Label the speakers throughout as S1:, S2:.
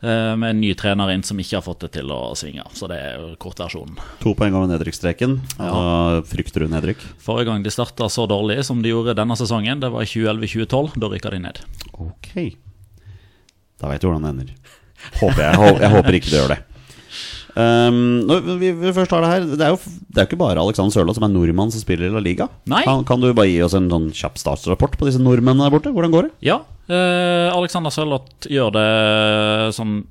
S1: eh, Med en ny trener inn som ikke har fått det til å svinge. Så det er jo kortversjonen.
S2: To poeng over nedrykksstreken. Ja. Frykter du nedrykk?
S1: Forrige gang de starta så dårlig som de gjorde denne sesongen, det var i 2011-2012. Da rykka de ned.
S2: Ok. Da veit du hvordan det ender. Håper jeg, hå- jeg håper ikke du gjør det. Um, når vi, vi først har Det her Det er jo f- det er jo ikke bare Alexander Sørloth som er nordmann som spiller i La Liga.
S1: Nei.
S2: Kan, kan du bare gi oss en sånn kjapp startsrapport på disse nordmennene der borte? Hvordan går det?
S1: Ja, eh, Alexander Sørloth gjør det sånn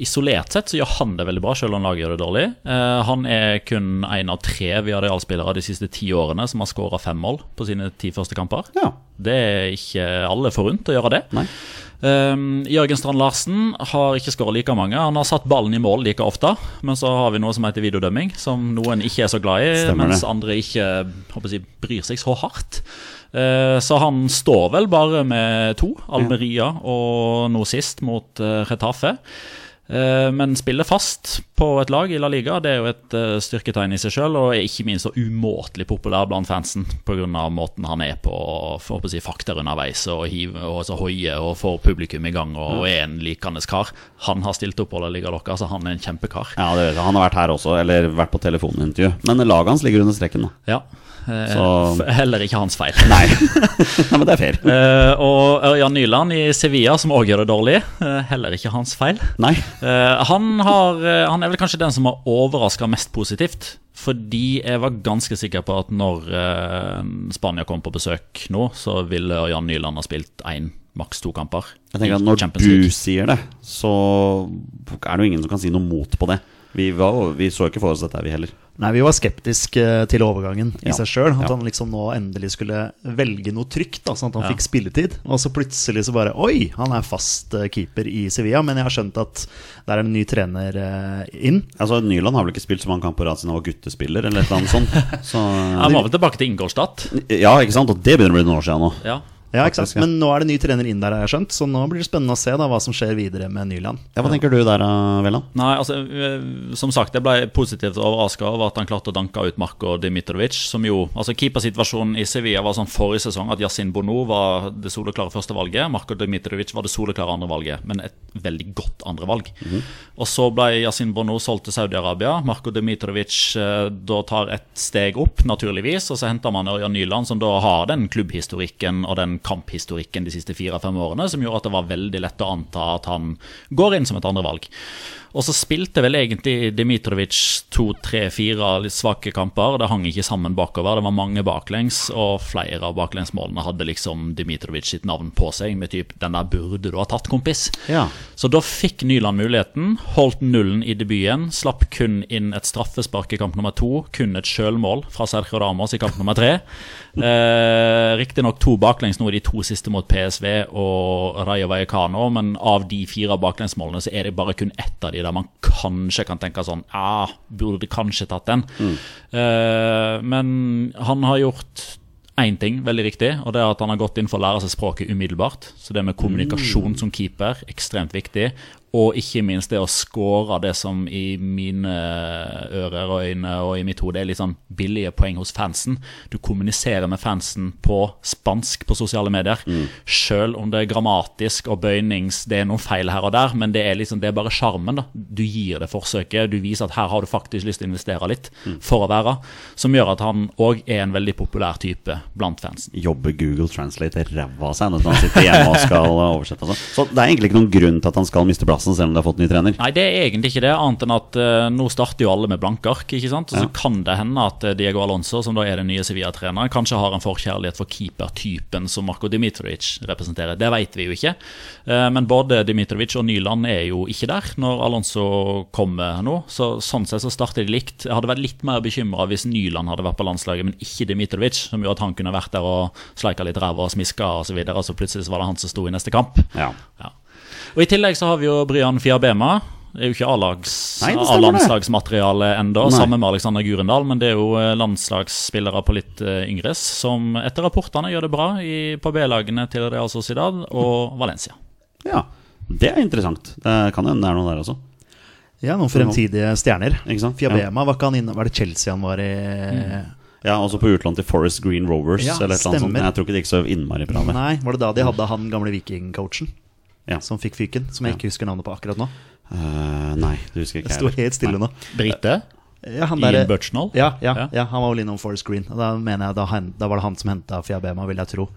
S1: Isolert sett så gjør han det veldig bra, selv om laget gjør det dårlig. Eh, han er kun én av tre Viareal-spillere de siste ti årene som har skåra fem mål på sine ti første kamper.
S2: Ja.
S1: Det er ikke alle forunt å gjøre det.
S2: Nei.
S1: Eh, Ehm, Jørgen Strand Larsen har ikke skåret like mange. Han har satt ballen i mål like ofte, men så har vi noe som heter videodømming, som noen ikke er så glad i,
S2: Stemmer
S1: mens
S2: det.
S1: andre ikke håper jeg, å si, bryr seg så hardt. Eh, Så han står vel bare med to, Almeria og nå sist mot eh, Retafe. Eh, Men spiller fast på et lag i La Liga Det er jo et eh, styrketegn i seg sjøl, og er ikke minst så umåtelig populær blant fansen pga. måten han er på, og får på å si fakter underveis og hiver og så hoier og får publikum i gang og er en likende kar. Han har stilt opp på La Liga Lokka, så han er en kjempekar.
S2: Ja, det vet jeg. Han har vært her også, eller vært på telefonintervju. Men laget hans ligger under streken, da.
S1: Ja. Eh,
S2: Så-
S1: f- Heller ikke hans feil.
S2: Nei, Nei men det er fair.
S1: Eh, og Ørjan Nyland i Sevilla, som òg gjør det dårlig. eh, heller ikke hans feil.
S2: Nei.
S1: Eh, han, har, eh, han er vel kanskje den som har overraska mest positivt. Fordi jeg var ganske sikker på at når eh, Spania kom på besøk nå, så ville Ørjan Nyland ha spilt én, maks to kamper.
S2: Jeg tenker
S1: i
S2: at Når
S1: Champions
S2: du
S1: League.
S2: sier det, så er det jo ingen som kan si noe mot på det. Vi, var, vi så ikke for oss dette, vi heller.
S3: Nei, vi var skeptiske til overgangen i
S2: Ja.
S3: seg sjøl. At
S2: Ja.
S3: han liksom nå endelig skulle velge noe trygt, da, sånn at han
S1: Ja.
S3: fikk spilletid. Og så plutselig så bare Oi, han er fast eh, keeper i Sevilla, men jeg har skjønt at der er en ny trener eh, inn.
S2: Altså, Nyland har vel ikke spilt så mange kamper på rad siden han var guttespiller, eller et eller annet sånt. Så,
S1: Han var vel tilbake til Ingolstadt.
S2: ja, ikke sant? Og det begynner å bli noen år siden nå.
S1: Ja.
S3: Ja, ikke sant?
S2: Faktisk, ja.
S3: Men nå er det ny trener inn der, har jeg skjønt. Så nå blir det spennende å se da, hva som skjer videre med Nyland.
S2: Ja, Hva tenker du der, eh, Veland?
S1: Nei, altså, eh, som sagt, jeg ble positivt overraska over at han klarte å danke ut Marko Dimitrovic. Som jo, altså Keepersituasjonen i Sevilla var sånn forrige sesong at Yasin Bono var det soleklare førstevalget. Marko Dimitrovic var det soleklare andrevalget, men et veldig godt andrevalg. Og så ble Yasin Bono solgt til Saudi-Arabia. Marko Dimitrovic eh, da tar et steg opp, naturligvis, og så henter man Ørjan Nyland, som da har den klubbhistorikken og den kamphistorikken de siste fire-fem årene, som gjorde at det var veldig lett å anta at han går inn som et andrevalg. Og så spilte vel egentlig Dimitrovic to, tre, fire litt svake kamper. Det hang ikke sammen bakover. Det var mange baklengs, og flere av baklengsmålene hadde liksom Dimitrovic sitt navn på seg, med typ 'den der burde du ha tatt, kompis'.
S2: Ja.
S1: Så da fikk Nyland muligheten, holdt nullen i debuten, slapp kun inn et straffespark i kamp nummer to, kun et sjølmål fra Sergio Ramos i kamp nummer tre. Eh, Riktignok to baklengs nå i de to siste mot PSV og Rayo Vallecano, men av de fire baklengsmålene så er det bare kun ett av de der man kanskje kan tenke sånn Ja, burde kanskje tatt den. Eh, men han har gjort én ting veldig viktig, og det er at han har gått inn for å lære seg språket umiddelbart. Så det med kommunikasjon som keeper, ekstremt viktig. Og ikke minst det å score det som i mine ører og øyne og i mitt hode er litt sånn billige poeng hos fansen. Du kommuniserer med fansen på spansk på sosiale medier. Selv om det er grammatisk og bøynings, det er noen feil her og der, men det er liksom, det er bare sjarmen. da. Du gir det forsøket, du viser at her har du faktisk lyst til å investere litt for å være, som gjør at han òg er en veldig populær type blant fansen.
S2: Jobber Google Translate ræva av seg når han sitter hjemme og skal eh, oversette. og sånn. Så det er egentlig ikke noen grunn til at han skal miste plassen, selv om de har fått ny trener.
S1: Nei, det er egentlig ikke det, annet enn at eh, nå starter jo alle med blanke ark. ikke sant? Og så kan det hende at eh, Diego Alonso, som da er den nye Sevilla-treneren, kanskje har en forkjærlighet for keepertypen som Marko Dimitrovic representerer. Det vet vi jo ikke. Eh, men både Dimitrovic og Nyland er jo ikke der når Alonso kommer nå. Så sånn sett så starter de likt. Jeg hadde vært litt mer bekymra hvis Nyland hadde vært på landslaget, men ikke Dimitrovic, som gjorde at han kunne vært der og sleika litt ræva og smiska osv., og så videre, og så plutselig så var det han som sto i neste kamp.
S2: Ja.
S1: Ja. Og I tillegg så har vi jo Bryan Fiabema. Det er jo ikke A-lags-
S2: Nei, det stemmer det.
S1: A-landslagsmateriale ennå,
S2: Nei.
S1: sammen med Alexander Gurendal, men det er jo eh, landslagsspillere på litt eh, yngres som etter rapportene gjør det bra i, på B-lagene til Real Sociedad og Valencia.
S2: ja. Det er interessant. Det kan hende det er noe der også.
S3: Ja, noen fremtidige stjerner.
S2: Ikke sant? Mm.
S3: Fiabema, var ikke han inne Var det Chelsea han var i?
S2: Ja, også på utlån til Forest Green Rovers
S3: Ja,
S2: eller et eller annet sånt.
S3: stemmer.
S2: Jeg tror ikke det gikk så innmari bra med.
S3: Nei, var det da de hadde han gamle vikingcoachen?
S2: Ja.
S3: Som fikk fyken, som jeg ikke husker navnet på akkurat nå.
S2: Eh, nei, du husker ikke
S3: Jeg sto
S2: heller.
S3: helt stille nå.
S1: Brite.
S3: Ja, han
S1: Eh, Ian
S3: derre-
S1: Birchnall.
S3: ja, ja,
S1: Ja.
S3: ja, han var vel innom Forest Green. Og Da mener jeg da, han, da var det han som henta Fiabema, vil jeg tro.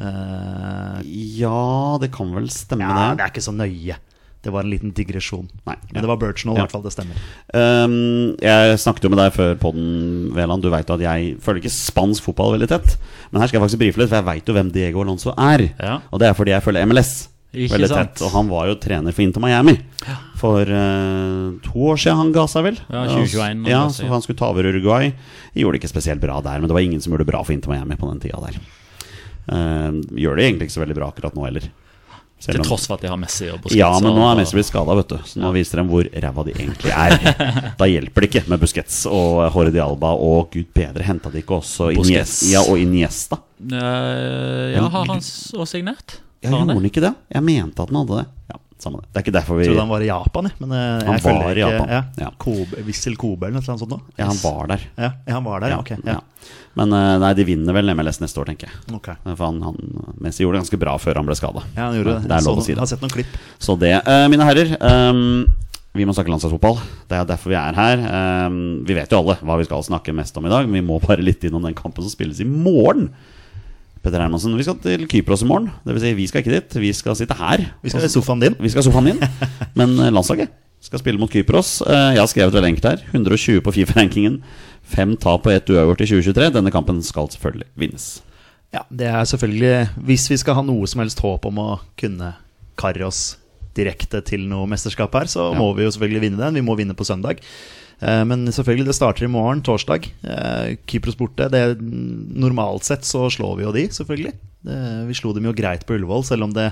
S3: Eh,
S2: Ja, det kan vel stemme,
S3: ja, det
S2: det.
S3: er ikke så nøye. Det var en liten digresjon.
S2: Nei, ja.
S3: Men det var Birchnall, i
S2: Ja.
S3: hvert fall. Det stemmer.
S2: Ehm, jeg snakket jo med deg før podden, Veland. Du veit jo at jeg følger ikke spansk fotball veldig tett. Men her skal jeg faktisk brife litt, for jeg veit jo hvem Diego Alonso er.
S1: Ja.
S2: Og det er fordi jeg følger MLS
S1: Ikke
S2: veldig
S1: sant.
S2: tett. Og han var jo trener for Inter Miami for eh, to år siden han ga seg, vel.
S1: Ja, 2021 han
S2: Ja,
S1: ga seg,
S2: så
S1: ja.
S2: han skulle ta over Uruguay. Gjorde det ikke spesielt bra der, men det var ingen som Eh, gjorde det bra for Inter Miami på den tida der. Ehm, gjør det egentlig ikke så veldig bra akkurat nå heller. Selv
S1: Til
S2: om-
S1: tross for at de har Messi og Busquets.
S2: Ja, men nå er
S1: og-
S2: Messi blitt skada, vet du. Så nå viser de hvor ræva de egentlig er. Da hjelper det ikke med Busquets og Hordi Alba og gud bedre, henta de ikke også Iniesta?
S1: Busquets.
S2: Ja, og Iniesta.
S1: Eh, ja, har han også signert?
S2: Ja,
S1: Har
S2: gjorde
S1: han det?
S2: han ikke det? Jeg mente at han hadde det. Ja, samme det. Det er ikke derfor vi
S3: Jeg trodde han var i Japan, jeg. Men eh, jeg
S2: Han
S3: følger
S2: var i
S3: ikke-
S2: Japan,
S3: Ja.
S2: ja.
S3: Kobe, Wissel Kobe eller noe sånt nå?
S2: Ja, han var der.
S3: Ja, ja, han var der, ja. ok. Ja.
S2: Ja. Men eh, nei, de vinner vel MLS neste år, tenker jeg. Eh,
S3: Ok.
S2: For han, han, Messi gjorde det ganske bra før han ble skada.
S3: ja, han gjorde det.
S2: Det er lov
S3: Så-
S2: å si
S3: Jeg har
S2: det.
S3: sett noen klipp.
S2: Så det, eh, mine herrer ehm, Vi må snakke landslagsfotball. Det er derfor vi er her. Ehm, vi vet jo alle hva vi skal snakke mest om i dag, men vi må bare litt innom den kampen som spilles i morgen. Petter Hermansen, vi skal til Kypros i morgen. Det vil si, vi skal ikke dit. Vi skal sitte her.
S3: Vi skal i sofaen din.
S2: Vi skal sofaen inn, men eh, landslaget skal spille mot Kypros. Eh, Jeg har skrevet veldig enkelt her. 120 på Fifa-rankingen. Fem tap og ett uavgjort i 2023. Denne kampen skal selvfølgelig vinnes.
S3: Ja, det er selvfølgelig Hvis vi skal ha noe som helst håp om å kunne karre oss direkte til noe mesterskap her, så
S2: Ja.
S3: må vi jo selvfølgelig vinne den. Vi må vinne på søndag. Eh, Men selvfølgelig, det starter i morgen, torsdag. Eh, Kypros borte. Det, normalt sett så slår vi jo de, selvfølgelig. Det- Vi slo dem jo greit på Ullevål, selv om det,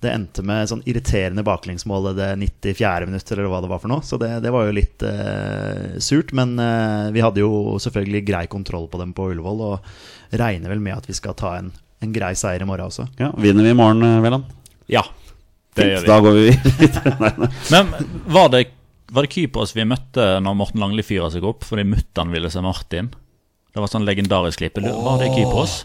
S3: det endte med sånn irriterende baklengsmål i det 94. minutt, eller hva det var for noe. Så det, det var jo litt eh, surt. Men eh, vi hadde jo selvfølgelig grei kontroll på dem på Ullevål, og regner vel med at vi skal ta en, en grei seier i morgen også.
S2: Ja, Vinner vi i morgen, eh, Veland?
S1: Ja, det
S2: Fint,
S1: gjør vi.
S2: da går vi videre. Nei, nei.
S1: Men var det, var det Kypros vi møtte når Morten Langli fyra seg opp fordi mutter'n ville se Martin? Det var sånn legendarisk klipp. Eller Var det Kypros?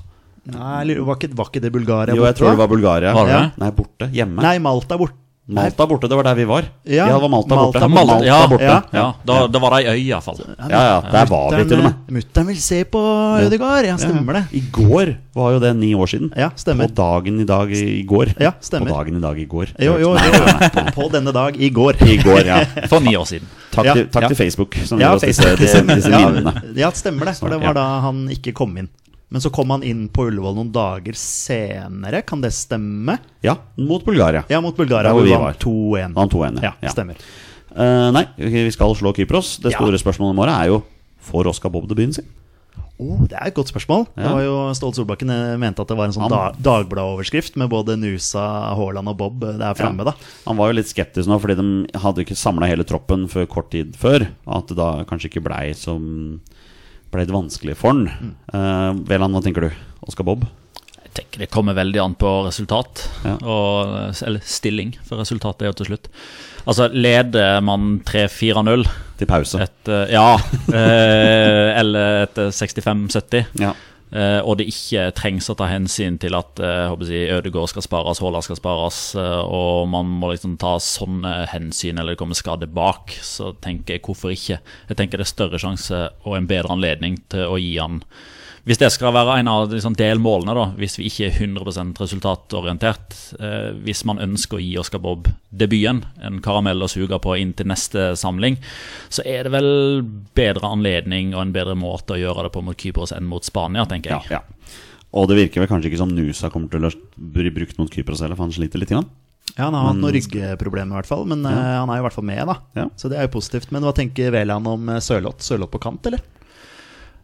S3: Nei, eller var ikke, var ikke det Bulgaria?
S2: Jo, jeg
S3: borte,
S2: tror det
S3: da?
S2: var Bulgaria.
S1: Var det
S2: Ja.
S1: det?
S2: Nei, borte. Hjemme.
S3: Nei, Malta bort.
S2: Malta borte, det var der vi var.
S3: Ja,
S2: Ja, det var Malta, borte.
S3: Malta borte.
S2: Malta
S1: ja,
S2: borte.
S1: Ja,
S2: Ja.
S1: da, da var det ei øy, iallfall.
S2: ja, der var vi til og med.
S3: Mutter'n vil se på Ødegaard! Ja, stemmer det.
S2: I går var jo det ni år siden.
S3: Ja, stemmer.
S2: På dagen i dag i i går.
S3: Ja, stemmer.
S2: På dagen i dag i går.
S3: Jo, jo,
S2: Nei,
S3: jo. På, på denne dag i går.
S2: I går, ja.
S1: For ni år siden.
S2: Takk,
S3: Ja,
S2: til, takk
S3: ja.
S2: til Facebook, som
S3: Ja,
S2: gir oss disse,
S3: Facebook.
S2: disse, disse minnene.
S3: Ja, ja, stemmer det. For det
S2: Ja.
S3: var da han ikke kom inn. Men så kom han inn på Ullevål noen dager senere, kan det stemme?
S2: Ja, mot Bulgaria.
S3: Ja, mot Bulgaria,
S2: Der
S3: hvor
S2: hvor
S3: vi
S2: vi
S3: vant 2-1.
S2: Vant 2-1,
S3: ja.
S2: ja. Ja.
S3: Stemmer.
S2: Eh, nei, vi skal slå Kypros. Det
S3: Ja.
S2: store spørsmålet i morgen er jo Får Oskar Bob debuten sin?
S3: Oh, det er et godt spørsmål. Det
S2: Ja.
S3: var jo Ståle Solbakken eh, mente at det var en sånn da,
S2: Han-
S3: Dagbladet-overskrift med både Nusa, Haaland og Bob eh, der framme,
S2: Ja.
S3: da.
S2: Han var jo litt skeptisk nå, fordi de hadde ikke samla hele troppen før kort tid før. og At det da kanskje ikke blei som Blei det vanskelig for han.
S3: Mm.
S2: Eh, Veland, hva tenker du? Oskar Bob?
S1: Jeg tenker Det kommer veldig an på resultat,
S2: Ja.
S1: og, eller stilling, for resultatet er jo til slutt. Altså, leder man 3-4-0
S2: Til pause.
S1: et, eh, Ja, eh, eller et eh, 65-70,
S2: Ja.
S1: eh, og det ikke trengs å ta hensyn til at eh, jeg håper å si, Ødegaard skal spares, Haaland skal spares, eh, og man må liksom ta sånne hensyn eller det kommer skade bak, så tenker jeg hvorfor ikke. Jeg tenker det er større sjanse og en bedre anledning til å gi han hvis det skal være en av liksom, delmålene, da, hvis vi ikke er 100 resultatorientert eh, Hvis man ønsker å gi Oscar Bob debuten, en karamell å suge på inn til neste samling, så er det vel bedre anledning og en bedre måte å gjøre det på mot Kypros enn mot Spania, tenker
S2: ja,
S1: jeg.
S2: ja. Og det virker vel kanskje ikke som Nusa kommer til å bli brukt mot Kypros heller, for han sliter litt. Grann.
S3: Ja, han har hatt noen ryggeproblemer, i hvert fall. Men eh, han er jo i hvert fall med, da.
S2: Mm. Ja.
S3: Så det er jo positivt. Men hva tenker Veland om eh, Sørloth? Sørloth på kant, eller?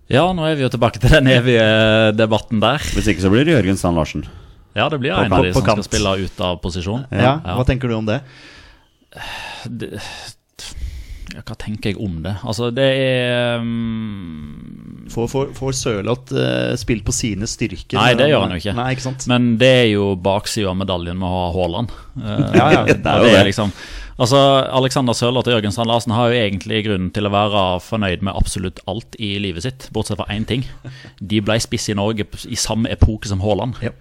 S1: Ja, nå er vi jo tilbake til den evige debatten der.
S2: Hvis ikke så blir det Jørgen Strand Larsen.
S1: Ja, det blir
S3: På
S1: en av de
S3: kant. På
S1: som skal
S3: kant.
S1: spille ut av posisjon.
S3: Ja.
S1: Ja.
S3: Hva tenker du om det?
S1: det, ja, Hva tenker jeg om det? Altså, det er mm,
S3: Får, får, får Sørloth eh, spilt på sine styrker?
S1: Nei, det gjør han jo ikke.
S3: Nei, ikke sant?
S1: Men det er jo baksida av medaljen med å ha Haaland. Eh,
S3: Ja, ja,
S1: og
S3: det
S2: er jo
S1: det er
S2: det.
S1: liksom, altså, Alexander Sørloth og Jørgen Strand Larsen har jo egentlig grunn til å være fornøyd med absolutt alt i livet sitt, bortsett fra én ting. De ble spiss i Norge i samme epoke som Haaland.
S3: Ja.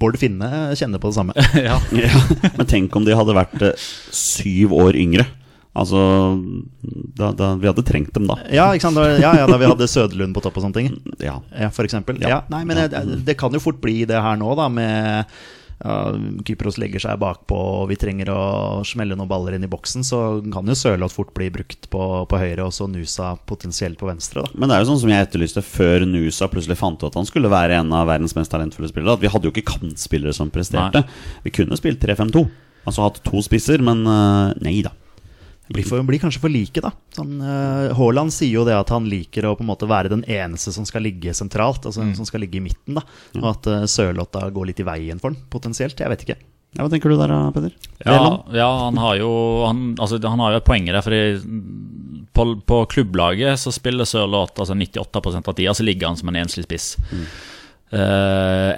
S3: Bård Finne kjenner på det samme.
S1: Ja.
S2: Ja, men tenk om de hadde vært eh, syv år yngre. Altså da, da, Vi hadde trengt dem da.
S3: Ja, ikke sant? Da- Ja, ja, da vi hadde Søderlund på topp og sånne ting.
S2: Ja.
S3: Ja, for eksempel.
S2: Ja.
S3: Ja, nei, men det, det kan jo fort bli det her nå, da, med ja, Kypros legger seg bakpå, og vi trenger å smelle noen baller inn i boksen, så kan jo Sørloth fort bli brukt på, på høyre, og så Nusa potensielt på venstre, da.
S2: Men det er jo sånn som jeg etterlyste før Nusa plutselig fant ut at han skulle være en av verdens mest talentfulle spillere. At vi hadde jo ikke kantspillere som presterte. Vi kunne spilt 3-5-2. Altså hatt to spisser, men eh, nei da.
S3: Blir, for, blir kanskje for like, da. Sånn, eh, Haaland sier jo det at han liker å på en måte være den eneste som skal ligge
S2: Mm.
S3: sentralt, altså som skal ligge i midten, da. Og at eh, Sørloth da går litt i veien for han, potensielt. Jeg vet ikke.
S2: Ja, Hva tenker du der, da, Peder?
S1: Ja,
S2: Veland?
S1: ja han, har jo, han, altså, han har jo et poeng i det. Fordi på, på klubblaget så spiller Sørloth altså 98 av tida, så ligger han som en enslig spiss. Eh,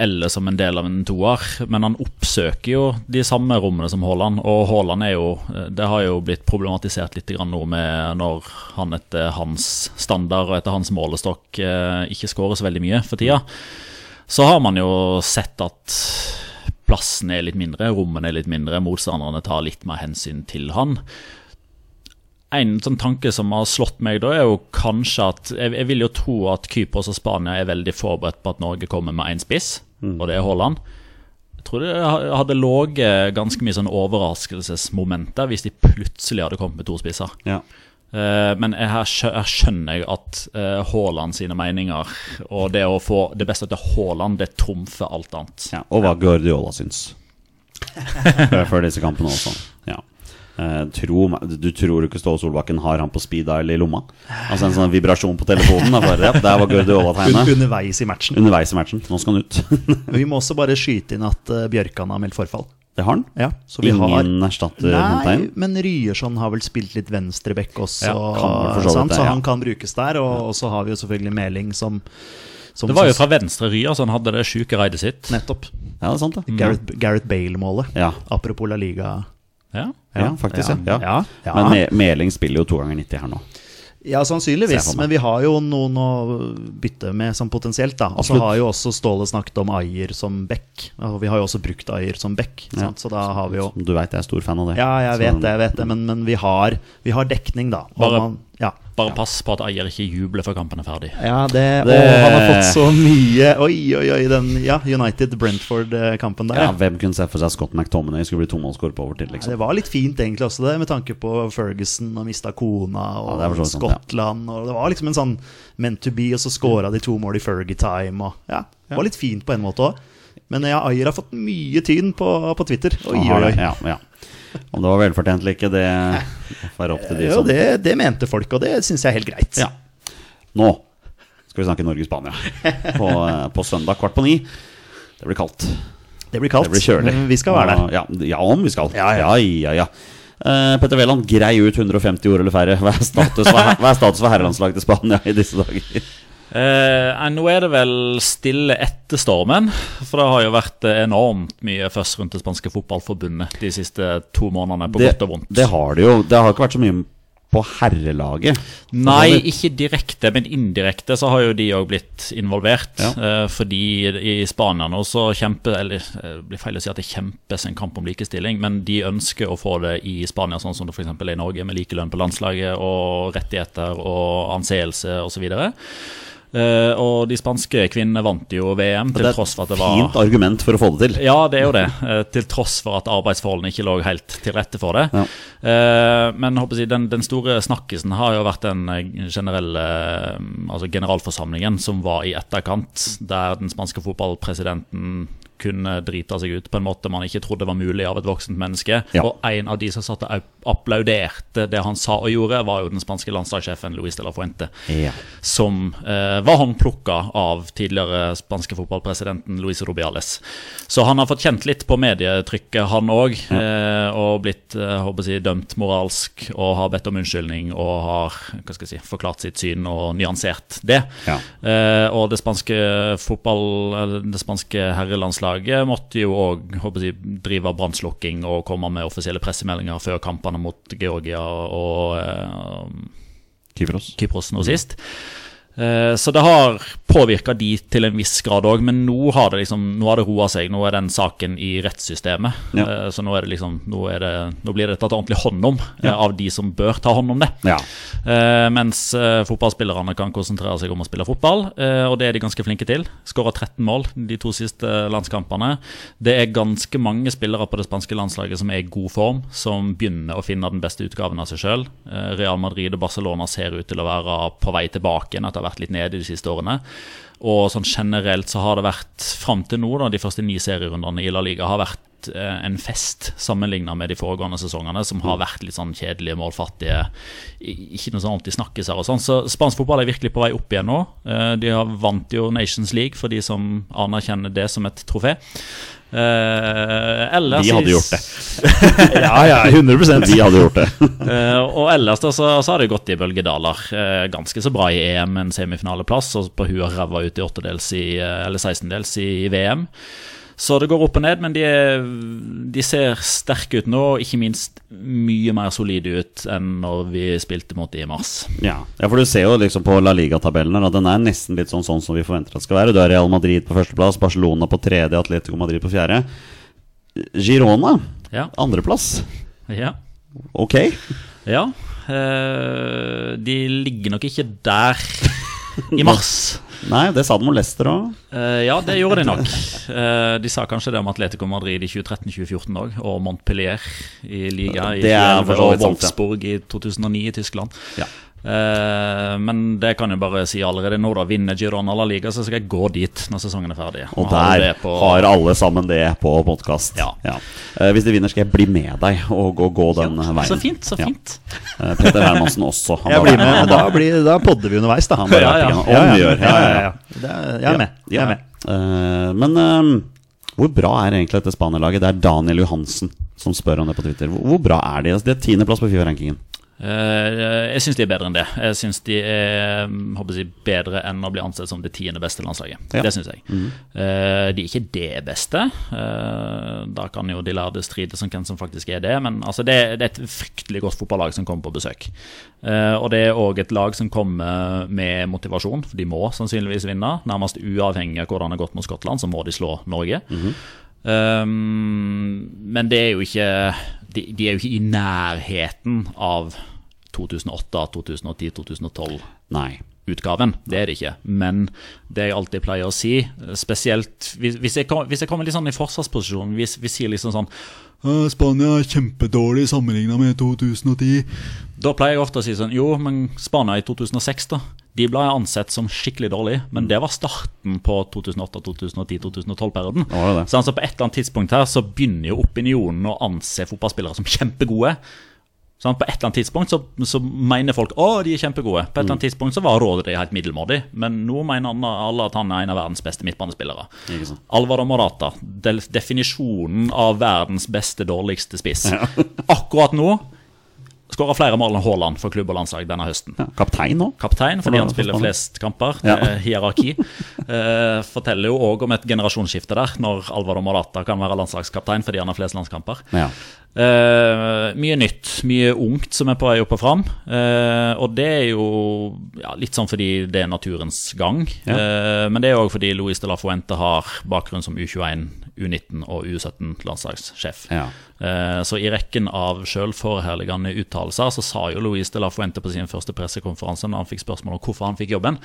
S1: eller som en del av en toer. Men han oppsøker jo de samme rommene som Haaland. Og Haaland er jo eh, Det har jo blitt problematisert litt grann nå med når han etter hans standard og etter hans målestokk eh, ikke skårer så veldig mye for tida. Så har man jo sett at plassen er litt mindre, rommene er litt mindre, motstanderne tar litt mer hensyn til han. En sånn tanke som har slått meg da, er jo kanskje at Jeg, jeg vil jo tro at Kypros og Spania er veldig forberedt på at Norge kommer med én spiss, og det er Haaland. Jeg tror det ha- hadde ligget ganske mye sånn overraskelsesmomenter hvis de plutselig hadde kommet med to spisser.
S2: Ja.
S1: Eh, Men jeg- her skjø- her skjønner jeg at eh, Haaland sine meninger og det å få det beste til Haaland, det trumfer alt annet.
S2: ja. Og hva Guardiola syns. Før før disse kampene også. Ja. Eh, tro, meg- du tror ikke Ståle Solbakken har han på speed dial i lomma? Altså en sånn vibrasjon på telefonen? da, Bare, ja, der var
S3: Un
S2: Guardiola-tegnet.
S3: underveis i matchen.
S2: Underveis i matchen. Nå skal han ut.
S3: Vi må også bare skyte inn at eh, Bjørkan har meldt forfall.
S2: Det har han.
S3: Ja, så vi
S2: Ingen
S3: har
S2: erstatter
S3: Nei,
S2: Håndtegn.
S3: men Ryerson har vel spilt litt venstreback også,
S2: Ja, kan vel for så vidt
S3: sant?
S2: det,
S3: så
S2: ja.
S3: han kan brukes der. Og, og så har vi jo selvfølgelig Meling som, som
S1: Det var jo fra venstre ryer, så han hadde det sjuke raidet sitt.
S3: Nettopp.
S2: Ja, det er sant, det.
S3: Gareth, Gareth Bale-målet.
S2: Mm. Ja.
S3: Apropos La Liga.
S1: Ja.
S2: Ja, faktisk, ja.
S3: Ja, ja.
S2: Men eh, Me Meling spiller jo to ganger 90 her nå. Ser
S3: Ja,
S2: jeg
S3: sannsynligvis.
S2: for meg.
S3: Men vi har jo noen å bytte med som potensielt, da. Og så
S2: Absolutt.
S3: har jo også Ståle snakket om Ayer som back. Og vi har jo også brukt Ayer som back,
S2: Ja.
S3: sant? så da har vi jo
S2: Som du veit, jeg er stor fan av det.
S3: Ja, jeg
S2: Så-
S3: vet det, jeg vet det, men, men vi, har, vi har dekning, da. Og
S1: Bare-
S3: man, ja.
S1: Bare pass på at Eier ikke jubler før kampen er ferdig.
S3: Ja, det,
S2: Det-
S3: Å, han har fått så mye Oi, oi, oi, den ja, United-Brentford-kampen der.
S2: Ja,
S3: Ja.
S2: Hvem kunne se for seg Scott McTominay skulle bli tomålsskårer på overtid?
S3: Det
S2: Liksom.
S3: var litt fint, egentlig, også det, med tanke på Ferguson og mista kona og
S2: Ja, det er for så vidt sant, ja.
S3: Skottland. Og det var liksom en sånn meant to be, og så scora de to mål i Fergie-time. Og, ja, det var litt fint på en måte òg. Men ja, Ayer har fått mye tyn på, på Twitter. Oi,
S2: Han
S3: oi,
S2: har
S3: oi.
S2: det, Ja, ja. Om det var velfortjent eller ikke, det får være opp til de
S3: Jo,
S2: som
S3: det, det mente folk, og det syns jeg er helt greit.
S2: Ja. Nå skal vi snakke Norge-Spania på, eh, på søndag kvart på ni. Det blir kaldt.
S3: Det blir kaldt,
S2: Det blir kjølig.
S3: men vi skal være der.
S2: Og- Ja, ja om vi skal.
S3: Ja,
S2: Ja,
S3: ja.
S2: ja, ja. Eh, Petter Wæland, grei ut 150 ord eller færre. Hva er status for, hva er status for herrelandslaget til Spania i disse dager?
S1: Eh, eh, nå er det vel stille etter stormen, for det har jo vært eh, enormt mye først rundt det spanske fotballforbundet de siste to månedene, på godt og vondt.
S2: det har det jo. Det har ikke vært så mye på herrelaget.
S1: Nei, ikke direkte, men indirekte så har jo de òg blitt involvert.
S2: Ja.
S1: Eh, fordi i Spania nå så kjemper Eller eh, det blir feil å si at det kjempes en kamp om likestilling, men de ønsker å få det i Spania, sånn som det f.eks. er i Norge, med likelønn på landslaget og rettigheter og anseelse osv. Uh, og de spanske kvinnene vant jo VM, til
S2: Det er
S1: tross for at det
S2: et
S1: var
S2: fint argument for å få det til.
S1: ja, det er jo det. eh, Til tross for at arbeidsforholdene ikke lå helt til rette for det.
S2: Ja.
S1: Eh, Men håper jeg, å si, den, den store snakkisen har jo vært den eh, generelle eh, altså generalforsamlingen som var i etterkant, der den spanske fotballpresidenten kunne drite seg ut på en måte man ikke trodde var mulig av et voksent menneske.
S2: Ja.
S1: Og en av de som satt og au- applauderte det han sa og gjorde, var jo den spanske landslagssjefen Luis de la Fuente
S2: Ja.
S1: som eh, var håndplukka av tidligere spanske fotballpresidenten Luis Rubiales. Så han har fått kjent litt på medietrykket, han òg, eh, og blitt eh, håper jeg, å si, dømt moralsk og har bedt om unnskyldning og har hva skal jeg si, forklart sitt syn og nyansert det.
S2: Ja.
S1: Eh, og det spanske fotball, eller det spanske herrelandslaget måtte jo òg drive brannslukking og komme med offisielle pressemeldinger før kampene mot Georgia og eh,
S2: Kypros.
S1: Kypros nå sist. Eh, Så det har påvirka de til en viss grad òg, men nå har det liksom, nå har det roa seg. Nå er den saken i rettssystemet.
S2: Ja.
S1: Eh, Så nå, er det liksom, nå, er det, nå blir det tatt ordentlig hånd om eh, av de som bør ta hånd om det.
S2: Ja.
S1: Eh, mens eh, fotballspillerne kan konsentrere seg om å spille fotball, eh, og det er de ganske flinke til. Skåra 13 mål de to siste eh, landskampene. Det er ganske mange spillere på det spanske landslaget som er i god form, som begynner å finne den beste utgaven av seg sjøl. Eh, Real Madrid og Barcelona ser ut til å være på vei tilbake igjen etter å ha vært litt nede de siste årene. Og sånn generelt så har det vært fram til nå, da, de første ni serierundene i La Liga har vært blitt eh, en fest sammenligna med de foregående sesongene, som
S2: Mm.
S1: har vært litt sånn kjedelige, målfattige, i- ikke noe sånn ordentlig snakkes her og sånn. Så spansk fotball er virkelig på vei opp igjen nå. Eh, De har vant jo Nations League, for de som anerkjenner det som et trofé. Eh, ellers
S2: Vi
S1: i
S2: hadde gjort det.
S3: Ja, ja, 100
S2: Vi hadde gjort det.
S1: Eh, og ellers da, så, så har det gått i bølgedaler. Eh, ganske så bra i EM, en semifinaleplass, og på huet og ræva ut i åttedels i, eh, eller sekstendels i VM. Så det går opp og ned, men de, er, de ser sterke ut nå, og ikke minst mye mer solide ut enn når vi spilte mot de i mars.
S2: Ja. ja, for du ser jo liksom på La Liga-tabellen her at den er nesten litt sånn, sånn som vi forventer at det skal være. Du har Real Madrid på førsteplass, Barcelona på tredje, Atletico Madrid på fjerde. Girona,
S1: Ja,
S2: andreplass.
S1: ja.
S2: Ok.
S1: ja. Eh, de ligger nok ikke der i mars.
S2: Nei, det sa de om Leicester òg.
S1: Eh, ja, det gjorde de nok. Eh, de sa kanskje det om Atletico Madrid i 2013-2014 òg, og Montpellier i liga i
S2: Det er
S1: 2011,
S2: for så
S1: og
S2: vidt sant, ja.
S1: Wolfsburg i 2009 i Tyskland.
S2: Ja.
S1: Eh, men det kan jeg bare si allerede nå, da. Vinner Girona la liga, så skal jeg gå dit når sesongen er ferdig.
S2: Og
S1: har
S2: der
S1: det på-
S2: har alle sammen det på podkast.
S1: Ja.
S2: Eh, hvis de vinner, skal jeg bli med deg og, og gå den veien.
S1: Så fint, så
S2: Ja.
S1: fint.
S2: Eh, Petter Hermansen også. Han
S3: Jeg
S2: har
S3: blir
S2: vært-
S3: med,
S2: han
S3: men da,
S2: har-
S3: blir, da podder vi underveis, da.
S2: Han bare
S1: Ja, ja.
S2: er ikke- Om vi gjør. Ja, ja, ja.
S3: Det er- Jeg er med. Jeg er med.
S2: Eh, men eh, hvor bra er egentlig dette Spania-laget? Det er Daniel Johansen som spør om det på Twitter. Hvor, hvor bra er de? Altså, de er tiendeplass på FIFA-rankingen.
S1: Eh, jeg syns de er bedre enn det. Jeg syns de er mm, håper jeg, å si, bedre enn å bli ansett som det tiende beste landslaget.
S2: Ja.
S1: Det syns jeg. Eh, de er ikke det beste. Eh, da kan jo de lærde stride som hvem som faktisk er det, men altså, det, det er et fryktelig godt fotballag som kommer på besøk. Eh, og det er òg et lag som kommer med motivasjon, for de må sannsynligvis vinne. Nærmest uavhengig av hvordan det har gått mot Skottland, så må de slå Norge. Um, men det er jo ikke de, de er jo ikke i nærheten av 2008, 2010, 2012-utgaven.
S2: Nei.
S1: Det er det ikke. Men det jeg alltid pleier å si, eh, spesielt hvis, hvis, jeg, kom, hvis jeg kommer litt sånn i forsvarsposisjon Hvis vi sier liksom sånn «Å, Spania er kjempedårlig sammenligna med 2010. Da pleier jeg ofte å si sånn Jo, men Spania i 2006, da. De ble ansett som skikkelig dårlig,
S2: Mm.
S1: men det var starten på 2008, 2010, 2012-perioden.
S2: Det var det.
S1: Så altså på et eller annet tidspunkt her så begynner jo opinionen å anse fotballspillere som kjempegode. Sånn, på et eller annet tidspunkt så, så mener folk å, de er kjempegode. På et
S2: Mm.
S1: eller annet tidspunkt så var rådet de helt middelmådig, men nå mener han- alle at han er en av verdens beste midtbanespillere.
S2: Ikke sant.
S1: Alvaro Morata, del definisjonen av verdens beste dårligste spiss. Akkurat nå skårer flere mål enn Haaland for klubb og landslag denne høsten
S2: Ja. Kaptein nå?
S1: kaptein fordi
S2: Hvordan
S1: han
S2: er det
S1: spiller
S2: for
S1: flest kamper.
S2: Ja.
S1: eh, Hierarki. Eh, forteller jo òg om et generasjonsskifte der, når Alvaro Morata kan være landslagskaptein fordi han har flest landskamper.
S2: Ja.
S1: Eh, mye nytt, mye ungt som er på vei opp og fram. Eh, og det er jo ja, litt sånn fordi det er naturens gang.
S2: Ja.
S1: Eh, men det er òg fordi Luis de la Fuente har bakgrunn som U21, U19 og U17-landslagssjef.
S2: Ja.
S1: Eh, Så i rekken av selvforherligende uttalelser så sa jo Luis de la Fuente på sin første pressekonferanse når han fikk spørsmål om hvorfor han fikk jobben,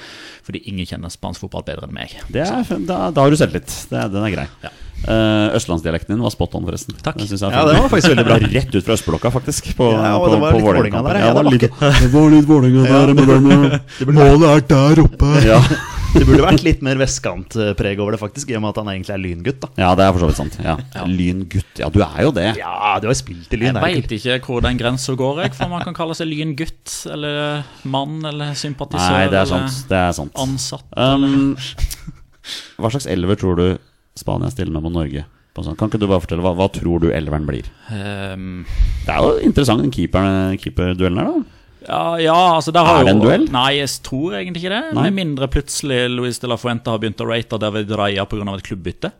S1: fordi ingen kjenner spansk fotball bedre enn meg.
S2: Det er, da, da har du selvtillit. Det er- Den er grei.
S1: Ja.
S2: Eh, Østlandsdialekten din var spot on, forresten.
S1: Takk.
S2: synes jeg er
S3: Ja,
S2: fin.
S3: det var faktisk veldig bra.
S2: Rett ut fra østblokka, faktisk. På,
S3: Ja, og
S2: på,
S3: det var
S2: på
S3: litt
S2: Vålerenga-kampen.
S3: Vålerenga der, ja,
S2: Ja, det var
S3: det
S2: litt
S4: Det var litt Vålerenga der med den eh, Målet er der oppe.
S2: ja.
S3: Det burde vært litt mer vestkantpreg over det, faktisk, i og med at han egentlig er lyngutt. da
S2: ja, det er for så vidt sant. Ja. Lyngutt. Ja, du er jo det.
S3: Ja, du har jo spilt i
S1: Jeg
S3: Lyn. er det ikke?
S1: veit ikke hvor den grensa går, jeg, for man kan kalle seg lyngutt eller mann eller sympatisør
S2: Nei, det er
S1: eller
S2: sant. Det er sant.
S1: ansatt.
S2: Um, hva slags elver tror du Spania stiller med mot Norge? På sånn- Kan ikke du bare fortelle, hva, hva tror du elveren blir?
S1: Um,
S2: Det er jo interessant, den keeperen- keeperduellen her, da.
S1: Ja, ja, altså der har
S2: Er det en
S1: jo-
S2: duell?
S1: Nei, jeg tror egentlig ikke det.
S2: Nei.
S1: Med mindre plutselig Luis de la Fuente har begynt å rate David Raya pga. et klubbytte.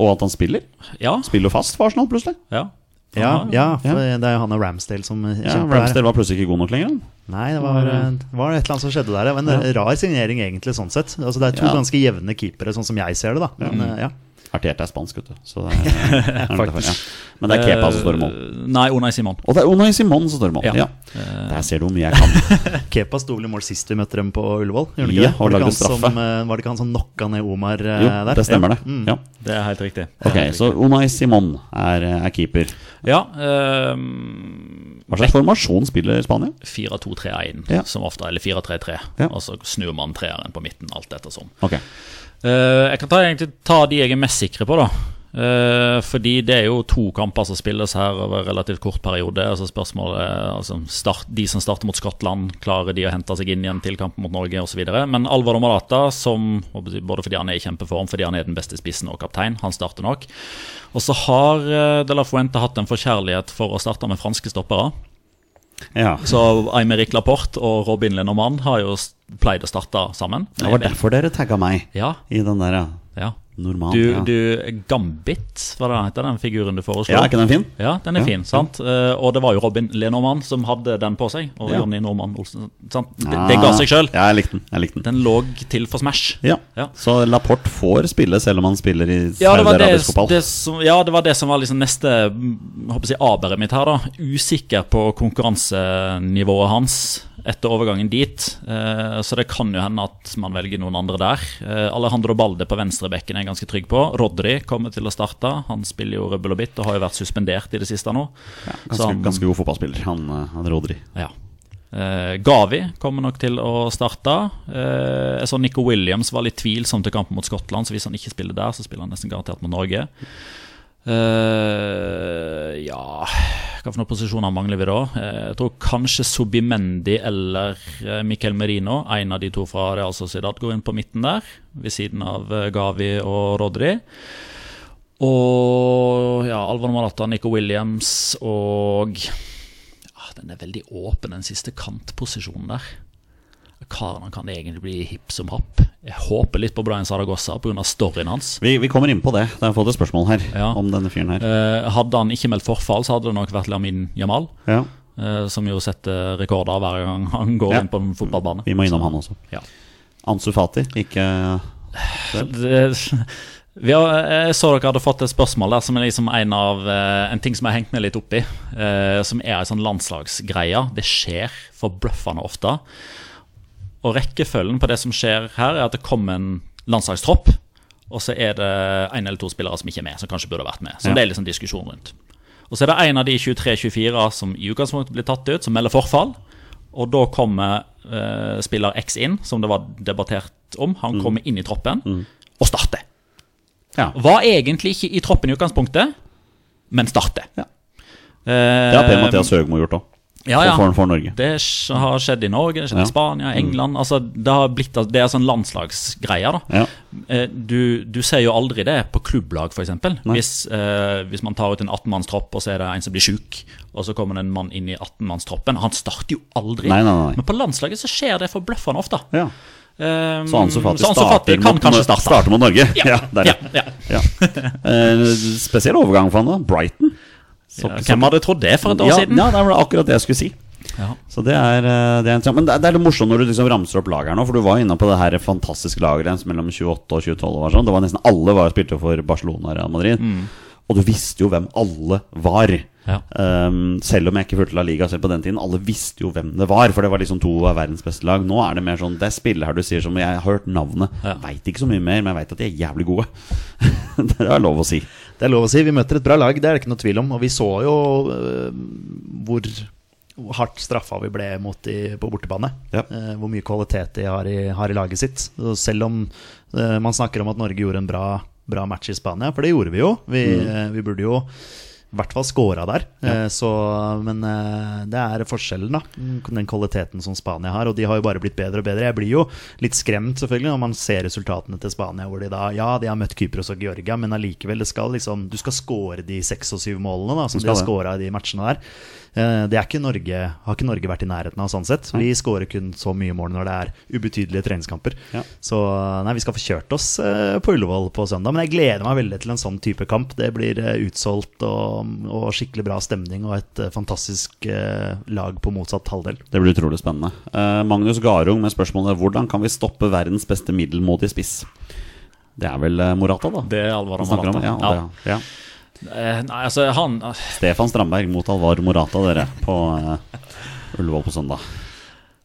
S2: Og at han spiller.
S1: Ja,
S2: Spiller jo fast for Arsenal, plutselig.
S1: ja.
S3: Ja, ja, for
S2: Ja.
S3: det er jo han og Ramsdale som eh,
S2: Ja,
S3: kjemper der.
S2: Ramsdale var plutselig ikke god nok lenger. han.
S3: Nei, det var, eh, det var et eller annet som skjedde der. ja, Men det er en rar signering, egentlig, sånn sett. Altså, det er to
S2: Ja.
S3: ganske jevne keepere, sånn som jeg ser det, da. Men, eh, ja.
S2: Arteta er spansk, vet du. Så det er, er nok derfor, ja. Men det er Kepa som står i mål.
S1: Eh, Nei, Unai Simon.
S2: Og det er Unai Simon som står i mål.
S1: Ja.
S2: Ja. Eh, Der ser du hvor mye jeg kan.
S3: Kepa sto vel i mål sist vi møtte dem på Ullevål? gjorde han ikke
S2: Ja,
S3: det?
S2: og
S3: var, det
S2: lagde
S3: ikke han
S2: straffe.
S3: som, eh, var det ikke han som knocka ned Omar eh,
S2: Jo,
S3: der?
S2: det stemmer,
S3: Ja.
S2: det.
S3: Mm.
S2: Ja.
S1: Det er helt riktig.
S2: Ok, så Unai Simon er, eh, er keeper.
S1: Ja, ehm,
S2: Hva slags formasjon spiller Spania?
S1: 4-2-3-1
S2: Ja.
S1: som ofte, eller 4-3-3.
S2: Ja.
S1: Og så snur man treeren på midten, alt ettersom.
S2: Ok,
S1: Eh, jeg kan ta, egentlig ta de jeg er mest sikre på, da. Eh, fordi det er jo to kamper som spilles her over relativt kort periode. Altså spørsmålet er, altså start, De som starter mot Skottland, klarer de å hente seg inn igjen til kampen mot Norge osv. Men Alvaro Malata, som, både fordi han er i kjempeform, fordi han er den beste spissen og kaptein, han starter nok. Og så har eh, De La Fuente hatt en forkjærlighet for å starte med franske stoppere.
S2: Ja.
S1: Så Aymeric Laporte og Robin Lenormand har jo s- pleid å starte sammen.
S2: Det var derfor dere tagga meg
S1: Ja,
S2: i den der, ja.
S1: ja.
S2: Normal.
S1: Du,
S2: ja.
S1: du Gambit, hva det heter den figuren du foreslo?
S2: ja, er ikke den fin?
S1: Ja, den er
S2: Ja.
S1: fin, sant? Eh, og det var jo Robin Lenormand som hadde den på seg. Og
S2: Ja. Ah,
S1: Jonny Normann Olsen. Sant? Det, det ga seg sjøl.
S2: Ja, jeg likte den. Jeg likte den.
S1: Den lå til for Smash.
S2: Ja.
S1: Ja.
S2: Så Laporte får spille selv om han spiller i
S1: Ja det, var det,
S2: saudi-arabisk fotball?
S1: det som, ja, det var det som var liksom neste mm, håper jeg, aberet mitt her. da Usikker på konkurransenivået hans etter overgangen dit. Eh, så det kan jo hende at man velger noen andre der. Eh, Alejandro Balde på venstrebekken er jeg ganske trygg på. Rodri kommer til å starte. Han spiller jo rubbel og bit og har jo vært suspendert i det siste nå.
S2: Ganske, ganske god fotballspiller, han, eh, han Rodri.
S1: Ja. Eh, Gavi kommer nok til å starte. Eh, jeg så Nico Williams var litt tvilsom til kampen mot Skottland, så hvis han ikke spiller der, så spiller han nesten garantert mot Norge. Eh, ja Hva for noen posisjoner mangler vi da? Eh, jeg tror kanskje Subimendi eller eh, Miquel Merino, en av de to fra Real Sociedad, går inn på midten der, ved siden av eh, Gavi og Rodri. Og ja, Alvaro Malata, Nico Williams og Ah, Den er veldig åpen, den siste kantposisjonen der. Karen han kan egentlig bli hipp som happ. Jeg håper litt på Brian Saragossa pga. storyen hans.
S2: Vi, vi kommer inn på det. Det har fått et spørsmål her
S1: Ja.
S2: om denne fyren her.
S1: Eh, hadde han ikke meldt forfall, så hadde det nok vært Lamin Jamal.
S2: Ja.
S1: eh, som jo setter rekorder hver gang han går
S2: Ja.
S1: inn på en fotballbane.
S2: Vi må innom han også.
S1: Ja.
S2: Ansu Fati, ikke
S1: Det, vi har, jeg så dere hadde fått et spørsmål der som er liksom en av eh, En ting som jeg har hengt meg litt opp i, eh, som er en sånn landslagsgreie. Det skjer forbløffende ofte. Og rekkefølgen på det som skjer her, er at det kommer en landslagstropp, og så er det en eller to spillere som ikke er med, som kanskje burde vært med. Så
S2: Ja.
S1: det er liksom diskusjon rundt. Og så er det en av de 23-24 som i utgangspunktet blir tatt ut, som melder forfall. Og da kommer eh, spiller X inn, som det var debattert om. Han kommer inn i troppen og starter.
S2: Mm. Ja.
S1: Var egentlig ikke i troppen i utgangspunktet, men starter.
S2: Ja.
S1: Eh, Ah,
S2: Det har Per Mathias Høgmo gjort òg,
S1: ja, ja.
S2: for, for Norge.
S1: Det sk- har skjedd i Norge, det har skjedd
S2: Ja. Mm.
S1: i Spania, England altså, Det har blitt det er sånn landslagsgreier. da
S2: Ja.
S1: Eh, du, du ser jo aldri det på klubblag, f.eks.
S2: Nei.
S1: Hvis, eh, hvis man tar ut en 18-mannstropp, og så er det en som blir sjuk, og så kommer det en mann inn i 18-mannstroppen. Han starter jo aldri.
S2: Nei, nei, nei.
S1: Men på landslaget så skjer det forbløffende ofte. Eh,
S2: ja.
S1: Um,
S2: Så Ansu Fati
S1: Ansu Fati
S2: starter,
S1: kan
S2: mot,
S1: kanskje starte.
S2: starter mot Norge. Ja, der,
S1: Ja,
S2: ja.
S1: ja.
S2: Eh, spesiell overgang for han da. Brighton. Så-
S1: Ja,
S2: så-
S1: Hvem hadde trodd det for et år
S2: ja,
S1: siden?
S2: Ja, det var akkurat det jeg skulle si.
S1: Ja.
S2: Så det er, eh, det er en, tra- Men det er, det er litt morsomt når du liksom ramser opp lager nå, for du var inne på det her fantastiske lageret mellom 28 og 2012. Og var sånn. Det var nesten alle var spilte for Barcelona og Real Madrid. Og du visste jo hvem alle var.
S1: Mm. Ja.
S2: Ehm, selv om jeg ikke fulgte La Liga selv på den tiden. Alle visste jo hvem det var, for det var liksom to av verdens beste lag. Nå er det mer sånn Det er spillere her du sier som Jeg har hørt navnet.
S1: Ja.
S2: Vet Veit ikke så mye mer, men jeg veit at de er jævlig gode. det er lov å si.
S3: Det er lov å si. Vi møter et bra lag, det er det ikke noe tvil om. Og vi så jo øh, hvor hardt straffa vi ble mot de på bortebane.
S2: Ja.
S3: Eh, hvor mye kvalitet de har i, har i laget sitt. Og selv om eh, man snakker om at Norge gjorde en bra, bra match i Spania, for det gjorde vi jo. Vi, eh, vi burde jo i hvert fall scora der. Eh, Så, men eh, det er forskjellen, da. Den kvaliteten som Spania har. Og de har jo bare blitt bedre og bedre. Jeg blir jo litt skremt, selvfølgelig, når man ser resultatene til Spania. Hvor de da Ja, de har møtt Kypros og Georgia, men allikevel, det skal liksom Du skal score de seks og syv målene da, som de
S2: skal
S3: har
S2: det.
S3: scora i de matchene der. Eh, Det er ikke Norge, har ikke Norge vært i nærheten av, sånn sett. Vi scorer kun så mye mål når det er ubetydelige treningskamper.
S2: Ja.
S3: Så nei, vi skal få kjørt oss eh, på Ullevål på søndag. Men jeg gleder meg veldig til en sånn type kamp. Det blir eh, utsolgt og, og skikkelig bra stemning og et eh, fantastisk eh, lag på motsatt halvdel.
S2: Det blir utrolig spennende. Eh, Magnus Garung med spørsmålet Hvordan kan vi stoppe verdens beste middelmådig spiss? Det er vel eh, Morata, da?
S1: Det er Alvaro
S2: han snakker om?
S1: Morata.
S2: Ja,
S1: Ja.
S2: det er- ja.
S1: Eh, Nei, altså, han
S2: Stefan Strandberg mot Alvar Morata, dere, på eh, Ullevål på søndag.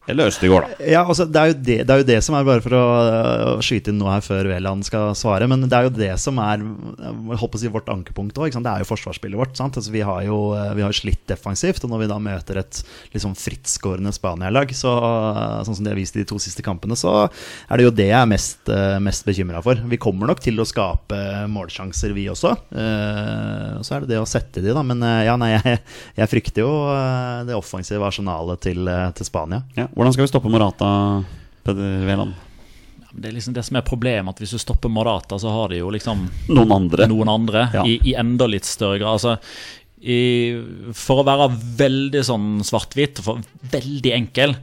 S2: Eller Østegård, da.
S3: Ja, altså, det, er jo det, det er jo det som er Bare for å øh, skyte inn noe her før Veland skal svare. Men det er jo det som er øh, jeg holdt på å si, vårt ankepunkt òg. Det er jo forsvarsspillet vårt. Sant? Altså, vi, har jo, øh, vi har jo slitt defensivt. Og når vi da møter et liksom, frittskårende Spania-lag, så, øh, sånn som de har vist i de to siste kampene, så er det jo det jeg er mest, øh, mest bekymra for. Vi kommer nok til å skape målsjanser, vi også. Eh, Så er det det å sette de, da. Men øh, ja, nei, jeg, jeg frykter jo øh, det offensive arsenalet til, øh, til Spania.
S2: Ja. Hvordan skal vi stoppe Morata, Peder Veland?
S1: Ja, men Det er liksom det som er problemet, at hvis du stopper Morata, så har de jo liksom
S2: Noen andre?
S1: noen andre
S2: Ja.
S1: i, i enda litt større grad. Altså, i, for å være veldig sånn svart-hvit, for veldig enkel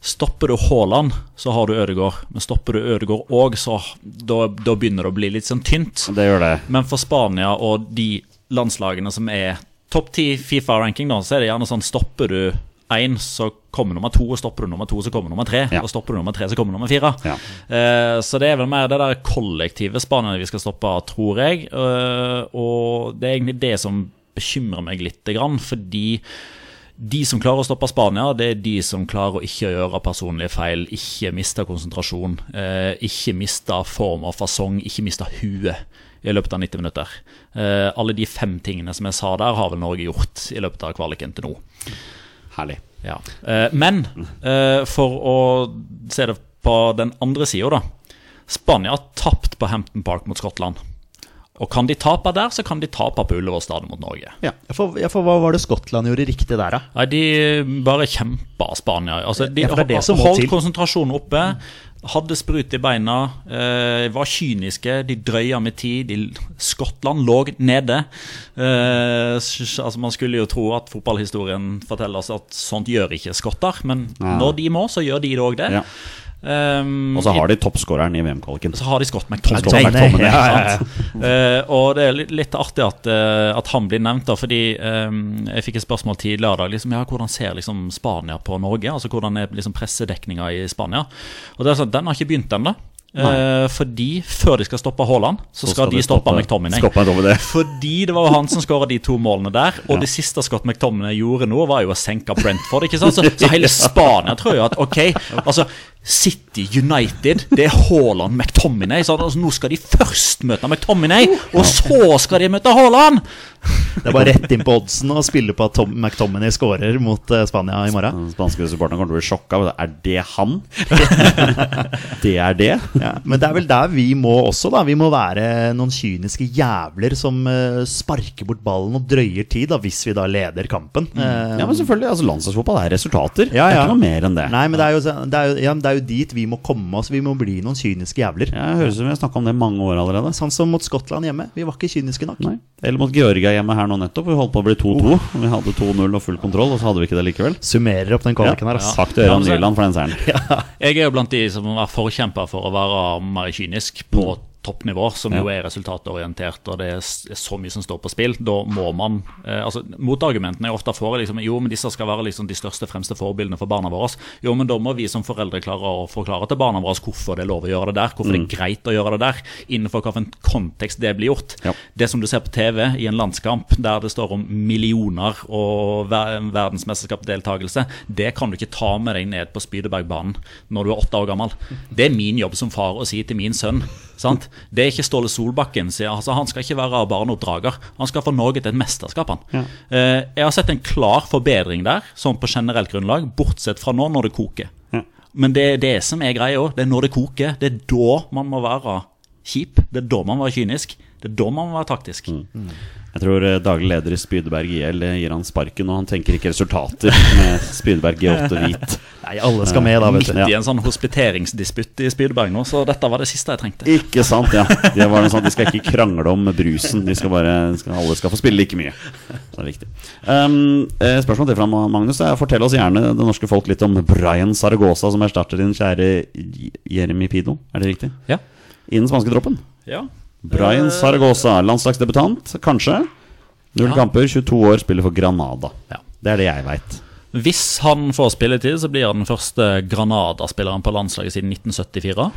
S1: Stopper du Haaland, så har du Ødegaard. Men stopper du Ødegaard òg, så da, da begynner det å bli litt sånn tynt.
S2: Det gjør det.
S1: Men for Spania og de landslagene som er topp ti Fifa-ranking, da, så er det gjerne sånn stopper du én, så kommer nummer to, og stopper du nummer to, så kommer nummer tre.
S2: Ja.
S1: Og stopper du nummer tre, så kommer nummer fire.
S2: Ja.
S1: Eh, så det er vel mer det der kollektive Spania vi skal stoppe, tror jeg. Eh, og det er egentlig det som bekymrer meg lite grann, fordi de som klarer å stoppe Spania, det er de som klarer å ikke gjøre personlige feil, ikke miste konsentrasjon, eh, ikke miste form og fasong, ikke miste huet i løpet av 90 minutter. Eh, alle de fem tingene som jeg sa der, har vel Norge gjort i løpet av kvaliken til nå.
S2: Herlig.
S1: Ja. Eh, men eh, for å se det på den andre sida, da. Spania har tapt på Hampton Park mot Skottland. Og kan de tape der, så kan de tape på Ullevål stadion mot Norge.
S3: Ja, for, ja, for hva var det Skottland gjorde riktig der, da?
S1: Nei, de eh, bare kjempa Spania. Altså, de
S3: Ja, for det er det som må
S1: holdt
S3: til.
S1: konsentrasjonen oppe. Hadde sprut i beina, eh, var kyniske, de drøya med tid. De, Skottland lå nede. Eh, s- altså, man skulle jo tro at fotballhistorien forteller oss at sånt gjør ikke skotter, men
S2: Nei.
S1: når de må, så gjør de det òg det.
S2: Ja.
S1: Um,
S2: Og så har de toppskåreren i VM-kvaliken.
S1: så har de Scott McTominay.
S2: Scott McTominay,
S1: Ja, ja,
S2: ja,
S1: ja. Eh, og det er litt, litt artig at, eh, at han blir nevnt, da, fordi eh, jeg fikk et spørsmål tidligere i dag. Liksom, ja, hvordan ser liksom, Spania på Norge? Altså Hvordan er liksom, pressedekninga i Spania? Og det er sånn, Den har ikke begynt ennå. Eh, fordi før de skal stoppe Haaland, så, skal, de stoppe, McTominay.
S2: Stoppe McTominay.
S1: Fordi det var jo han som skåra de to målene der. Og det siste Scott McTominay gjorde nå, var jo å senke Brentford. ikke sant? Så, så hele Spania tror jo at ok, altså City United, det er Haaland McTominay. Så altså, nå skal de først møte McTominay, og så skal de møte Haaland!
S3: Det er bare rett inn på oddsen og spille på at Tom McTominay scorer mot eh, Spania i morgen.
S2: Den spanske supporteren kommer til å bli sjokka. men Er det han? det er det?
S3: Ja, men det er vel der vi må også, da. Vi må være noen kyniske jævler som eh, sparker bort ballen og drøyer tid, da, hvis vi da leder kampen. Eh,
S2: Ja, men selvfølgelig. altså Landslagsfotball er resultater.
S3: Ja,
S2: Det er
S3: ja.
S2: ikke noe mer enn det.
S3: Nei, men det er, jo, så- det, er jo, ja, det er jo dit vi må komme oss. Vi må bli noen kyniske jævler.
S2: Ja, jeg høres ut som vi har snakka om det i mange år allerede.
S3: Sånn som mot Skottland hjemme. Vi var ikke kyniske nok.
S2: Nei. Eller mot Georgia hjemme her nå nettopp. Vi holdt på å bli 2-2. og Vi hadde 2-0 og full kontroll, og så hadde vi ikke det likevel.
S3: Summerer opp den
S2: Ja.
S3: kvaliken her, altså.
S2: Takk til Øran
S1: Ja, men så-
S2: Nyland for den seieren.
S1: Jeg er jo blant de som er forkjemper for å være mer kynisk på toppnivå, som jo er resultatorientert, og det er s- så mye som står på spill. Da må man eh, altså Motargumentene jeg ofte får, er liksom, jo, men disse skal være liksom de største, fremste forbildene for barna våre. Jo, men da må vi som foreldre klare å forklare til barna våre hvorfor det er lov å gjøre det der, hvorfor det er greit å gjøre det der, innenfor hvilken kontekst det blir gjort.
S2: Ja.
S1: Det som du ser på TV i en landskamp der det står om millioner og ver verdensmesterskapsdeltakelse, det kan du ikke ta med deg ned på Spydebergbanen når du er åtte år gammel. Det er min jobb som far å si til min sønn. Sant? Det er ikke Ståle Solbakken. sier- Altså, han skal ikke være barneoppdrager. Han skal få Norge til et mesterskap. han. Eh, jeg har sett en klar forbedring der, sånn på generelt grunnlag, bortsett fra nå når det koker. Men det er det som er greia òg. Det er når det koker. Det er da man må være kjip. Det er da man må være kynisk. Det er da man må være taktisk.
S2: Jeg tror eh, daglig leder i Spydeberg IL gir han sparken, og han tenker ikke resultater med Spydeberg G8 hvit.
S3: Nei, alle skal med, da, vet du.
S1: Midt i en sånn hospiteringsdisputt i Spydeberg nå, så dette var det siste jeg trengte.
S2: Ikke sant, ja. Det var noe sånt, De skal ikke krangle om brusen. De skal bare, de skal, alle skal få spille like mye. Så det er viktig. Um, eh, spørsmål til fra Magnus. er, Fortell oss gjerne det norske folk litt om Brian Saragosa, som erstatter din kjære J- Jeremy Pido. Er det riktig?
S1: Ja.
S2: I den spanske troppen.
S1: Ja. Eh,
S2: Brian Saragosa, landslagsdebutant, kanskje. Null
S1: Ja.
S2: kamper, 22 år, spiller for Granada.
S1: Ja.
S2: Det er det jeg veit.
S1: Hvis han får spilletid, så blir han den første Granada-spilleren på landslaget Oh, siden 1974.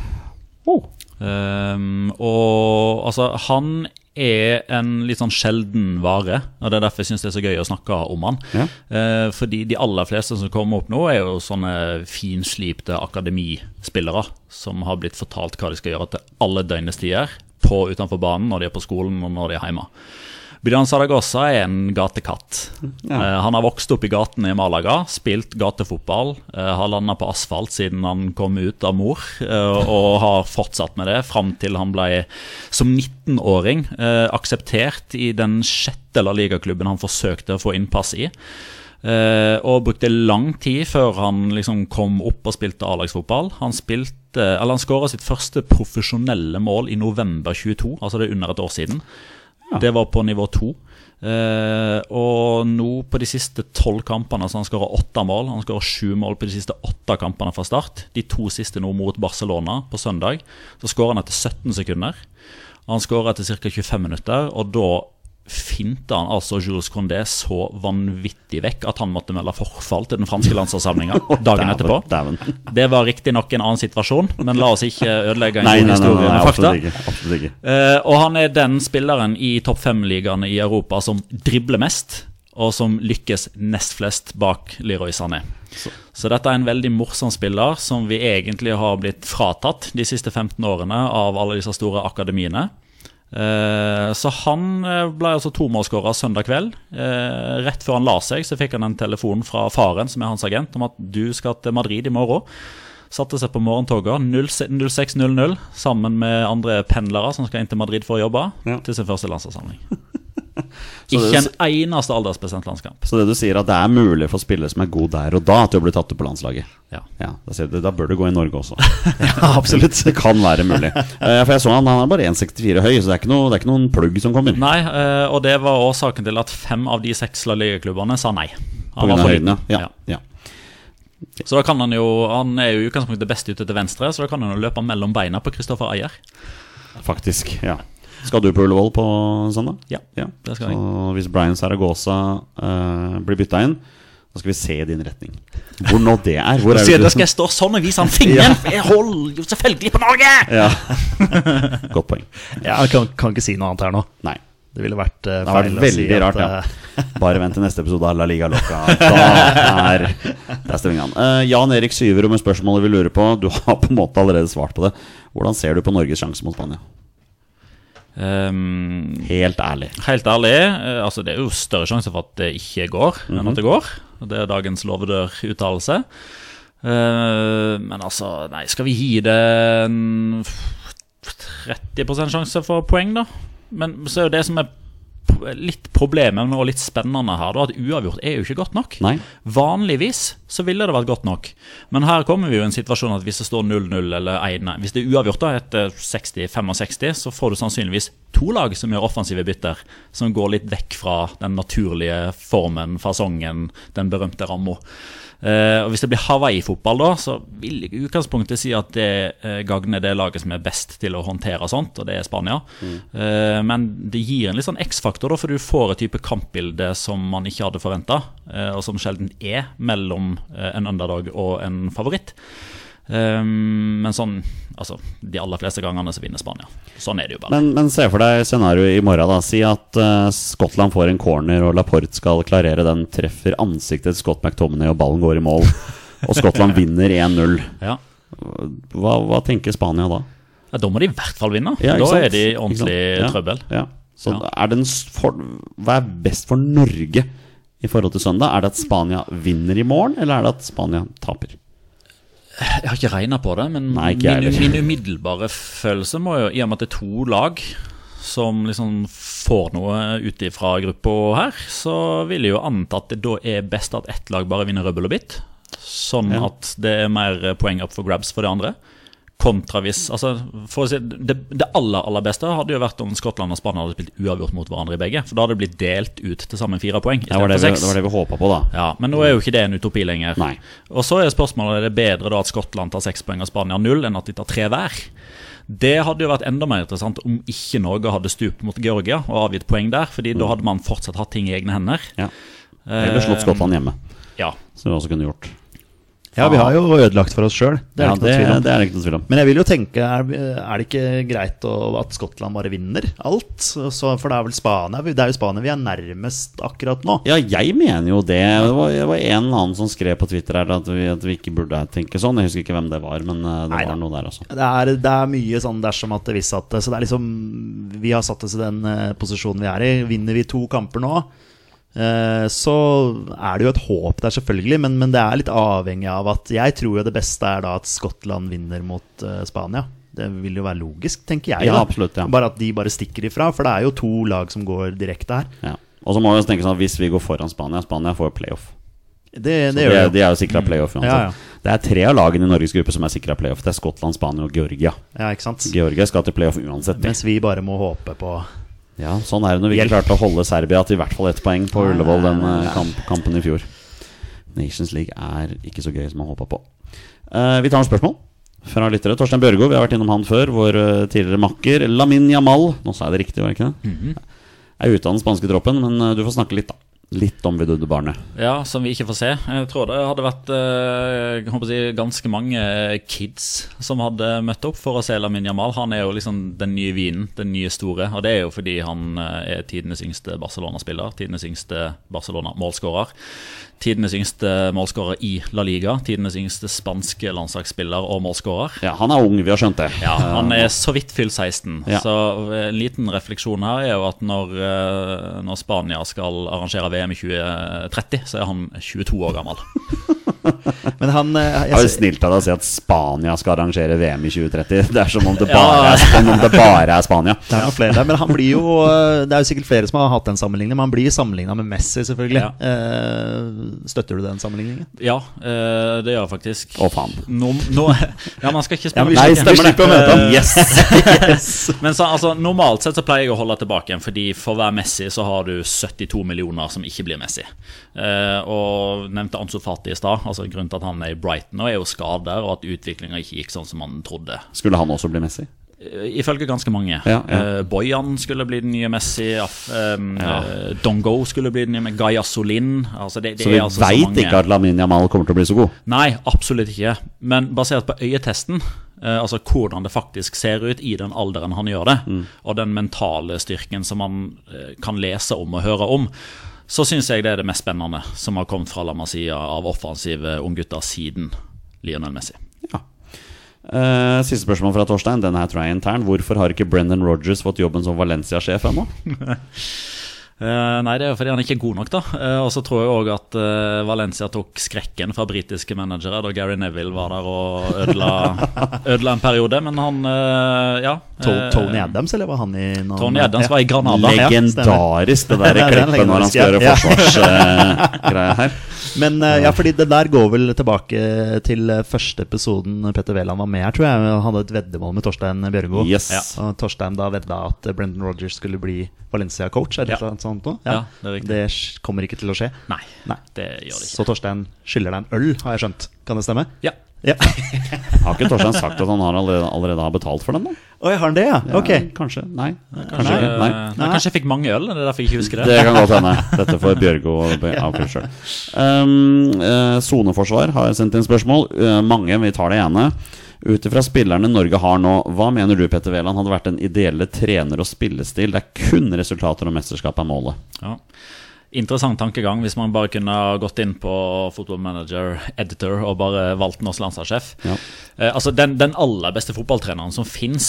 S1: Ehm, og altså, han er en litt sånn sjelden vare, og det er derfor jeg syns det er så gøy å snakke om han.
S2: Ja.
S1: Eh, fordi de aller fleste som kommer opp nå, er jo sånne finslipte akademispillere som har blitt fortalt hva de skal gjøre til alle døgnets tider, på utenfor banen, når de er på skolen og når de er hjemme. Byrjan Saragossa er en gatekatt. Eh, Han har vokst opp i gatene i Malaga, spilt gatefotball, eh, har landa på asfalt siden han kom ut av mor, eh, og har fortsatt med det fram til han ble, som 19-åring, eh, akseptert i den sjette La Liga-klubben han forsøkte å få innpass i. Eh, og brukte lang tid før han liksom kom opp og spilte A-lagsfotball. Han spilte, eh, eller han skåra sitt første profesjonelle mål i november 22, altså det er under et år siden. Det var på nivå to. Eh, og nå på de siste tolv kampene så har han skåra åtte mål. Han skåra sju mål på de siste åtte kampene fra start. De to siste nå mot Barcelona på søndag. Så skåra han etter 17 sekunder. Han skåra etter ca. 25 minutter, og da finta han altså Jules Condé så vanvittig vekk at han måtte melde forfall til den franske landslagssamlinga dagen etterpå.
S2: Dæven.
S1: Det var riktignok en annen situasjon, men la oss ikke ødelegge en
S2: Nei, nei,
S1: god
S2: nei, nei,
S1: historie
S2: nei,
S1: med fakta.
S2: absolutt ikke. Absolutt ikke.
S1: Eh, og han er den spilleren i topp fem-ligaene i Europa som dribler mest, og som lykkes nest flest bak Leroy Sané. Så. dette er en veldig morsom spiller som vi egentlig har blitt fratatt de siste 15 årene av alle disse store akademiene. Eh, Så han eh, ble altså tomålsskårer søndag kveld. Eh, Rett før han la seg, så fikk han en telefon fra faren, som er hans agent, om at du skal til Madrid i morgen. Satte seg på morgentoget 06.00 sammen med andre pendlere som skal inn til Madrid for å jobbe,
S2: Ja.
S1: til sin første landslagssamling.
S2: det-
S1: Ikke en eneste aldersbestemt landskamp.
S2: Så det du sier, at det er mulig for spillere som er gode der og da, til å bli tatt ut på landslaget?
S1: Ja.
S2: Ja, da, sier du, da bør det gå i Norge også. absolutt. Det kan være mulig. Eh, for jeg så han, han er bare 1,64 høy, så det er ikke, noe, det er ikke noen plugg som kommer.
S1: Nei, eh, og det var årsaken til at fem av de seks La Liga-klubbene sa nei.
S2: På
S1: Han
S2: grunn
S1: var
S2: av
S1: for
S2: høyden,
S1: liten.
S2: ja.
S1: Ja.
S2: ja.
S1: Så da kan han jo Han er jo i utgangspunktet best ute til venstre, så da kan han jo løpe mellom beina på Kristoffer Ayer.
S2: Faktisk. ja Skal du på Ullevål på søndag?
S1: Ja, det skal jeg.
S2: Så hvis Brian Saragosa eh, blir bytta inn, da skal vi se i din retning. Hvor nå det er? Hvor er
S1: Sier
S2: det
S1: da skal jeg stå sånn og vise han fingeren! for Jeg holder jo selvfølgelig på Norge!
S2: Ja. Godt poeng.
S3: Ja, jeg kan, kan ikke si noe annet her nå.
S2: Nei.
S3: Det ville vært eh,
S2: Det har
S3: feil
S2: vært
S3: å si
S2: veldig rart,
S3: at, eh,
S2: ja. eh, Bare vent til neste episode av La Liga Loca. Da er, det er stillingen. Eh, Jan Erik Syverud med spørsmålet vi lurer på. Du har på en måte allerede svart på det. Hvordan ser du på Norges sjanse mot Spania?
S1: Ehm,
S2: Helt ærlig.
S1: helt ærlig, eh, altså det er jo større sjanse for at det ikke går enn at det går. Og Det er dagens lovedør-uttalelse. Eh, men altså, nei, skal vi gi det en 30 sjanse for poeng, da? Men så er jo det som er p- litt problemet men også litt spennende her, da, at uavgjort er jo ikke godt nok.
S2: Nei.
S1: Vanligvis så ville det vært godt nok, men her kommer vi jo i en situasjon at hvis det står 0-0 eller 1-1 Hvis det er uavgjort da etter 60-65, så får du sannsynligvis to lag som gjør offensive bytter, som går litt vekk fra den naturlige formen, fasongen, den berømte ramma. Eh, og Hvis det blir Hawaii-fotball, da, så vil jeg i utgangspunktet si at det eh, gagner det laget som er best til å håndtere sånt, og det er Spania.
S2: Mm.
S1: Eh, men det gir en litt sånn X-faktor, da, for du får et type kampbilde som man ikke hadde forventa, og som sjelden er mellom eh, en underdog og en favoritt. Eh, men sånn, altså, de aller fleste gangene så vinner Spania. Sånn er det jo bare.
S2: Men, men se for deg scenarioet i morgen. da Si at eh, Skottland får en corner, og Laporte skal klarere den. Treffer ansiktet til Scott McTominay, og ballen går i mål. Og Skottland vinner 1-0.
S1: ja.
S2: Hva, hva tenker Spania da?
S1: Ja, da må de i hvert fall vinne.
S2: Ja, ikke
S1: da
S2: sant?
S1: er de i
S2: Ikke sant?
S1: ordentlig
S2: Ja,
S1: trøbbel.
S2: Ja. Så
S1: Ja.
S2: Er den s- for, hva er best for Norge i forhold til søndag? Er det at Spania vinner i morgen, eller er det at Spania taper?
S1: Jeg har ikke regna på det, men
S2: Nei, ikke jeg
S1: min,
S2: heller.
S1: min umiddelbare følelse må jo, i og med at det er to lag som liksom får noe ut ifra gruppa her, så vil jeg jo anta at det da er best at ett lag bare vinner rubbel og bit. Sånn
S2: Ja.
S1: at det er mer poeng up for grabs for det andre. Kontra hvis altså, for å si, det, det aller aller beste hadde jo vært om Skottland og Spania hadde spilt uavgjort mot hverandre i begge. For da hadde det blitt delt ut til sammen fire poeng. i
S2: Det var det
S1: stedet for
S2: vi,
S1: seks.
S2: det, var det vi håpa på, da.
S1: Ja, Men nå er jo ikke det en utopi lenger.
S2: Nei.
S1: Og så er spørsmålet er det bedre da at Skottland tar seks poeng og Spania null, enn at de tar tre hver. Det hadde jo vært enda mer interessant om ikke Norge hadde stupt mot Georgia og avgitt poeng der, fordi da hadde man fortsatt hatt ting i egne hender.
S2: Ja.
S3: Eh,
S2: Eller slått Skottland hjemme,
S1: Ja,
S2: som vi også kunne gjort.
S3: Ja, vi har jo ødelagt for oss sjøl. Det er
S2: Ja,
S3: det ikke noe tvil om.
S2: det er det ikke noe tvil om.
S3: Men jeg vil jo tenke, er, er det ikke greit å, at Skottland bare vinner alt? Så, for det er vel Spania vi- Det er jo Spania vi er nærmest akkurat nå.
S2: Ja, jeg mener jo det. Det var, det var en eller annen som skrev på Twitter her at vi, at vi ikke burde tenke sånn. Jeg husker ikke hvem det var, men eh, det
S3: Neida.
S2: var noe der også.
S3: Det er, det er mye sånn dersom at det hvis at det. Så det er liksom Vi har satt oss i den eh, posisjonen vi er i. Vinner vi to kamper nå, eh, så er det jo et håp der, selvfølgelig. Men, men det er litt avhengig av at Jeg tror jo det beste er da at Skottland vinner mot eh, Spania. Det vil jo være logisk, tenker jeg.
S2: Ja,
S3: da.
S2: absolutt, ja.
S3: Bare at de bare stikker ifra. For det er jo to lag som går direkte her.
S2: Ja. Og så må vi også tenke sånn at hvis vi går foran Spania Spania får jo playoff.
S3: Det, det
S2: De,
S3: gjør det.
S2: de er jo sikra playoff uansett.
S3: Ja, ja.
S2: Det er tre av lagene i Norges gruppe som er sikra playoff. Det er Skottland, Spania og Georgia.
S3: Ja, ikke sant?
S2: Georgia skal til playoff uansett. de.
S3: Mens vi bare må håpe på
S2: Ja, sånn er det når vi ikke
S3: Hjelp.
S2: klarte å holde Serbia til i hvert fall ett poeng på Ullevål den eh, kamp, kampen i fjor. Nations League er ikke så gøy som man håpa på. Eh, vi tar noen spørsmål fra lyttere. Torstein Bjørgo, vi har vært innom han før. Vår eh, tidligere makker. Lamin Jamal, nå sa jeg det riktig, var det ikke det? Er ute av den spanske troppen, men eh, du får snakke litt, da. Litt om vidunderbarnet.
S1: Ja, som vi ikke får se. Jeg tror det hadde vært eh, jeg håper å si, ganske mange eh, kids som hadde møtt opp for å se Lamin Jamal. Han er jo liksom den nye vinen, den nye store. Og det er jo fordi han eh, er tidenes yngste Barcelona-spiller, tidenes yngste Barcelona-målskårer. Tidenes yngste målskårer i La Liga, tidenes yngste spanske landslagsspiller og målskårer.
S2: Ja, han er ung, vi har skjønt det.
S1: Ja, han er så vidt fylt 16.
S2: Ja.
S1: Så eh, en liten refleksjon her er jo at når, eh, når Spania skal arrangere VM i 2030, så er han 22 år gammel.
S3: Men han eh,
S2: Det er
S3: jeg,
S2: jo snilt av deg å si at Spania skal arrangere VM i 2030. Det er som om det bare er, som om det bare er Spania.
S3: Det er noen flere der, men han blir jo eh, Det er jo sikkert flere som har hatt den sammenligningen, men han blir sammenligna med Messi, selvfølgelig.
S1: Ja.
S3: Eh, støtter du den sammenligningen?
S1: Ja, eh, det gjør jeg faktisk.
S2: Å, faen.
S1: Nå, nå, ja, man skal ikke
S3: Ja,
S1: spørre
S3: vi
S2: Nei, stemmer det. Eh,
S3: slipper å møte ham.
S2: Yes!
S1: Men så, altså, normalt sett så pleier jeg å holde tilbake igjen, fordi for hver Messi så har du 72 millioner som ikke blir Messi. Eh, og nevnte Ansu Fati i stad. Altså, grunnen til at han er i Brighton nå, er jo skader, og at utviklinga ikke gikk sånn som han trodde.
S2: Skulle han også bli Messi?
S1: Eh, Ifølge ganske mange.
S2: Ja, ja.
S1: Eh, Bojan skulle bli den nye Messi. Af, ehm, eh, Dongo skulle bli den nye med Gaia Solin. Altså det, det
S2: Så vi
S1: er altså
S2: vet
S1: mange-
S2: ikke at Lamin Jamal kommer til å bli så god.
S1: Nei, absolutt ikke. Men basert på øyetesten, eh, altså hvordan det faktisk ser ut i den alderen han gjør det,
S2: Mm.
S1: og den mentale styrken som han eh, kan lese om og høre om, så syns jeg det er det mest spennende som har kommet fra La Masia av offensive unggutter siden Lionel Messi.
S2: Eh, siste spørsmål fra Torstein. Den her tror jeg er intern. Hvorfor har ikke Brendan Rogers fått jobben som Valencia-sjef ennå?
S1: Eh, nei, det er jo fordi han ikke er god nok, da. Eh, og så tror jeg òg at eh, Valencia tok skrekken fra britiske managere da Gary Neville var der og ødela, ødela en periode, men han eh, Ja.
S3: To-
S1: eh,
S3: Tony Adams, eller var han i noen-
S1: Tony Adams var i Granada.
S3: Ja, stemmer.
S2: Legendarisk, det der
S3: Det er en
S2: klippet når han skal gjøre
S3: legendarisk, ja.
S2: forsvarsgreia her.
S3: Men eh, ja, fordi det der går vel tilbake til eh, første episoden Petter Wæland var med her, tror jeg. Han hadde et veddemål med Torstein Bjørgo.
S2: Yes.
S3: Ja. Og Torstein da vedda at eh, Brendan Rogers skulle bli Valencia-coach, er det sånn-
S1: Ja.
S3: noe sånt nå?
S1: Ja, det er riktig.
S3: det sk- kommer ikke til å skje.
S1: Nei,
S3: Nei.
S1: det gjør det ikke.
S3: Så Torstein skylder deg en øl, har jeg skjønt. Kan det stemme?
S1: Ja.
S3: Ja.
S2: Har ikke Torstein sagt at han har allerede, allerede har betalt for den, da?
S3: Oi, har han det, ja? Ok.
S2: Ja, kanskje. Nei. Kanskje
S1: Kanskje,
S2: ikke. Nei.
S1: Nei, kanskje jeg fikk mange øl, det er derfor jeg ikke husker det.
S2: Det kan godt hende. Dette får Bjørgo be- avklare sjøl. Um, eh, Soneforsvar har sendt inn spørsmål. Eh, mange, vi tar det ene. Ut ifra spillerne Norge har nå, hva mener du Petter Wæland hadde vært den ideelle trener- og spillestil der kun resultater og mesterskap er målet?
S1: Ja. Interessant tankegang hvis man bare kunne ha gått inn på fotballmanager, editor og bare valgt norsk landslagssjef.
S2: Ja.
S1: Eh, altså den, den aller beste fotballtreneren som fins,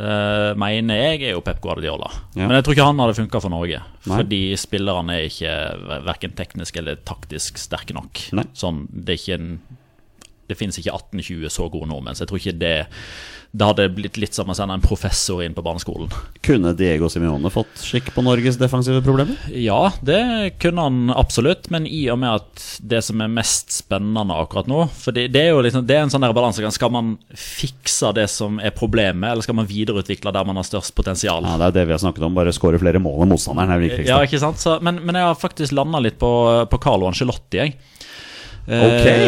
S1: eh, mener jeg, er jo Pep Guardiola.
S2: Ja.
S1: Men jeg tror ikke han hadde funka for Norge.
S2: Nei.
S1: Fordi spillerne er ikke ver- verken teknisk eller taktisk sterke nok.
S2: Nei.
S1: Sånn, det er ikke en det finnes ikke 18-20 så gode nordmenn, så jeg tror ikke det Det hadde blitt litt som å sende en professor inn på barneskolen.
S2: Kunne Diego Simione fått skikk på Norges defensive problemer?
S1: Ja, det kunne han absolutt, men i og med at det som er mest spennende akkurat nå For det, det er jo liksom, det er en sånn der balansegang. Skal man fikse det som er problemet, eller skal man videreutvikle der man har størst potensial?
S2: Ja, Det er jo det vi har snakket om. Bare skåre flere mål enn motstanderen. er det viktigste.
S1: Ja, ikke sant? Så, men, men jeg har faktisk landa litt på, på Carlo Angelotti. Jeg. Eh,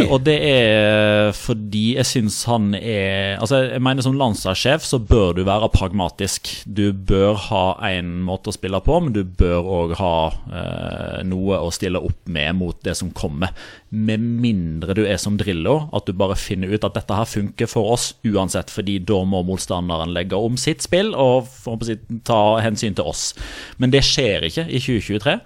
S2: Ok.
S1: og det er fordi jeg syns han er Altså jeg mener Som landslagssjef så bør du være pragmatisk. Du bør ha én måte å spille på, men du bør òg ha eh, noe å stille opp med mot det som kommer. Med mindre du er som Drillo, at du bare finner ut at dette her funker for oss uansett, fordi da må motstanderen legge om sitt spill og for å si, ta hensyn til oss. Men det skjer ikke i 2023.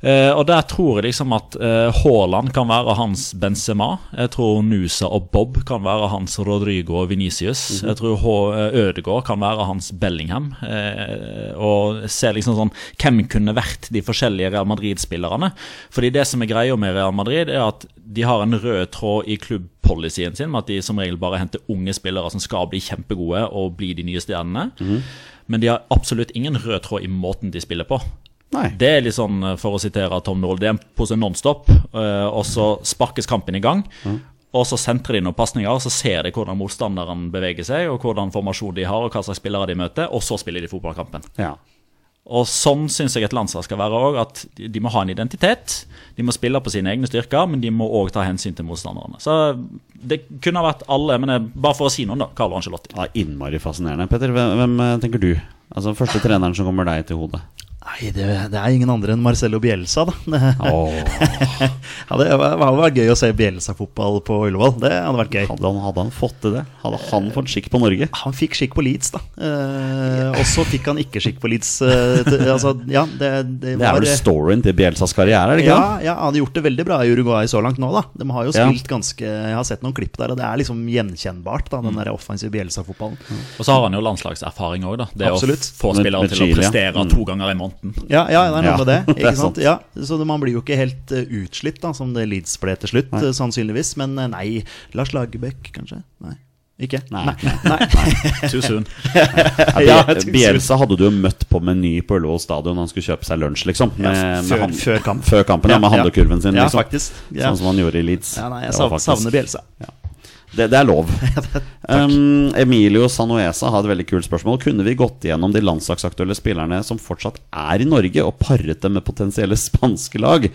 S1: Eh, og der tror jeg liksom at eh, Haaland kan være hans Benzema. Jeg tror Nusa og Bob kan være hans Rodrigo og Venicius. Jeg tror H eh, Ødegaard kan være hans Bellingham. Eh, og se liksom sånn hvem kunne vært de forskjellige Real Madrid-spillerne. Fordi det som er greia med Real Madrid, er at de har en rød tråd i klubbpolicyen sin med at de som regel bare henter unge spillere som skal bli kjempegode og bli de nye stjernene. Men de har absolutt ingen rød tråd i måten de spiller på.
S2: Nei.
S1: Det er litt sånn, for å sitere Tom Noel, det er en pose nonstop, eh, og så sparkes kampen i gang. Og så sentrer de noen pasninger, og så ser de hvordan motstanderen beveger seg, og hvordan formasjon de har, og hva slags spillere de møter, og så spiller de fotballkampen.
S2: Ja.
S1: Og sånn syns jeg et landslag skal være òg, at de må ha en identitet. De må spille på sine egne styrker, men de må òg ta hensyn til motstanderne. Så det kunne ha vært alle, men jeg, bare for å si noen, da. Carlo Angelotti.
S2: ja innmari fascinerende. Petter, hvem, hvem eh, tenker du? Altså Første treneren som kommer deg til hodet.
S3: Nei, det, det er ingen andre enn Marcello Bielsa, da. Det,
S2: Åh,
S3: ja, det hadde vært gøy å se Bielsa-fotball på Ullevål. Det hadde vært gøy.
S2: hadde, han, hadde han fått til det? Hadde han fått skikk på Norge?
S3: Han fikk skikk på Leeds, da. Eh, og så fikk han ikke skikk på Leeds. eh, det, altså, ja, det, det,
S2: Det er
S3: var-
S2: vel storyen til Bielsas karriere, er det ikke det?
S3: Ja, ja, han har gjort det veldig bra i Uruguay så langt nå, da. De har jo
S2: Ja.
S3: spilt ganske Jeg har sett noen klipp der, og det er liksom gjenkjennbart, da,
S2: Mm.
S3: den der offensive Bielsa-fotballen.
S1: Og så har han jo landslagserfaring òg, da. Det
S3: Absolutt.
S1: å få
S2: Med-
S1: spillere
S2: med
S1: til å
S2: Chile, ja.
S1: prestere
S2: Mm.
S1: to ganger i måneden.
S3: Ja, ja, det er noe
S2: Ja,
S3: med det.
S2: det er
S3: Ikke sant?
S2: sant.
S3: Ja, så det- man blir jo ikke helt eh, utslitt, da, som det Leeds ble til slutt, eh, sannsynligvis. Men eh, nei, Lars Lagerbäck, kanskje? Nei. Ikke?
S2: Nei.
S3: Nei.
S1: Too soon.
S3: Ja,
S2: Ja,
S3: jeg tenkte-
S2: Bielsa hadde du jo møtt på Meny på Ullevål stadion når han skulle kjøpe seg lunsj, liksom. Med, med
S3: før-
S2: hand-
S3: før kamp.
S2: Før kampen, ja, med
S3: Ja, ja.
S2: handlekurven sin,
S3: Ja,
S2: liksom.
S3: faktisk. Ja.
S2: Sånn som han gjorde i Leeds.
S3: Ja, nei, jeg
S2: Det var
S3: sav-
S2: faktisk-
S3: savner Bielsa.
S2: Det, det er lov. um, Emilio Sanuesa har et veldig kult spørsmål. Kunne vi gått gjennom de landslagsaktuelle spillerne som fortsatt er i Norge, og paret dem med potensielle spanske lag?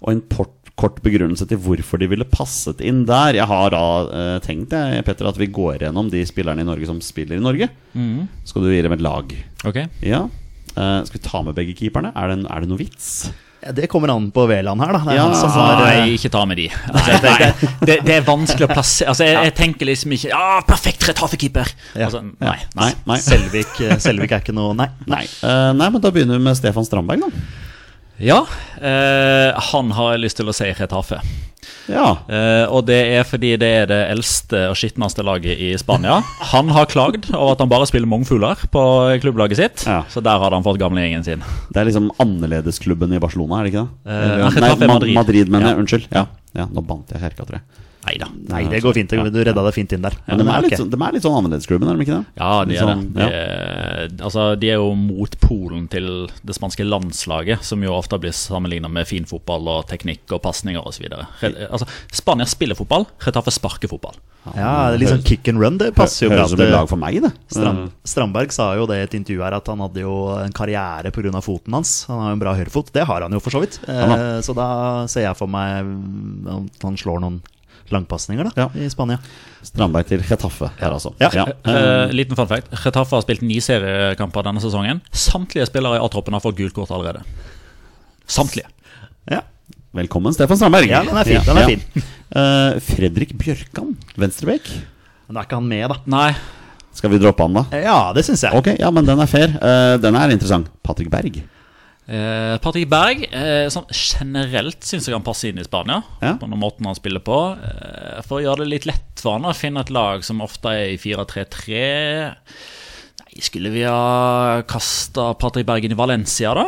S2: Og en port, kort begrunnelse til hvorfor de ville passet inn der. Jeg har da eh, tenkt jeg, Petter, at vi går gjennom de spillerne i Norge som spiller i Norge. Skal du gi dem et lag?
S1: Ok.
S2: Ja. Eh, skal vi ta med begge keeperne? Er det, en- er det noe vits?
S3: Ja, det kommer an på Veland her, da. Det er
S2: Ja.
S3: han som har eh,
S1: Nei, ikke ta med de. Altså, jeg tenker, det, det er vanskelig å plassere altså, jeg, jeg tenker liksom ikke Ja, perfekt retraffekeeper!
S3: Ja.
S1: Altså, nei.
S2: Nei. nei.
S3: Selvik, eh, Selvik er ikke noe Nei.
S2: Nei. Eh, nei, men da begynner vi med Stefan Strandberg, da.
S1: Ja, eh, han har jeg lyst til å si Retafe.
S2: Ja.
S1: Eh, og det er fordi det er det eldste og skitneste laget i Spania. Han har klagd over at han bare spiller mongfugler på klubblaget sitt,
S2: Ja.
S1: så der hadde han fått gamlingen sin.
S2: Det er liksom annerledesklubben i Barcelona, er det ikke det?
S1: Eh,
S2: Eller-
S1: Getafe
S2: nei, Ma-
S1: Madrid.
S2: Madrid. mener jeg.
S1: Ja.
S2: Unnskyld. Ja. ja, nå bandt jeg kjerka, tror jeg.
S1: Neida.
S3: Nei, det går fint. det går- Du redda deg fint inn der.
S2: Men de er, litt,
S3: ok.
S2: sånn- de er litt sånn annerledesklubben, er de ikke det?
S1: Ja, de
S2: Litt
S1: er det.
S2: sånn,
S1: De
S2: ja.
S1: er, altså, de er jo motpolen til det spanske landslaget, som jo ofte blir sammenligna med fin fotball og teknikk og pasninger osv. Altså, Spania spiller fotball, Retafe sparker fotball.
S3: Ja, det er litt sånn kick and run. Det passer jo bra.
S2: Høres ut som et
S3: til-
S2: lag for meg, det. Eh,
S3: Strand, Strandberg sa jo det i et intervju her at han hadde jo en karriere pga. foten hans. Han har jo en bra høyrefot. Det har han jo for så vidt. Eh, så da ser jeg for meg mm, at han slår noen langpasninger da,
S2: Ja.
S3: i Spania.
S2: Eh, Strandberg til Getafe her, altså.
S3: Ja.
S2: Eh,
S1: Eh, liten fun fact. Retafe har spilt ni seriekamper denne sesongen. Samtlige spillere i A-troppen har fått gult kort allerede. Samtlige.
S3: Ja,
S2: Velkommen, Stefan Strandberg.
S3: ja den er fin. Den
S2: Ja.
S3: er fin.
S2: Eh, Fredrik Bjørkan, venstrebekk.
S3: Men da er ikke han med, da.
S1: Nei,
S2: Skal vi droppe han, da?
S3: Eh, Ja, det syns jeg.
S2: Ok, ja, men den er fair. Eh, den er interessant. Patrick Berg.
S1: Eh, Patrick Berg eh, sånn generelt syns jeg han passer inn i Spania.
S2: Ja.
S1: På den måten han spiller på. Eh, for å gjøre det litt lett for han å finne et lag som ofte er i 4-3-3 Nei, skulle vi ha kasta Patrick Berg inn i Valencia, da?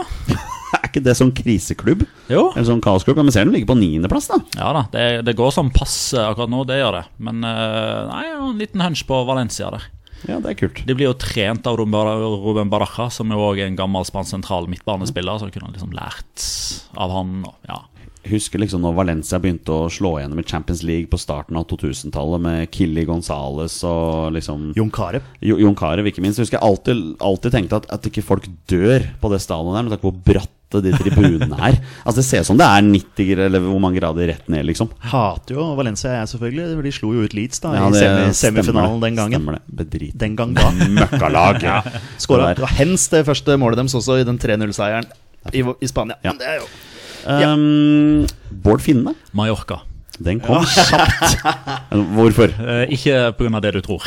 S2: Er ikke det sånn kriseklubb?
S1: Jo.
S2: Eller sånn kaosklubb? Ja, men ser den ligger på niendeplass, da.
S1: Ja da, det, det går som passe akkurat nå, det gjør det. Men eh, nei, jeg har en liten hunch på Valencia der.
S2: Ja, det er kult.
S1: De blir jo trent av Ruben Bar- Ruben Baraja, som jo òg er en gammel spansk sentral midtbanespiller. Så kunne han liksom lært av han. Og, ja.
S2: husker liksom når Valencia begynte å slå igjennom i Champions League på starten av 2000-tallet med Killy Gonzales og liksom
S3: Jon Carew.
S2: Jo- Jon Carew, ikke minst. Husker jeg alltid, alltid tenkte at, at ikke folk dør på det stadionet der, med tanke på hvor bratt hater de tribunene her. Altså Det ser ut som det er 90 gra- eller hvor mange grader rett ned, liksom.
S3: Hater jo Valencia, jeg selvfølgelig. for De slo jo ut Leeds da,
S2: Ja,
S3: i
S2: det
S3: semi
S2: stemmer
S3: semifinalen
S2: det.
S3: den gangen.
S2: Stemmer det. Bedrit.
S3: Den gang da.
S2: Møkkalag. Ja.
S3: Skåra
S2: Det der.
S3: det var hens det første målet deres også, i den 3-0-seieren i, i Spania.
S2: Ja.
S3: Men det er jo
S2: Um, Bård Finne,
S1: Mallorca.
S2: den kom kjapt. Hvorfor?
S1: Eh, ikke pga. det du tror.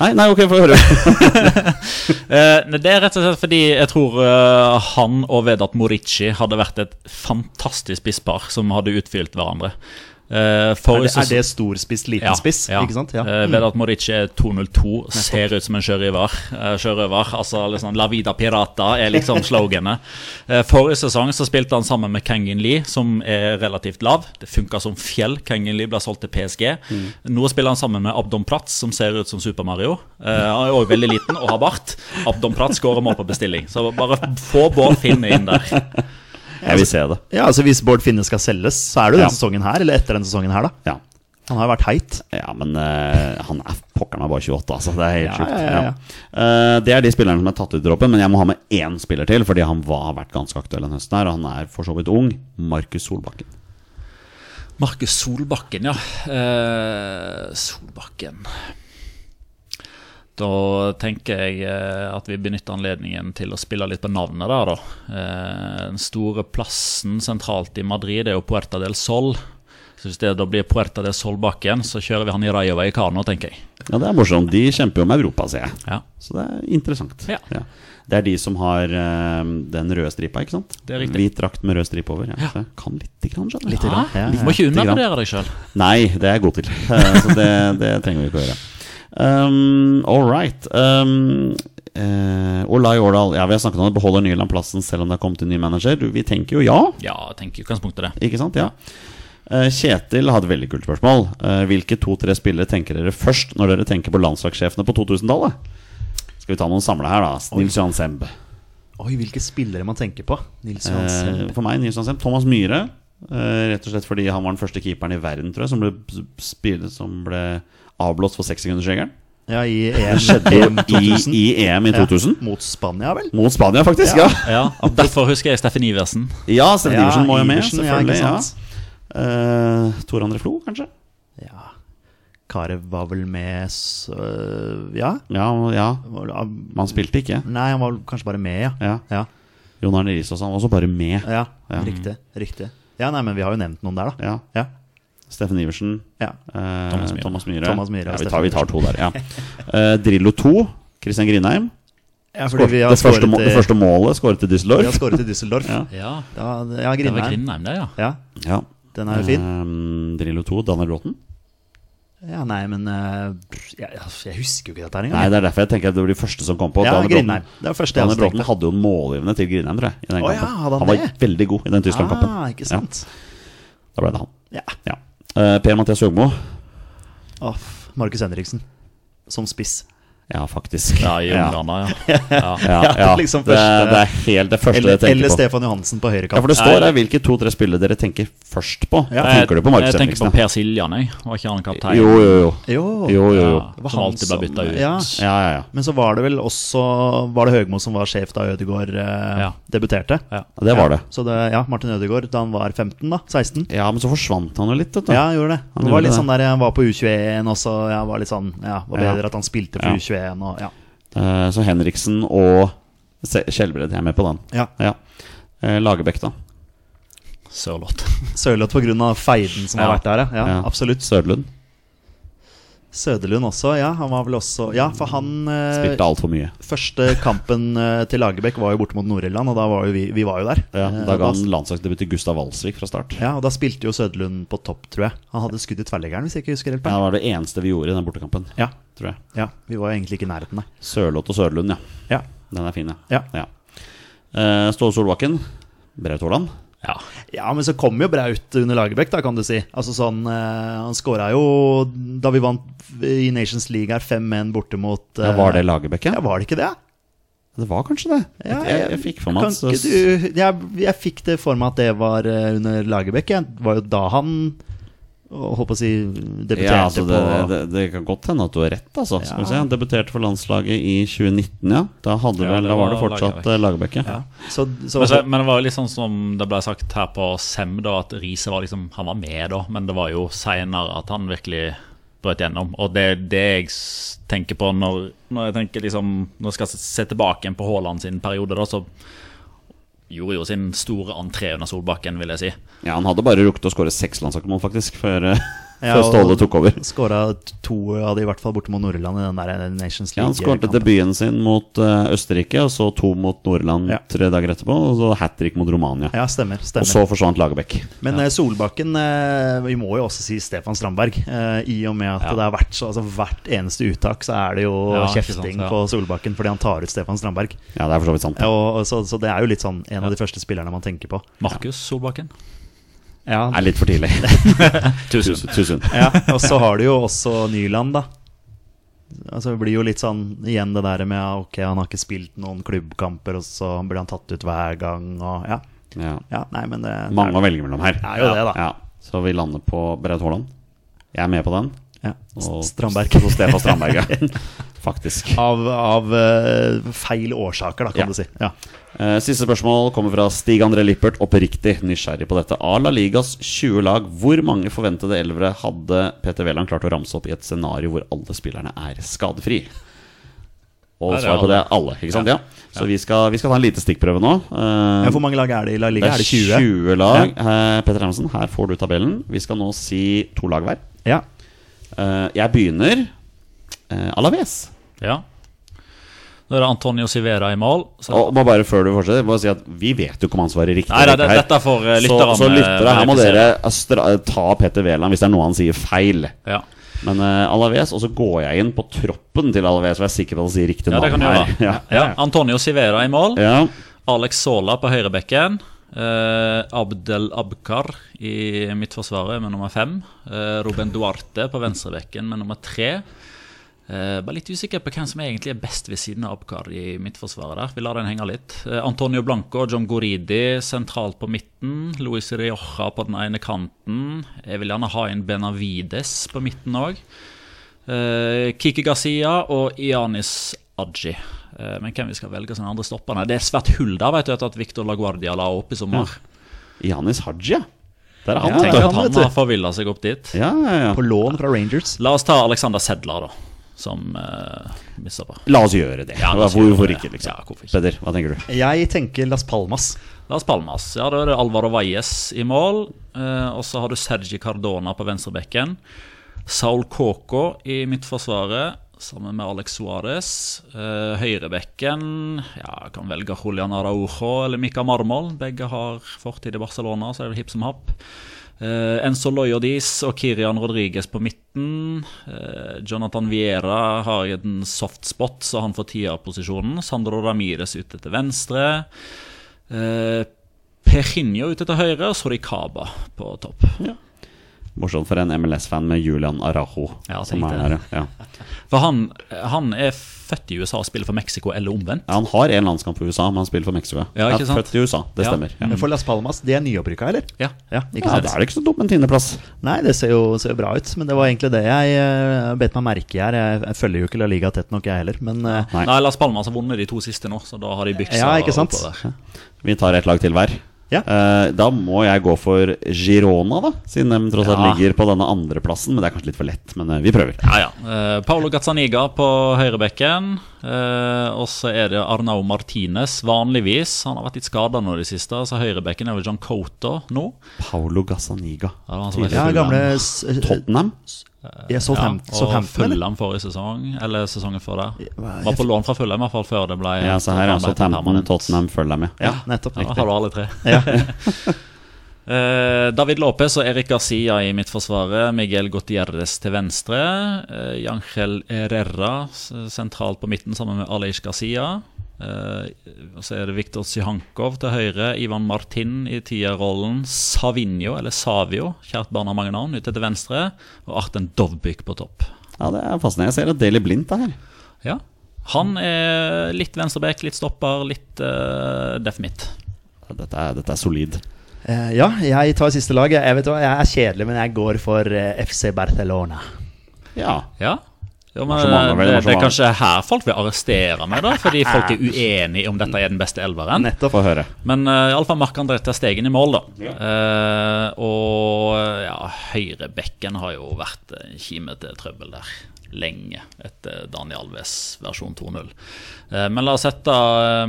S2: Nei, nei, ok, få høre.
S1: Eh, nei, det er rett og slett fordi jeg tror eh, han og Vedat Morici hadde vært et fantastisk spisspar som hadde utfylt hverandre. Eh,
S3: Er
S1: forrige
S3: det, er
S1: sesong-
S3: det storspiss, liten spiss?
S1: ja.
S3: Ikke sant? Ja. Mm.
S1: Eh, Vedat Morici er 202, ser ut som en sjørøver. eh, sjørøver. Altså liksom, La vida pirata er liksom sloganet. Eh, forrige sesong så spilte han sammen med Kangin Lee, som er relativt lav. Det funka som fjell. Kangin Lee ble solgt til PSG.
S3: Mm.
S1: Nå spiller han sammen med Abdon Platz, som ser ut som Super Mario. Eh, han er òg veldig liten og har bart. Abdon Platz skårer mål på bestilling. Så bare få Bård Finne inn der.
S2: Jeg vil se det.
S3: ja, altså Hvis Bård Finne skal selges, så er det jo
S2: Ja.
S3: denne sesongen her, eller etter denne sesongen her, da.
S2: Ja.
S3: Han har jo vært heit.
S2: Ja, men eh, han er pokker meg bare 28, altså. Det er helt
S3: Ja,
S2: sjukt.
S3: ja, ja, ja.
S2: Eh, det er de spillerne som er tatt ut i droppen, men jeg må ha med én spiller til, fordi han var, har vært ganske aktuell denne høsten her, og han er for så vidt ung. Markus Solbakken.
S1: Markus Solbakken, ja. Eh, Solbakken Da tenker jeg eh, at vi benytter anledningen til å spille litt på navnet der, da. Eh, den store plassen sentralt i Madrid er jo Puerta del Sol. Så hvis det da blir Puerta del Solbakken, så kjører vi han i Rayo Vallecano, tenker jeg.
S2: Ja, det er morsomt. De kjemper jo om Europa, ser jeg.
S1: Ja,
S2: Så det er interessant.
S1: Ja.
S2: Det er de som har eh, den røde stripa, ikke sant?
S1: Det er riktig.
S2: Hvit drakt med rød stripe over. Ja. så jeg Kan lite grann, skjønner du.
S1: ja,
S3: ja,
S1: Du Ah. må ikke undervurdere deg sjøl.
S2: Nei, det er jeg god til. Eh, Så det, det trenger vi ikke å gjøre. Um, all right. Um, eh, Olai Årdal, ja, vi har snakket om at beholder Nyland plassen selv om det har kommet en ny manager. Du, Vi tenker jo ja,
S1: Ja, tenk i utgangspunktet det.
S2: ikke sant? Ja. Eh, Kjetil hadde et veldig kult spørsmål. Eh, Hvilke to-tre spillere tenker dere først når dere tenker på landslagssjefene på 2000-tallet? Skal vi ta noen samla her, da? Nils Johan Semb.
S3: Oi, hvilke spillere man tenker på. Nils Johan
S2: Eh,
S3: Semb.
S2: for meg, Nils Hansen, Thomas Myhre. eh, rett og slett fordi han var den første keeperen i verden tror jeg, som ble, spillet, som ble avblåst for sekssekundersregelen.
S3: Ja, i EM, EM
S2: I,
S3: 2000.
S2: I EM i 2000.
S3: Ja, mot Spania, vel?
S2: Mot Spania, faktisk. Ja,
S1: Ja, Derfor husker jeg Steffen Iversen.
S2: ja Steffen
S3: Ja,
S2: Iversen må jo med,
S3: Iversen, ja,
S2: selvfølgelig.
S3: ikke
S2: Ja,
S3: sant?
S2: Eh, Tor André Flo, kanskje?
S3: Ja. Karev var vel med så, Ja?
S2: Ja, ja.
S3: Var det-
S2: Men han spilte ikke.
S3: Nei, han var vel kanskje bare med, ja.
S2: Ja.
S3: Ja,
S2: Jon Arne Riis også, han var også bare med.
S3: ja,
S2: Ja.
S3: Riktig. riktig Ja, nei, men vi har jo nevnt noen der, da.
S2: Ja.
S3: Ja.
S2: Steffen Iversen.
S3: ja.
S2: eh,
S1: Thomas Myhre.
S2: Thomas Myhre.
S3: Thomas Myhre og
S2: ja, vi, tar,
S3: Steffen
S2: vi tar to der, ja. Eh, Drillo 2. Christian Grindheim.
S3: ja
S2: Skår, det, første, må- det
S3: eh,
S2: første målet skåret til
S3: Vi har
S2: Düsseldorf.
S3: skåret i Düsseldorf.
S2: Ja.
S3: Ja,
S1: Ja,
S3: ja
S1: det var
S3: Grindheim.
S1: Grindheim, det, ja.
S3: Ja,
S2: Ja.
S3: den er jo fin.
S2: Ehm, Drillo 2, Daniel Bråten.
S3: Ja, nei, men eh, jeg, jeg husker jo ikke dette her
S2: Nei,
S3: engang.
S2: det er derfor jeg tenker at det var de første som kom på.
S3: Ja,
S2: Daniel Bråten.
S3: Grindheim. Det var første jeg
S2: Daniel
S3: også
S2: Bråten
S3: tenkte.
S2: hadde jo en målgivende til Grindheim, tror jeg. I den
S3: Å ja,
S2: kampen.
S3: hadde han
S2: var
S3: det?
S2: veldig god i den Tyskland-kampen.
S3: Ah, ikke sant?
S2: Ja, da ble det han.
S3: Ja.
S2: Ja. Eh, per Mathias Høgmo.
S3: Åh, Markus Henriksen som spiss.
S2: Ja, faktisk.
S1: Ja, i
S2: ja.
S1: Ungarna, ja. ja.
S2: Ja,
S3: Ja,
S2: ja.
S3: liksom
S2: det, er-
S3: første-
S2: det er helt det første
S3: Eller,
S2: jeg tenker
S3: eller
S2: på.
S3: Stefan Johansen på
S2: Ja, for
S3: høyrekant.
S2: det står her hvilke to-tre spillere dere tenker først på. Da Tenker du på Markus
S1: jeg tenker på
S2: Henriksen?
S1: Per Siljan, jeg. Var ikke han
S2: da?
S1: kaptein?
S2: Jo, jo, jo.
S3: Jo.
S2: jo, jo, jo.
S1: Ja, som alltid ble bytta ut.
S3: Ja.
S2: Ja, ja, ja.
S3: Men så var det vel også Var det Høgmo som var sjef da Ødegaard eh,
S1: Ja.
S3: debuterte?
S1: Ja.
S2: Det var det.
S3: Så det, ja, Martin Ødegaard da han var 15, da? 16?
S2: Ja, men så forsvant han jo litt, vet du.
S3: Ja, han gjorde det.
S2: Han
S3: det var
S2: gjorde
S3: litt
S2: det.
S3: sånn der jeg var på U21, og så ja, var litt sånn Ja, var
S2: Ja.
S3: bedre at han spilte
S2: Ja.
S3: for U21 og ja.
S2: Eh, Så Henriksen og Se- Skjelbred jeg er med på den.
S3: ja.
S2: Ja. Eh, Lagerbäck, da.
S1: Sørloth.
S3: Sørloth på grunn av feiden som har
S1: Ja.
S3: vært der, ja. ja.
S2: Ja.
S3: Absolutt.
S2: Sødlund.
S3: Søderlund også, ja. Han var vel også Ja, for han eh,
S2: Spilte altfor mye.
S3: Første kampen eh, til Lagerbäck var jo borte mot Nord-Irland, og da var jo vi, vi var jo der.
S2: Ja,
S3: Eh,
S2: da
S3: og
S2: ga han landslagsdebut til Gustav Walsvik fra start.
S3: ja, og da spilte jo Søderlund på topp, tror jeg. Han hadde skudd i tverrleggeren, hvis jeg ikke husker helt.
S2: Ja,
S3: feil.
S2: det var det eneste vi gjorde i den bortekampen,
S3: Ja.
S2: tror jeg.
S3: ja, vi var jo egentlig ikke i nærheten, nei.
S2: Sørloth og Sørlund, ja.
S3: Ja.
S2: Den er fin, ja.
S3: Ja.
S2: Eh, Ståle Solbakken. Braut Haaland.
S1: Ja.
S3: Ja, men så kom jo Braut under Lagerbäck, da, kan du si. Altså sånn, eh, Han skåra jo da vi vant i Nations League her 5-1 borte mot eh,
S2: Ja, var det Lagerbäck,
S3: Ja,
S2: ja?
S3: var det ikke det?
S2: Det var kanskje det.
S3: Ja,
S2: jeg, jeg, jeg fikk for meg
S3: Kan
S2: at så-
S3: ikke du Jeg, jeg fikk det for meg at det var eh, under Lagerbäck. Jeg var jo da han og håper å si debuterte
S2: Ja, altså, det,
S3: på
S2: det, det kan godt hende at du har rett, altså. Skal vi
S3: Ja.
S2: se. Han debuterte for landslaget i 2019, ja. Da, hadde
S1: Ja,
S2: vel,
S1: det
S2: da var det
S1: var
S2: fortsatt
S1: Lagerbäck.
S2: eh, Lagerbäck. Ja.
S3: ja. Så, så,
S1: Men, så, men det var jo litt sånn som det ble sagt her på SEM, da, at Riise var liksom Han var med da, men det var jo seinere at han virkelig brøt gjennom. Og det er det jeg s- tenker på når, når jeg tenker liksom Når jeg skal se tilbake igjen på Haaland sin periode, da, så gjorde jo sin store entré under Solbakken, vil jeg si.
S2: ja, han hadde bare rukket å skåre seks landslagsmål, faktisk, før, eh,
S3: Ja,
S2: før Ståle
S3: og-
S2: tok over.
S3: Skåra to av de, i hvert fall borte mot Nordland i den der eh, Nations
S2: Ja,
S3: League.
S2: han skåret
S3: kampen.
S2: debuten sin mot eh, Østerrike, og så to mot Nordland
S3: Ja.
S2: tre dager etterpå, og så hat trick mot Romania.
S3: Ja, stemmer.
S2: Og
S3: stemmer.
S2: så forsvant Lagerbäck.
S3: Men eh, Solbakken eh, Vi må jo også si Stefan Strandberg. eh, I og med at
S1: Ja.
S3: det har vært så altså, Hvert eneste uttak så er det jo
S1: Ja, ikke sant,
S3: kjefting
S1: ja.
S3: på Solbakken fordi han tar ut Stefan Strandberg.
S2: Ja, det er for så vidt sant.
S3: Og, og så, så det er jo litt sånn en av de første spillerne man tenker på.
S1: Markus Solbakken.
S3: Ja,
S2: Det er litt for tidlig.
S1: Tusen.
S2: Tusen. Tusen.
S3: ja, og så har du jo også Nyland, da. Altså Det blir jo litt sånn igjen det der med ja, Ok, han har ikke spilt noen klubbkamper, og så blir han tatt ut hver gang, og ja.
S2: Ja.
S3: ja nei, men det
S2: Mange å velge mellom her.
S3: Det er jo det, da.
S2: Ja. Så vi lander på Braut Haaland. Jeg er med på den.
S3: ja.
S2: Og
S3: Strandberg.
S2: Og Stefan Strandberg, ja. Faktisk.
S3: Av, av eh, feil årsaker, da, kan
S2: Ja.
S3: du si. Ja.
S2: Eh, Siste spørsmål kommer fra Stig André Lippert, oppriktig nysgjerrig på dette. A La Ligas 20 lag, hvor mange forventede elvere hadde Peter Wæland klart å ramse opp i et scenario hvor alle spillerne er skadefri? Og
S1: Ja, det er
S2: svaret på det er alle, ikke sant? Ja. Så vi skal, vi skal ta en lite stikkprøve nå. Eh,
S3: Ja, Hvor mange lag er det i La Liga? Er det 20?
S2: 20 lag. Eh, Petter Hermansen, her får du tabellen. Vi skal nå si to lag hver.
S3: Ja.
S2: Eh, jeg begynner eh, Alaves.
S1: Ja. Da er det Antonio Sivera i mål. Så,
S2: Og må bare før du fortsetter, bare si at vi vet jo ikke om han svarer riktig.
S1: Nei, nei,
S2: eller
S1: det,
S2: ikke her.
S1: dette får eh,
S2: så,
S1: lytterne
S2: så lyttere,
S1: eh,
S2: her må
S1: verifisere.
S2: dere stra eh, ta Petter Wæland hvis det er noe han sier feil.
S1: ja.
S2: Men eh, Alaves, og så går jeg inn på troppen til Alaves, og jeg er sikker på at han sier riktig
S1: ja, det kan
S2: navn
S1: du
S2: her.
S1: gjøre. Ja. Antonio Sivera i mål.
S2: Ja.
S1: Alex Sola på høyrebekken. eh, Abdel Abkar i midtforsvaret med nummer fem. eh, Ruben Duarte på venstrebekken med nummer tre. Eh, bare litt usikker på hvem som egentlig er best ved siden av Abkar i midtforsvaret. der Vi lar den henge litt. Eh, Antonio Blanco og John Goridi sentralt på midten. Luis Rioja på den ene kanten. Jeg vil gjerne ha inn Benavides på midten òg. Eh, Kiki Garcia og Ianis Adji. Eh, men hvem vi skal velge som den andre stopperne? Det er svært hull der, vet du, etter at Victor Laguardia la opp i sommer.
S2: Janis Haji, ja. Der er
S1: Han
S2: han,
S1: tenker
S2: vet
S1: at
S2: du.
S1: han har forvilla seg opp dit.
S2: Ja, ja, ja.
S3: På lån fra Rangers.
S1: La oss ta Alexander Sedler, da, som uh, mista på.
S2: La oss gjøre det.
S1: Ja, la oss gjøre
S2: hvorfor
S1: det.
S2: ikke, liksom?
S1: Ja, hvorfor ikke?
S2: Peder, hva tenker du?
S3: Jeg tenker Las Palmas.
S1: Las Palmas. Ja, da er det Alvaro Valles i mål. Eh, og så har du Sergi Cardona på venstrebekken. Saul Koko i midtforsvaret sammen med Alex Suárez. Eh, høyrebekken ja, kan velge Julian Araujo eller Mika Marmol. Begge har fortid i Barcelona, så er det hipp som happ. Eh, Enzo Loyodis og Kirian Rodriguez på midten. Eh, Jonathan Viera har jeg en soft spot, så han får tierposisjonen. Sandro Ramires ute til venstre. Eh, Perinho ute til høyre og Sorikaba på topp.
S2: Morsomt for en MLS-fan med Julian Arajo.
S1: Ja,
S2: som
S1: tenk
S2: er
S1: det.
S2: her, ja.
S1: For han, han er født i USA og spiller for Mexico, eller omvendt.
S2: ja, Han har en landskamp for USA, men han spiller for Mexico.
S1: Ja, ikke
S2: Er
S1: sant?
S2: Født i USA, det
S1: Ja.
S2: stemmer. Ja.
S3: Men for Las Palmas, de er nyopprykka, eller?
S1: Ja.
S3: Ja, ikke
S2: Ja,
S3: sant?
S2: da er det ikke så dumt med en tiendeplass.
S3: Nei, det ser jo, ser jo bra ut, men det var egentlig det jeg eh, bet meg merke i her. Jeg, jeg følger jo ikke La Liga tett nok, jeg heller, men eh,
S2: Nei.
S1: Nei. Las Palmas har vunnet de to siste nå, så da har de bygd seg
S3: Ja, ikke sant?
S1: oppover.
S2: Vi tar ett lag til hver.
S3: Ja.
S2: Eh, da må jeg gå for Girona, da. Siden de tross alt
S1: Ja.
S2: ligger på denne andreplassen. Men det er kanskje litt for lett, men eh, vi prøver.
S1: Ja, ja. Eh, Paolo Gazzaniga på høyrebekken. Eh, og så er det Arnau Martinez, vanligvis. Han har vært litt skada nå i det siste, så høyrebekken er vel John Coto nå.
S2: Paulo Gazzaniga.
S1: Ja, det var han som var i
S3: ja,
S1: Fulham.
S3: gamle s- eh,
S2: Tottenham?
S3: Ja,
S1: Ja,
S3: Southampton,
S1: og
S3: Southampton, eller?
S1: Fulham forrige sesong, eller sesongen før der.
S3: hva-
S1: Var på lån fra Fulham i hvert fall før det ble
S2: Ja, se her. ja,
S1: ble
S2: Southampton,
S1: permanent.
S2: Tottenham følger jeg med.
S3: Ja, nettopp.
S1: Ja, da har
S3: Riktig.
S1: du alle tre. Eh, David Lopez og Erik Garcia i midtforsvaret. Miguel Gutierrez til venstre. Uh, Jangel Herrera s- sentralt på midten sammen med Aleish Garcia. Eh, og så er det Viktor Sihankov til høyre. Ivan Martin i tierrollen. Savinho, eller Savio, kjært barn av mange navn, ute til venstre. Og Arten Dovbyk på topp.
S2: Ja, det er fascinerende. Jeg ser at Daily Blindt er her.
S1: Ja. Han er litt venstreback, litt stopper, litt uh, deaf midt.
S2: Dette er, dette er solid.
S3: Eh, ja, jeg tar siste lag. Jeg, vet hva, jeg er kjedelig, men jeg går for eh, FC Barcelona.
S2: Ja.
S1: Ja. Jo, men, eh,
S2: Var så mange, vel, det
S1: det,
S2: var så
S1: det er
S2: mange.
S1: kanskje her folk vil arrestere meg, da, fordi folk er uenige om dette er den beste elveren.
S3: Nettopp.
S2: Få høre.
S1: Men uh, iallfall Marc-André Ter Stegen i mål, da. Eh, og eh, ja, høyrebekken har jo vært en kime til trøbbel der lenge etter Dani Alves versjon 2.0. Eh, men la oss sette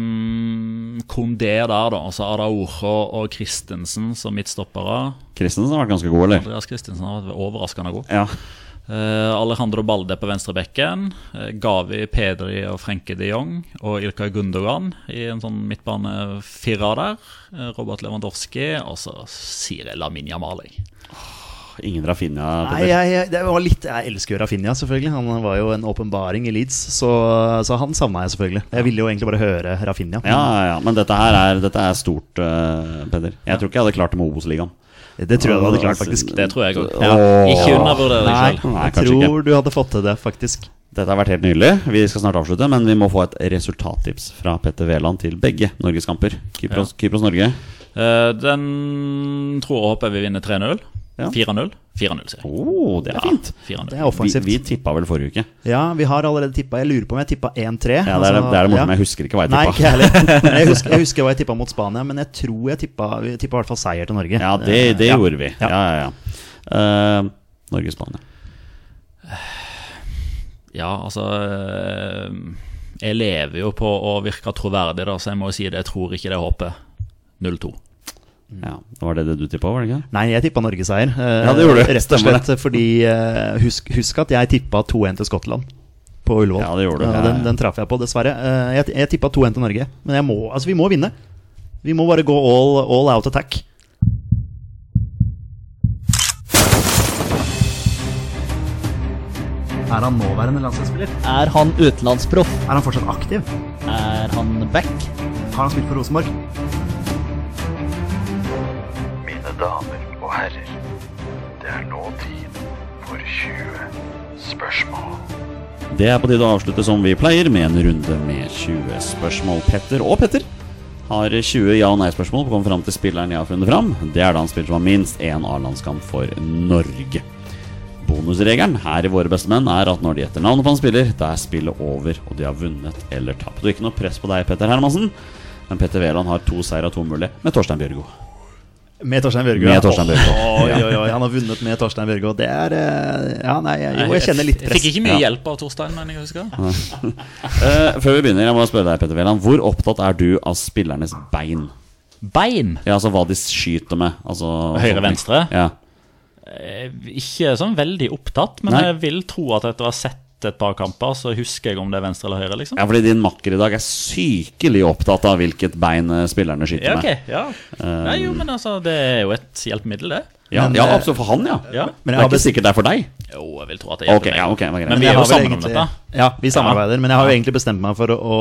S1: um, Kondé der, da. Altså Araujo og Christensen som midtstoppere.
S2: Christensen har vært ganske god, eller?
S1: Andreas Christensen har vært overraskende god.
S2: Ja.
S1: Eh, Alejandro Balde på venstrebekken. eh, Gavi, Pedri og Frenke de Jong. Og Ilkay Gundogan i en sånn midtbanefirer der. Eh, Robert Lewandowski og så Siri Laminia Mali.
S2: Ingen Rafinha.
S3: Nei,
S2: Petter.
S3: jeg, jeg, det var litt, jeg elsker jo Rafinha, selvfølgelig. Han var jo en åpenbaring i Leeds, så, så han savna jeg selvfølgelig. Jeg ville jo egentlig bare høre Rafinha.
S2: Ja, ja, ja. Men dette her er, dette er stort, eh, Peder. Jeg tror ikke jeg hadde klart det med Obos-ligaen.
S3: Det tror jeg du hadde klart, faktisk.
S1: Det tror jeg òg.
S2: Åh.
S1: Ikke undervurder deg selv.
S2: Nei,
S3: jeg
S2: kanskje
S3: tror du hadde fått til det, faktisk.
S2: Dette har vært helt nydelig. Vi skal snart avslutte, men vi må få et resultattips fra Petter Wæland til begge norgeskamper. Kypros, Kypros Norge.
S1: Eh, Den tror og håper jeg vi vinner 3-0.
S2: Ja.
S1: 4-0. 4-0, sier jeg.
S2: Oh, det er fint.
S1: Ja, 4-0.
S3: Det er
S2: Vi,
S3: offensivt.
S2: vi tippa vel forrige uke.
S3: Ja, vi har allerede tippa. Jeg lurer på om jeg tippa 1-3.
S2: Ja, det er det,
S3: altså,
S2: det, er det morsomme.
S3: ja.
S2: Jeg husker ikke hva jeg
S3: Nei, ikke
S2: tippa.
S3: jeg heller. Men Jeg husker, jeg husker hva jeg tippa mot Spania, men jeg tror jeg tippa vi tippa i hvert fall seier til Norge.
S2: Ja, det, det
S3: Eh, ja.
S2: gjorde vi. Ja, ja, ja. Eh, Norge-Spania.
S1: Ja, altså eh, Jeg lever jo på å virke troverdig, da, så jeg må jo si det. Jeg tror ikke det håpet. 0-2.
S2: Ja, det var det du tippa, var det ikke?
S3: Nei, jeg tippa Norgeseier. Eh,
S2: Ja, det gjorde du.
S3: Rett og
S2: Stemmer
S3: slett fordi eh, husk, husk at jeg tippa 2-1 til Skottland på Ullevål.
S2: Ja, det gjorde du.
S3: Eh,
S2: Ja,
S3: Den,
S2: ja.
S3: den traff jeg på, dessverre. Eh, jeg jeg tippa 2-1 til Norge, men jeg må, altså, vi må vinne. Vi må bare gå all, all out attack. Er han nåværende landslagsspiller?
S5: Er han utenlandsproff?
S3: Er han fortsatt aktiv?
S5: Er han back?
S3: Har han spilt for Rosenborg?
S6: Mine damer og herrer, det er nå tid for 20 spørsmål.
S2: Det er på tide å avslutte som vi pleier, med en runde med 20 spørsmål. Petter og Petter har 20 ja- og nei-spørsmål på å komme fram til spilleren jeg har funnet fram. Det er da en spiller som har minst én A-landskamp for Norge. Bonusregelen her i Våre beste menn er at når de etter navnet på en spiller, da er spillet over, og de har vunnet eller tapt. Og ikke noe press på deg, Petter Hermansen, men Petter Wæland har to seier og to mulige med Torstein Bjørgo.
S3: Med Torstein Bjørgo.
S2: Med Torstein Bjørgo.
S3: Oi, oi, oi, han har vunnet med Torstein Bjørgo. Det er eh, Ja, nei, jeg- jo, jeg kjenner litt
S1: Jeg
S3: press.
S1: fikk ikke mye
S2: Ja.
S1: hjelp av Torstein, men jeg husker.
S2: Eh, før vi begynner, jeg må spørre deg, Petter Wæland, hvor opptatt er du av spillernes bein?
S1: Bein.
S2: Ja, altså hva de skyter med. Altså,
S1: Høyre, venstre?
S2: Ja.
S1: Ikke sånn veldig opptatt, men
S2: Nei.
S1: jeg vil tro at etter å ha sett et par kamper, så husker jeg om det er venstre eller høyre, liksom.
S2: ja, fordi din makker i dag er sykelig opptatt av hvilket bein eh, spillerne skyter
S1: Ja, ok,
S2: med.
S1: ja.
S2: Eh,
S1: Nei, jo, men altså, det er jo et hjelpemiddel, det.
S2: Ja,
S3: Men,
S2: ja,
S3: eh,
S2: absolutt for han, ja.
S1: Ja.
S2: det
S3: Men jeg
S2: er
S3: har
S2: ikke
S3: bes-
S2: sikkert det er for deg.
S1: Jo, jeg vil tro at det
S2: Ok,
S1: hjelper meg.
S2: ja, ok, det var greit.
S1: Men vi
S2: Jeg
S1: er
S3: har
S1: jo
S3: vel
S1: sammen om dette.
S3: Ja, vi samarbeider, men jeg har jo egentlig bestemt meg for å, å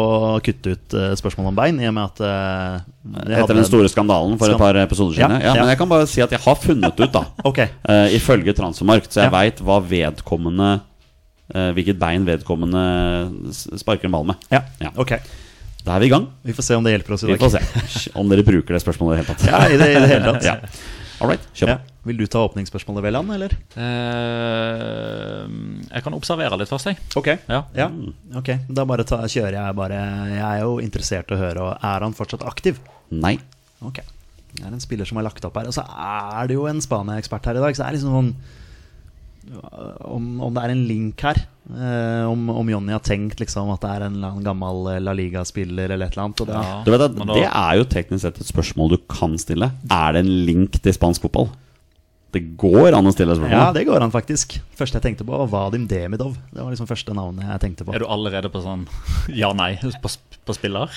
S3: kutte ut eh, spørsmål om bein, i og med at eh, jeg
S2: Etter den store skandalen for et
S3: Skand-
S2: par episoder siden.
S3: Ja,
S2: Ja,
S3: ja.
S2: Men jeg kan bare si at jeg har funnet ut, da.
S3: Ok.
S2: eh, ifølge Transfermarkt, så jeg
S3: Ja.
S2: vet veit hva vedkommende eh, Hvilket bein vedkommende s- sparker en ball med.
S3: Ja,
S2: Ja.
S3: ok.
S2: Da er vi i gang.
S3: Vi får se om det hjelper oss i
S2: Vi
S3: dag.
S2: får se om dere bruker det spørsmålet i det hele tatt.
S3: Ja, i det, i det hele tatt.
S2: Ja. All right, kjør på.
S3: Ja. Vil du ta åpningsspørsmålet, Veland, eller?
S1: Eh, jeg kan observere litt først, jeg.
S3: Ok.
S1: Ja.
S3: Ja, ok. Da bare ta, kjører jeg bare Jeg er jo interessert i å høre, og er han fortsatt aktiv?
S2: Nei.
S3: Ok. Det er en spiller som har lagt opp her. Og så er det jo en Spania-ekspert her i dag, så det er liksom sånn øh, om, om det er en link her, eh, om, om Jonny har tenkt liksom at det er en eller annen gammel eh, La Liga-spiller eller et eller annet. Og det,
S1: Ja.
S2: Du vet at
S1: Men da-
S2: Det er jo teknisk sett et spørsmål du kan stille. Er det en link til spansk fotball? Det går an å stille spørsmål.
S3: ja, det går an, faktisk. Første jeg tenkte på, var Vadim Demidov. Det var liksom første navnet jeg tenkte på.
S1: Er du allerede på sånn ja-nei på, sp- på spiller?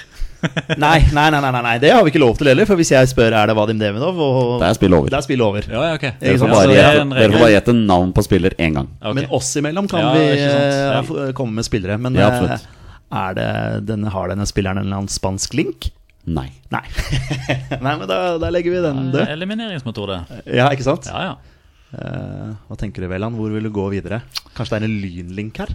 S3: Nei, nei, nei, nei, nei, nei, det har vi ikke lov til heller, for hvis jeg spør er det Vadim Demidov, og
S2: Da er spillet over.
S3: det er spill over.
S1: Ja, ja, ok.
S2: Dere får
S1: Ja, så
S2: bare
S1: det er
S2: gjette-
S1: en
S2: dere
S1: regel.
S2: får bare gjette navn på spiller én gang.
S1: Ok.
S3: Men oss imellom kan
S1: Ja,
S3: vi
S1: ikke sant.
S3: eh,
S1: Ja.
S3: få- komme med spillere. Men
S2: Ja,
S3: eh,
S2: absolutt.
S3: er det, denne, har denne spilleren en eller annen spansk link?
S2: Nei.
S3: Nei. Nei, men da, da legger vi den død.
S1: Eh, Elimineringsmetode.
S3: Ja, ikke sant?
S1: Ja, ja.
S3: Eh, hva tenker du, Veland? Hvor vil du gå videre? Kanskje det er en lynlink her?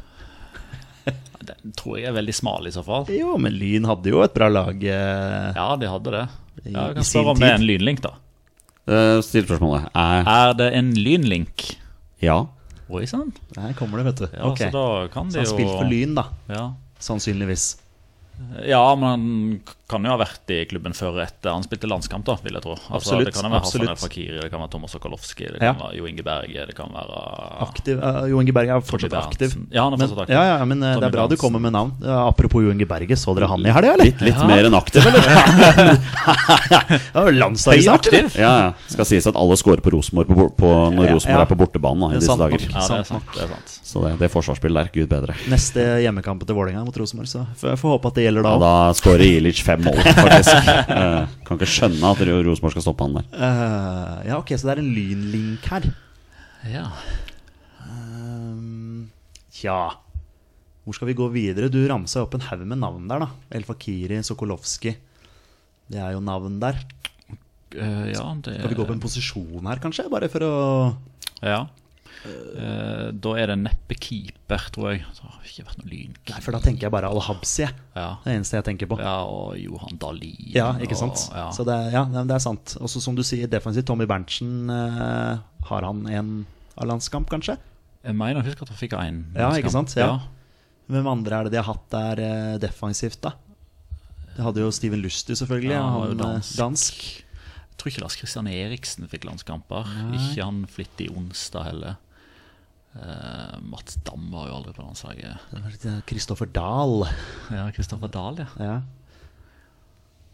S1: Den tror jeg er veldig smal i så fall.
S3: Jo, men Lyn hadde jo et bra lag. eh,
S1: Ja, de hadde det.
S3: I-
S1: Ja, jeg
S3: i
S1: kan
S3: sin
S1: spørre om det er
S3: tid.
S1: en lynlink, da.
S2: Eh, Still spørsmålet. Er
S1: Er det en lynlink?
S2: ja?
S1: Oi sann.
S3: Der kommer det, vet du.
S1: Ja,
S3: Ok.
S1: Så da kan
S3: Så
S1: de
S3: han
S1: jo
S3: spilte for Lyn, da.
S1: Ja.
S3: Sannsynligvis.
S1: ja, men han kan jo ha vært i klubben før og etter han spilte landskamp, da, vil jeg tro. Altså,
S3: Absolutt,
S1: Det kan jo være
S3: absolutt.
S1: Hassan El Fakiri, det kan være Thomas Sokolowski, det
S3: Ja.
S1: kan være Jo Inge Berge, det kan være
S3: Aktiv, eh, Jo Inge Berge er fortsatt
S1: Tommy
S3: aktiv.
S1: Berntsen. Ja, han er
S3: Men,
S1: fortsatt aktiv.
S3: ja, ja, men eh, det
S1: Tommy
S3: er bra du
S1: Berntsen.
S3: kommer med navn. Ja, apropos Jo Inge Berge, så dere han i helga, eller?
S2: Litt mer enn aktiv, eller?
S3: Ja, landslaget snart, eller?
S2: Ja, ja. Skal sies at alle scorer på Rosenborg på, bor- på, når
S3: Ja,
S2: Rosenborg
S3: ja.
S2: er på bortebane da, i
S3: Det er
S2: disse
S3: sant
S2: dager.
S3: nok.
S1: Ja, det
S3: Sant
S1: er sant. det er sant
S2: Så det, det forsvarsspillet der, gud bedre.
S3: Neste hjemmekamp til Vålerenga mot Rosenborg, så får- jeg får håpe at det gjelder da
S2: Ja,
S3: òg.
S2: da scorer Ilic fem mål, faktisk. Eh, kan ikke skjønne at Rosenborg skal stoppe han der.
S3: Eh, ja, ok, så det er en lynlink her.
S1: Ja.
S3: Ehm, Tja Hvor skal vi gå videre? Du ramsa opp en haug med navn der, da. El Fakiri, Sokolowski. Det er jo navn der.
S1: Eh, ja, det
S3: Skal vi gå på en posisjon her, kanskje? Bare for å
S1: Ja. Eh, da er det neppe keeper, tror jeg. Det har ikke vært noe lynkeeper.
S3: Nei, for da tenker jeg bare Al-Habsi. jeg. Det
S1: Ja.
S3: er det eneste jeg tenker på.
S1: ja, og Johan Dahlin.
S3: Ja, ikke sant?
S1: Og, ja.
S3: Så det, er- ja, nei, men det er sant. Og så som du sier, defensivt, Tommy Berntsen eh, Har han en A-landskamp, kanskje?
S1: Jeg mener, husk at han fikk én.
S3: Ja, ikke sant? Ja. Hvem andre er det de har hatt der eh, defensivt, da? De hadde jo Steven Lustig, selvfølgelig.
S1: Ja, han var jo
S3: han eh,
S1: dansk.
S3: dansk.
S1: Jeg tror ikke Lars Christian Eriksen fikk landskamper. Ikke han Flittig Onsdag heller. Eh, Mats Dam var jo aldri på landslaget.
S3: Kristoffer Dahl.
S1: Ja, Kristoffer Dahl, ja.
S3: Ja.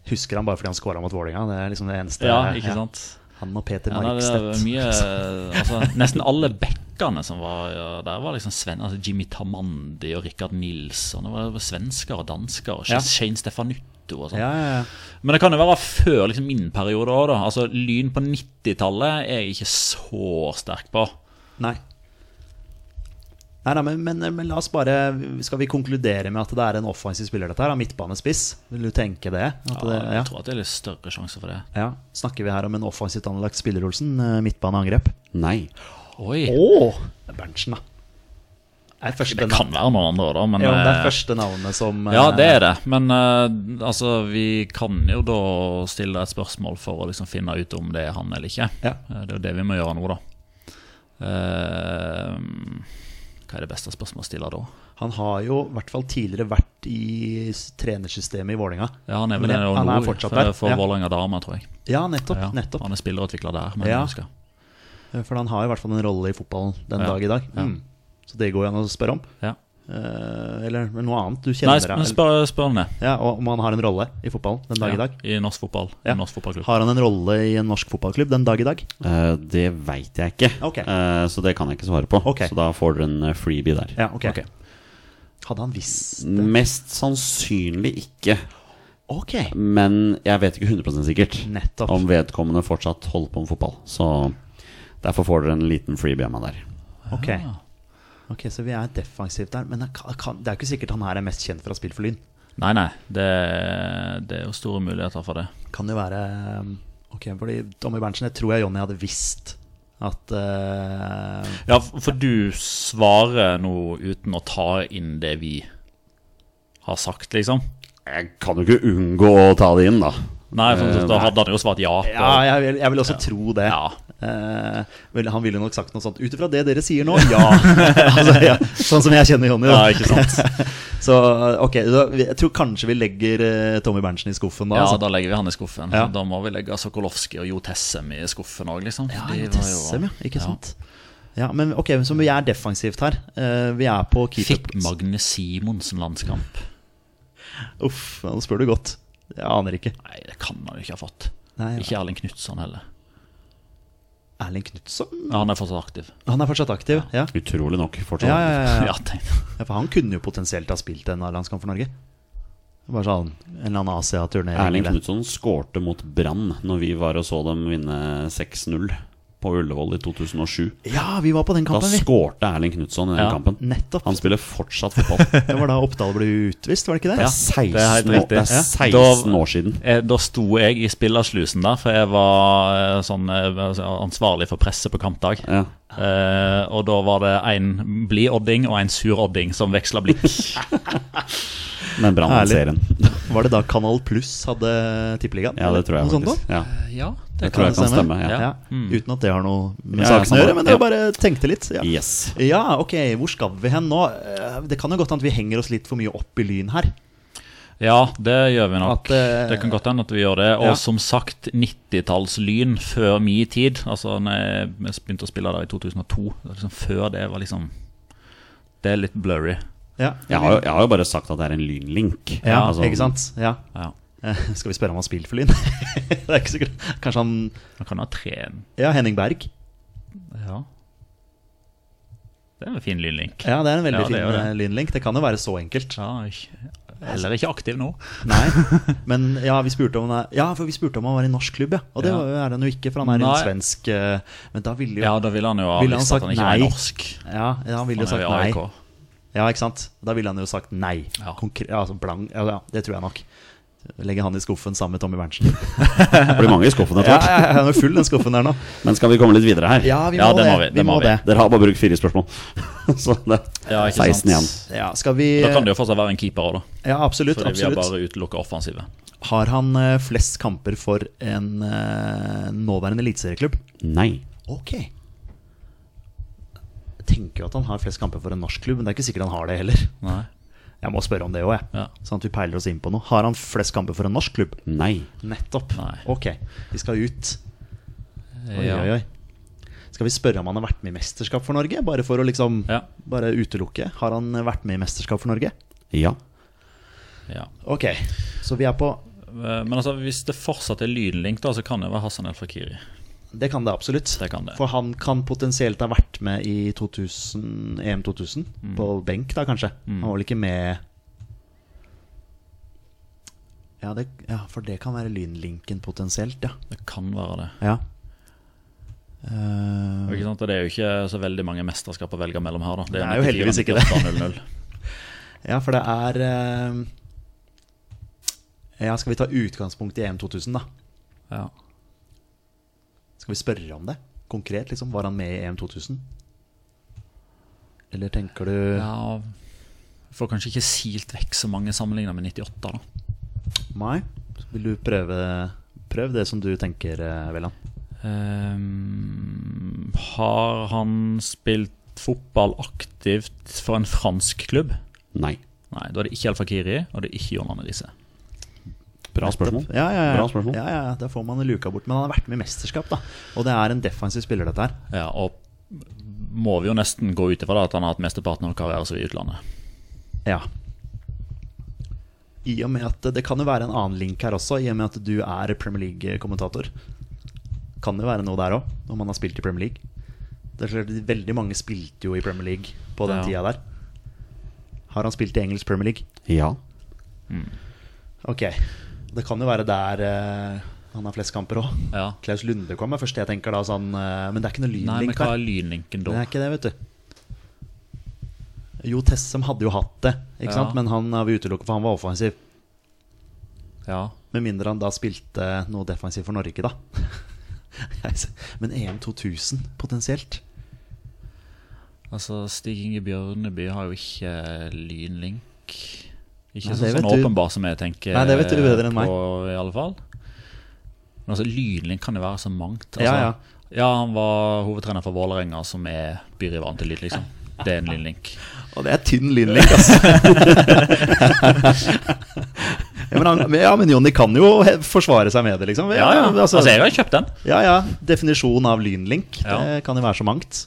S3: Husker han bare fordi han scora mot Vålerenga. Det er liksom det eneste.
S1: Ja, ikke sant?
S3: Han og Peter
S1: Ja, nei, det
S3: Markstedt.
S1: var mye, altså, nesten alle backene som var ja, der, var liksom sven, altså Jimmy Tamandi og Rikard Nilsson. Det var svensker og dansker. Og
S3: Ja.
S1: Shane Stefanutto og sånn.
S3: Ja, ja, ja.
S1: Men det kan jo være før liksom, min periode òg, da. Altså, lyn på 90-tallet er jeg ikke så sterk på.
S3: Nei. Nei, nei men, men, men la oss bare Skal vi konkludere med at det er en offensiv spiller, dette her? da? Midtbanespiss? Vil du tenke det? At
S1: Ja,
S3: det ja.
S1: Jeg tror at det er litt større sjanse for det.
S3: ja. Snakker vi her om en offensivt anlagt spiller, Olsen? Eh, Midtbaneangrep?
S2: Nei.
S1: Oi,
S3: Å! Det er Berntsen, da. Det er første
S1: Det kan
S3: navn-
S1: være noen andre, da, men
S3: Ja, men det
S1: eh,
S3: er første navnet som eh,
S1: Ja, det er det. Men eh, altså, vi kan jo da stille et spørsmål for å liksom finne ut om det er han eller ikke.
S3: Ja.
S1: Eh, Det er jo det vi må gjøre nå, da. Eh, hva er det beste spørsmålet å stille da?
S3: Han har jo i hvert fall tidligere vært i s- trenersystemet i Vålinga.
S1: Ja, han er vel
S3: Men
S1: en
S3: ja, han er
S1: nord
S3: fortsatt
S1: for,
S3: der,
S1: for
S3: ja.
S1: Vålerenga Dame, tror jeg.
S3: Ja, nettopp.
S1: Ja,
S3: nettopp
S1: Han er spillerutvikler der. Men
S3: Ja.
S1: jeg husker.
S3: For han har i hvert fall en rolle i fotballen den
S1: Ja,
S3: dag i dag. Mm. Så det går jo an å spørre om.
S1: Ja.
S3: Eh, eller men noe annet du
S1: Nei,
S3: kjenner
S1: sp-
S3: deg-
S1: men spør, spør han det.
S3: Ja, og om han har en rolle i fotballen den dag i dag.
S1: Ja, I norsk fotball.
S3: Ja.
S1: Norsk fotballklubb.
S3: Har han en rolle i en norsk fotballklubb den dag i dag?
S2: Eh, det veit jeg ikke,
S3: Ok.
S2: Eh, så det kan jeg ikke svare på.
S3: Ok.
S2: Så da får dere en eh, freebie der.
S3: Ja, ok. Hadde han visst
S1: Mm.
S2: Mest sannsynlig ikke,
S3: Ok,
S2: men jeg vet ikke 100 sikkert
S3: nettopp.
S2: om vedkommende fortsatt holder på med fotball. Så derfor får dere en liten freebie av meg der.
S3: Ok,
S1: Ah.
S3: Ok, Så vi er defensivt der. Men han kan, kan, det er ikke sikkert han her er mest kjent for å ha spilt for Lyn.
S1: Nei, nei. Det, det er jo store muligheter for det.
S3: Kan jo være um, Ok, fordi Tommy Berntsen, jeg tror jeg Jonny hadde visst at eh,
S1: Ja, f- for du svarer nå uten å ta inn det vi har sagt, liksom?
S2: Jeg kan jo ikke unngå å ta det inn, da.
S1: Nei, for
S2: Eh,
S1: da hadde han jo svart ja. På.
S3: Ja, jeg vil, jeg vil også tro det.
S1: Ja.
S3: Eh, vel, han ville nok sagt noe sånt ut ifra det dere sier nå, ja. altså, ja. Sånn som jeg kjenner Jonny. da.
S1: Ja, ikke sant?
S3: Så ok, da, jeg tror kanskje vi legger eh, Tommy Berntsen i skuffen da.
S1: Ja,
S3: altså.
S1: da legger vi han i skuffen.
S3: Ja.
S1: Da må vi legge Sokolowski og Jo Tessem i skuffen òg, liksom.
S3: ja,
S1: De var jo-
S3: Tessem, ja. Ikke sant. Ja, men ok, så vi er defensivt her. Eh, vi er på
S1: Fikk
S3: keeper...
S1: Magne Simonsen landskamp?
S3: Uff, nå spør du godt. Jeg aner ikke.
S1: Nei, det kan han jo ikke ha fått.
S3: Nei,
S1: Ikke Erling Knutson heller.
S3: Erling Knutson?
S1: Ja, Han er fortsatt aktiv.
S3: Han er fortsatt aktiv, ja.
S2: Utrolig nok fortsatt.
S3: Ja, ja, ja, ja.
S1: Ja, tenk.
S3: Ja, for han kunne jo potensielt ha spilt en A-landskamp for Norge. Bare sånn en eller annen Asia-turnering.
S2: Erling
S3: eller-
S2: Knutson skårte mot Brann når vi var og så dem vinne 6-0 på Ullevål i 2007.
S3: Ja, vi var på den
S2: Da
S3: kampen, vi.
S2: skårte Erling Knutson i den
S1: Ja.
S2: kampen.
S3: Nettopp.
S2: Han spiller fortsatt fotball.
S3: Det var da Oppdal ble utvist, var det ikke det?
S2: Det er
S1: det er helt
S2: 16, år,
S1: riktig.
S2: det er
S1: Ja.
S2: 16
S1: Da-
S2: år siden.
S1: Eh, Da sto jeg i spillerslusen der, for jeg var eh, sånn eh, ansvarlig for presset på kampdag.
S2: Ja.
S1: Eh, og da var det en blid-odding og en sur-odding som veksla blikk.
S2: Men Brann vant
S3: Herlig.
S2: serien.
S3: Var det da Kanal Pluss hadde tippeligaen?
S2: Ja, det tror jeg
S3: Noe sånt da?
S2: faktisk. Ja.
S1: ja,
S2: Det tror jeg kan stemme. ja.
S3: Ja. Uten at det har noe med
S2: Ja, ja,
S3: saken å gjøre,
S2: samme.
S3: men det
S2: Ja.
S3: var bare tenkte litt. Ja.
S2: Yes.
S3: ja, ok, hvor skal vi hen nå? Eh, Det kan jo godt hende at vi henger oss litt for mye opp i lyn her.
S1: Ja, det gjør vi nok.
S3: At, eh,
S1: det kan godt hende at vi gjør det. Og
S3: ja.
S1: som sagt, 90-tallslyn før min tid. Altså når jeg begynte å spille der i 2002. det er Liksom før det var liksom Det er litt blurry.
S3: Ja,
S2: Jeg har, jo, jeg har jo bare sagt at det er en lynlink.
S3: ja
S2: Altså,
S3: ikke sant? Ja.
S1: Ja.
S3: Eh, Skal vi spørre om han har spilt for lyn? det er ikke sikkert. Kanskje han
S1: Man kan ha tre
S3: Ja, Henning Berg.
S1: Ja. Det er en fin lynlink.
S3: Ja, det er en veldig
S1: Ja, det
S3: fin
S1: er jo det.
S3: eh, lynlink. Det kan jo være så enkelt.
S1: Ja, ikke, heller ikke aktiv nå.
S3: Nei, men ja, vi spurte om han er, Ja, for vi spurte om han var i norsk klubb, ja. Og det
S1: Ja.
S3: var- er han jo ikke, for han er i en
S1: Nei.
S3: svensk eh, Men da ville jo
S1: Ja, da ville han jo ha
S3: Ville han
S1: visst at
S3: sagt
S1: han ikke var
S3: nei?
S1: norsk.
S3: Ja, ja, han ville jo
S1: Han er
S3: sagt
S1: jo
S3: nei.
S1: AIK.
S3: Ja, ikke sant? Da ville han jo sagt nei.
S1: Ja.
S3: Konkre ja, altså blank, ja, ja, det tror jeg nok. Legge han i skuffen sammen med Tommy Berntsen.
S2: Det blir mange i skuffen etter
S3: Ja,
S2: hvert.
S3: ja, ja, han er full, den skuffen der nå.
S2: Men skal vi komme litt videre her?
S3: Ja, vi må
S1: Ja, det
S3: det.
S1: må vi, det må vi.
S2: Dere har bare brukt fire spørsmål. Så det
S1: Ja,
S2: er
S1: ikke sant.
S2: 16 igjen.
S3: Ja, skal vi
S1: Da kan det jo fortsatt være en keeper òg, da.
S3: Ja, absolutt.
S1: Fordi vi har
S3: absolutt.
S1: bare utelukka offensive.
S3: Har han eh, flest kamper for en eh, nåværende eliteserieklubb?
S2: Nei.
S3: Ok. Jeg tenker jo at han har flest kamper for en norsk klubb, men det er ikke sikkert han har det heller.
S1: Nei.
S3: Jeg må spørre om det òg, jeg.
S1: Ja.
S3: Sånn at vi peiler oss inn på noe. Har han flest kamper for en norsk klubb?
S2: Nei.
S3: Nettopp.
S1: Nei.
S3: Ok, vi skal ut. Oi,
S1: Eh, Ja.
S3: oi, oi. Skal vi spørre om han har vært med i mesterskap for Norge? Bare for å liksom
S1: Ja.
S3: Bare utelukke. Har han eh, vært med i mesterskap for Norge?
S2: Ja.
S1: Ja.
S3: Ok, så vi er på
S1: Eh, Men altså, hvis det fortsatt er lynlink, da, så kan det være Hassan El Fakiri.
S3: Det kan det absolutt.
S1: Det kan det.
S3: For han kan potensielt ha vært med i E 2000, EM 2000.
S1: Mm.
S3: På benk, da kanskje. Han var vel ikke med ja, det, ja, for det kan være lynlinken potensielt, ja.
S1: Det kan være det.
S3: ja. Eh,
S1: Og Ikke sant? Og Det er jo ikke så veldig mange mesterskap å velge mellom her. da
S3: Det er jo heldigvis ikke det.
S1: 94, 98, 00.
S3: ja, for det er eh, Ja, skal vi ta utgangspunkt i E EM 2000, da?
S1: Ja.
S3: Skal vi spørre om det? Konkret, liksom. Var han med i EM 2000? Eller tenker du
S1: ja Får kanskje ikke silt vekk så mange sammenligna med 98, da.
S3: Nei. Så vil du prøve Prøv det som du tenker, eh, Velland.
S1: Ehm, har han spilt fotball aktivt for en fransk klubb?
S2: Nei.
S1: Nei, da er det ikke El Fakiri, og det er ikke John Arne Riise.
S2: Bra spørsmål.
S3: Ja, ja, ja.
S2: Bra spørsmål.
S3: ja, ja, ja. Da får man luka bort. Men han har vært med i mesterskap, da. Og det er en defensiv spiller, dette her.
S1: Ja, og må vi jo nesten gå ut ifra da at han har hatt mesteparten av karrieren sin i utlandet.
S3: Ja. I og med at Det kan jo være en annen link her også, i og med at du er Premier League-kommentator. Kan det være noe der òg, om han har spilt i Premier League? Det er klart, Veldig mange spilte jo i Premier League på den
S1: Ja.
S3: tida der. Har han spilt i engelsk Premier League?
S2: Ja.
S3: Ok. Det kan jo være der eh, han har flest kamper òg.
S1: Ja.
S3: Klaus Lunde kom er først jeg tenker da sånn eh, Men det er ikke noe
S1: Nei, men
S3: lynlink
S1: hva
S3: her.
S1: er lynlinken
S3: Det
S1: da?
S3: er ikke det, vet du. Jo Tessem hadde jo hatt det, ikke
S1: Ja.
S3: sant? men han har vi utelukket, for han var offensiv.
S1: Ja.
S3: Med mindre han da spilte noe defensivt for Norge, da. men EM 2000, potensielt?
S1: Altså, Stig Inge Bjørneby har jo ikke lynlink. Ikke
S3: Nei,
S1: så,
S3: det
S1: sånn
S3: vet du.
S1: åpenbar som jeg tenker
S3: Nei, det vet du bedre enn meg.
S1: på, i alle fall. Men altså, lynlink kan jo være så mangt. Altså,
S3: Ja,
S1: ja, han var hovedtrener for Vålerenga, som er byrivaren til Lyd, liksom. Det er en lynlink.
S3: Og det er tynn lynlink, altså. ja, men han, ja, men Jonny kan jo he- forsvare seg med det, liksom.
S1: Ja, ja.
S3: altså-
S1: Altså, jeg har kjøpt den.
S3: Ja, ja. Definisjon av lynlink.
S1: Ja.
S3: Det kan jo være så mangt.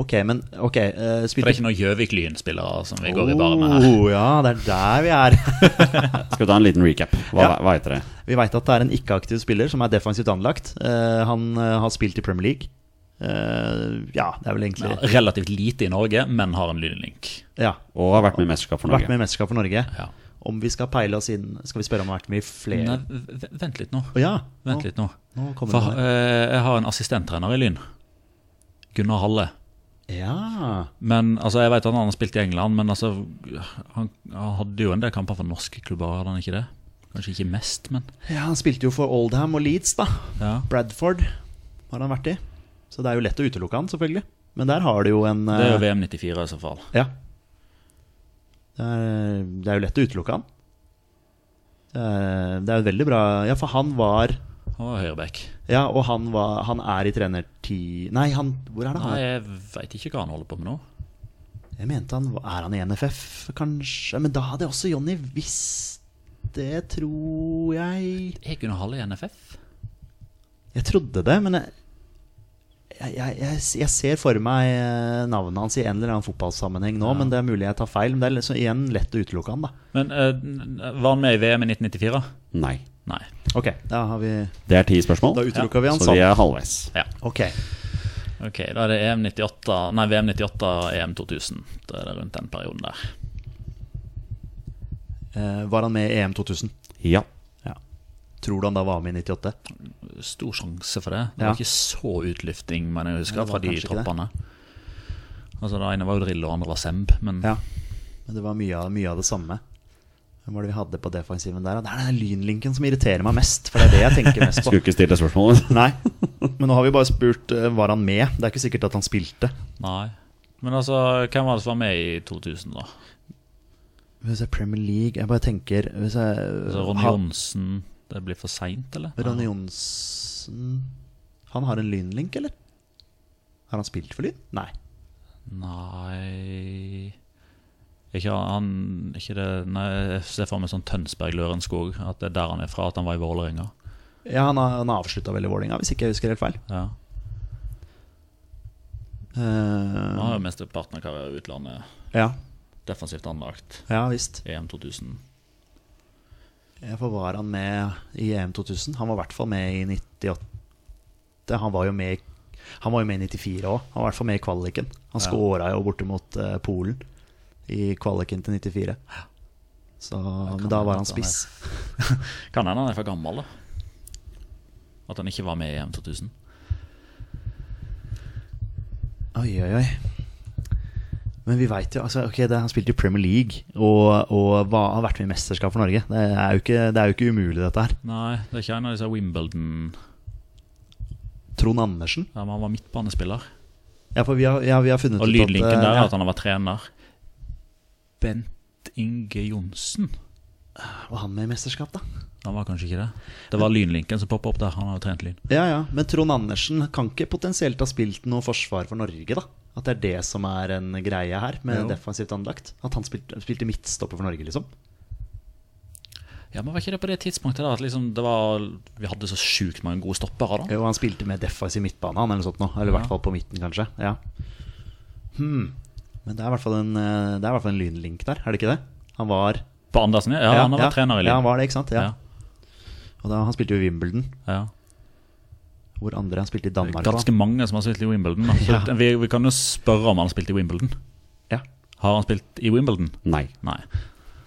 S3: Ok, men ok eh,
S1: For det
S3: spilte
S1: er ikke noen Gjøvik-Lyn-spillere som vi går i bare med her.
S3: Oh, ja, det er der vi er.
S2: Skal vi ta en liten recap? Hva,
S3: Ja.
S2: hva heter det?
S3: Vi veit at det er en ikke-aktiv spiller som er defensivt anlagt. Eh, han eh, har spilt i Premier League. Eh, ja, det er vel egentlig
S1: Ja,
S3: ja.
S1: relativt lite i Norge, men har en lynlink.
S2: Og har vært med i mesterskap for
S3: Vært
S2: Norge.
S3: med i mesterskap for Norge.
S1: Ja.
S3: Om vi skal peile oss inn Skal vi spørre om det har vært med i flere
S1: Nei, v- v- vent litt nå.
S3: Å ja.
S1: Vent litt nå.
S3: Nå kommer
S1: For,
S3: det.
S1: eh, jeg har en assistenttrener i Lyn. Gunnar Halle.
S3: Ja.
S1: Men altså, Jeg vet at han har spilt i England, men altså, han, han hadde jo en del kamper for norske klubber, hadde han ikke det? Kanskje ikke mest, men
S3: ja, han spilte jo for Oldham og Leeds, da.
S1: ja.
S3: Bradford har han vært i. Så det er jo lett å utelukke han, selvfølgelig. Men der har du jo en
S1: Det er jo
S3: eh,
S1: VM 94 i så fall.
S3: Ja. Det er, det er jo lett å utelukke han. Det er, det er jo veldig bra Ja, for han var
S1: Han Han var høyreback.
S3: Ja, og han, var, han er i trenerti... Nei, han, hvor er det
S1: Nei,
S3: han?
S1: jeg veit ikke hva han holder på med nå.
S3: Jeg mente han Er han i NFF, kanskje? Men da hadde også Jonny visst det, tror jeg.
S1: Jeg kunne halve i NFF.
S3: Jeg trodde det, men jeg, jeg, jeg, jeg, jeg ser for meg eh, navnet hans i en eller annen fotballsammenheng nå, men det er mulig jeg tar feil. Men det er liksom, igjen lett å utelukke han, da.
S1: Men eh, var han med i VM i 1994?
S2: Nei.
S1: Nei.
S3: Ok, da har vi
S2: Det er ti spørsmål,
S3: Da utelukka vi han
S2: så vi
S3: sånn.
S2: er halvveis.
S3: Ok.
S1: Ok, Da er det EM 98, nei, VM 98 EM 2000. Da er det rundt den perioden der.
S3: Eh, var han med i EM 2000?
S2: Ja.
S3: Tror du han da var med i 98?
S1: Stor sjanse for det. Det
S3: Ja.
S1: var ikke så utlufting, men jeg
S3: Nei,
S1: husker
S3: det var
S1: fra de
S3: kanskje ikke det.
S1: troppene. Altså, Det ene var jo Drillo, det andre var Semb. Men
S3: Ja. Men det var mye, av- mye av det samme. Hvem var det vi hadde på defensiven der? da? Det er den lynlinken som irriterer meg mest. For det er det jeg tenker mest på.
S2: Skulle ikke stille spørsmålet.
S3: Nei, Men nå har vi bare spurt eh, var han med. Det er ikke sikkert at han spilte.
S1: nei. Men altså, hvem var det som var med i 2000, da?
S3: Hvis jeg Premier League Jeg bare tenker hvis jeg,
S1: Altså, Ronny
S3: ha-
S1: Johnsen Det blir for seint, eller?
S3: Ronny Johnsen Han har en lynlink, eller? Har han spilt for Lyn? Nei.
S1: Nei Ikke han Ikke det Nei, jeg ser for meg sånn Tønsberg-Lørenskog. At det er der han er fra, at han var i Vålerenga.
S3: Ja, Han har, han har avslutta vel i Vålerenga, hvis ikke jeg husker helt feil.
S1: Ja. Han
S3: Eh,
S1: har jo mesteparten av karrieren i utlandet.
S3: ja,
S1: Defensivt anlagt. E
S3: ja visst.
S1: EM 2000.
S3: Ja, For var han med i EM 2000? Han var i hvert fall med i 98. Han var jo med, i- han var jo med i 94 òg. Han var i hvert fall med i kvaliken. Han skåra jo borte mot eh, Polen i kvaliken til 94. Så, men da
S1: hende
S3: var han
S1: at han er-
S3: spiss.
S1: Kan hende han er for gammel, da. At han ikke var med i E EM 2000.
S3: Oi, oi, oi. Men vi veit jo altså, ok, det, Han spilte i Premier League og, og var, har vært med i mesterskap for Norge. Det er jo ikke, det er jo ikke umulig, dette her.
S1: Nei, det er ikke en av disse Wimbledon
S3: Trond Andersen.
S1: Ja, men Han var midtbanespiller.
S3: Ja, for vi har, ja, vi har funnet
S1: Og
S3: ut at,
S1: lydlinken
S3: eh,
S1: der altså.
S3: ja.
S1: er at han har vært trener. Bent Inge Johnsen.
S3: Var han med i mesterskap, da?
S1: Han var kanskje ikke det. Det var lynlinken som poppa opp der. Han har jo trent lyn.
S3: Ja, ja, men Trond Andersen kan ikke potensielt ha spilt noe forsvar for Norge, da? At det er det som er en greie her, med
S1: Jo.
S3: defensivt anlagt? At han spilte, spilte midtstopper for Norge, liksom?
S1: Ja, men Var ikke det på det tidspunktet da at liksom det var Vi hadde så sjukt mange gode stoppere da?
S3: Jo, han spilte med defensiv midtbane, han, eller noe sånt nå. Eller i
S1: Ja.
S3: hvert fall på midten, kanskje. Ja. Hmm. Men det er i hvert fall en, eh, det er i hvert fall en lynlink der, er det ikke det? Han var
S1: På Andersen, ja. ja han har vært trener i
S3: Ja, han
S1: lyn.
S3: var det, ikke sant? Ja.
S1: Ja.
S3: Og da, han spilte jo i Wimbledon.
S1: Ja.
S3: Hvor andre han spilte i
S1: Det
S3: Danmark.
S1: er
S3: da.
S1: Ganske mange som har spilt i Wimbledon. Da. Så
S3: Ja.
S1: vi, vi kan jo spørre om han har spilt i Wimbledon.
S3: Ja.
S1: Har han spilt i Wimbledon?
S2: Nei.
S1: Nei.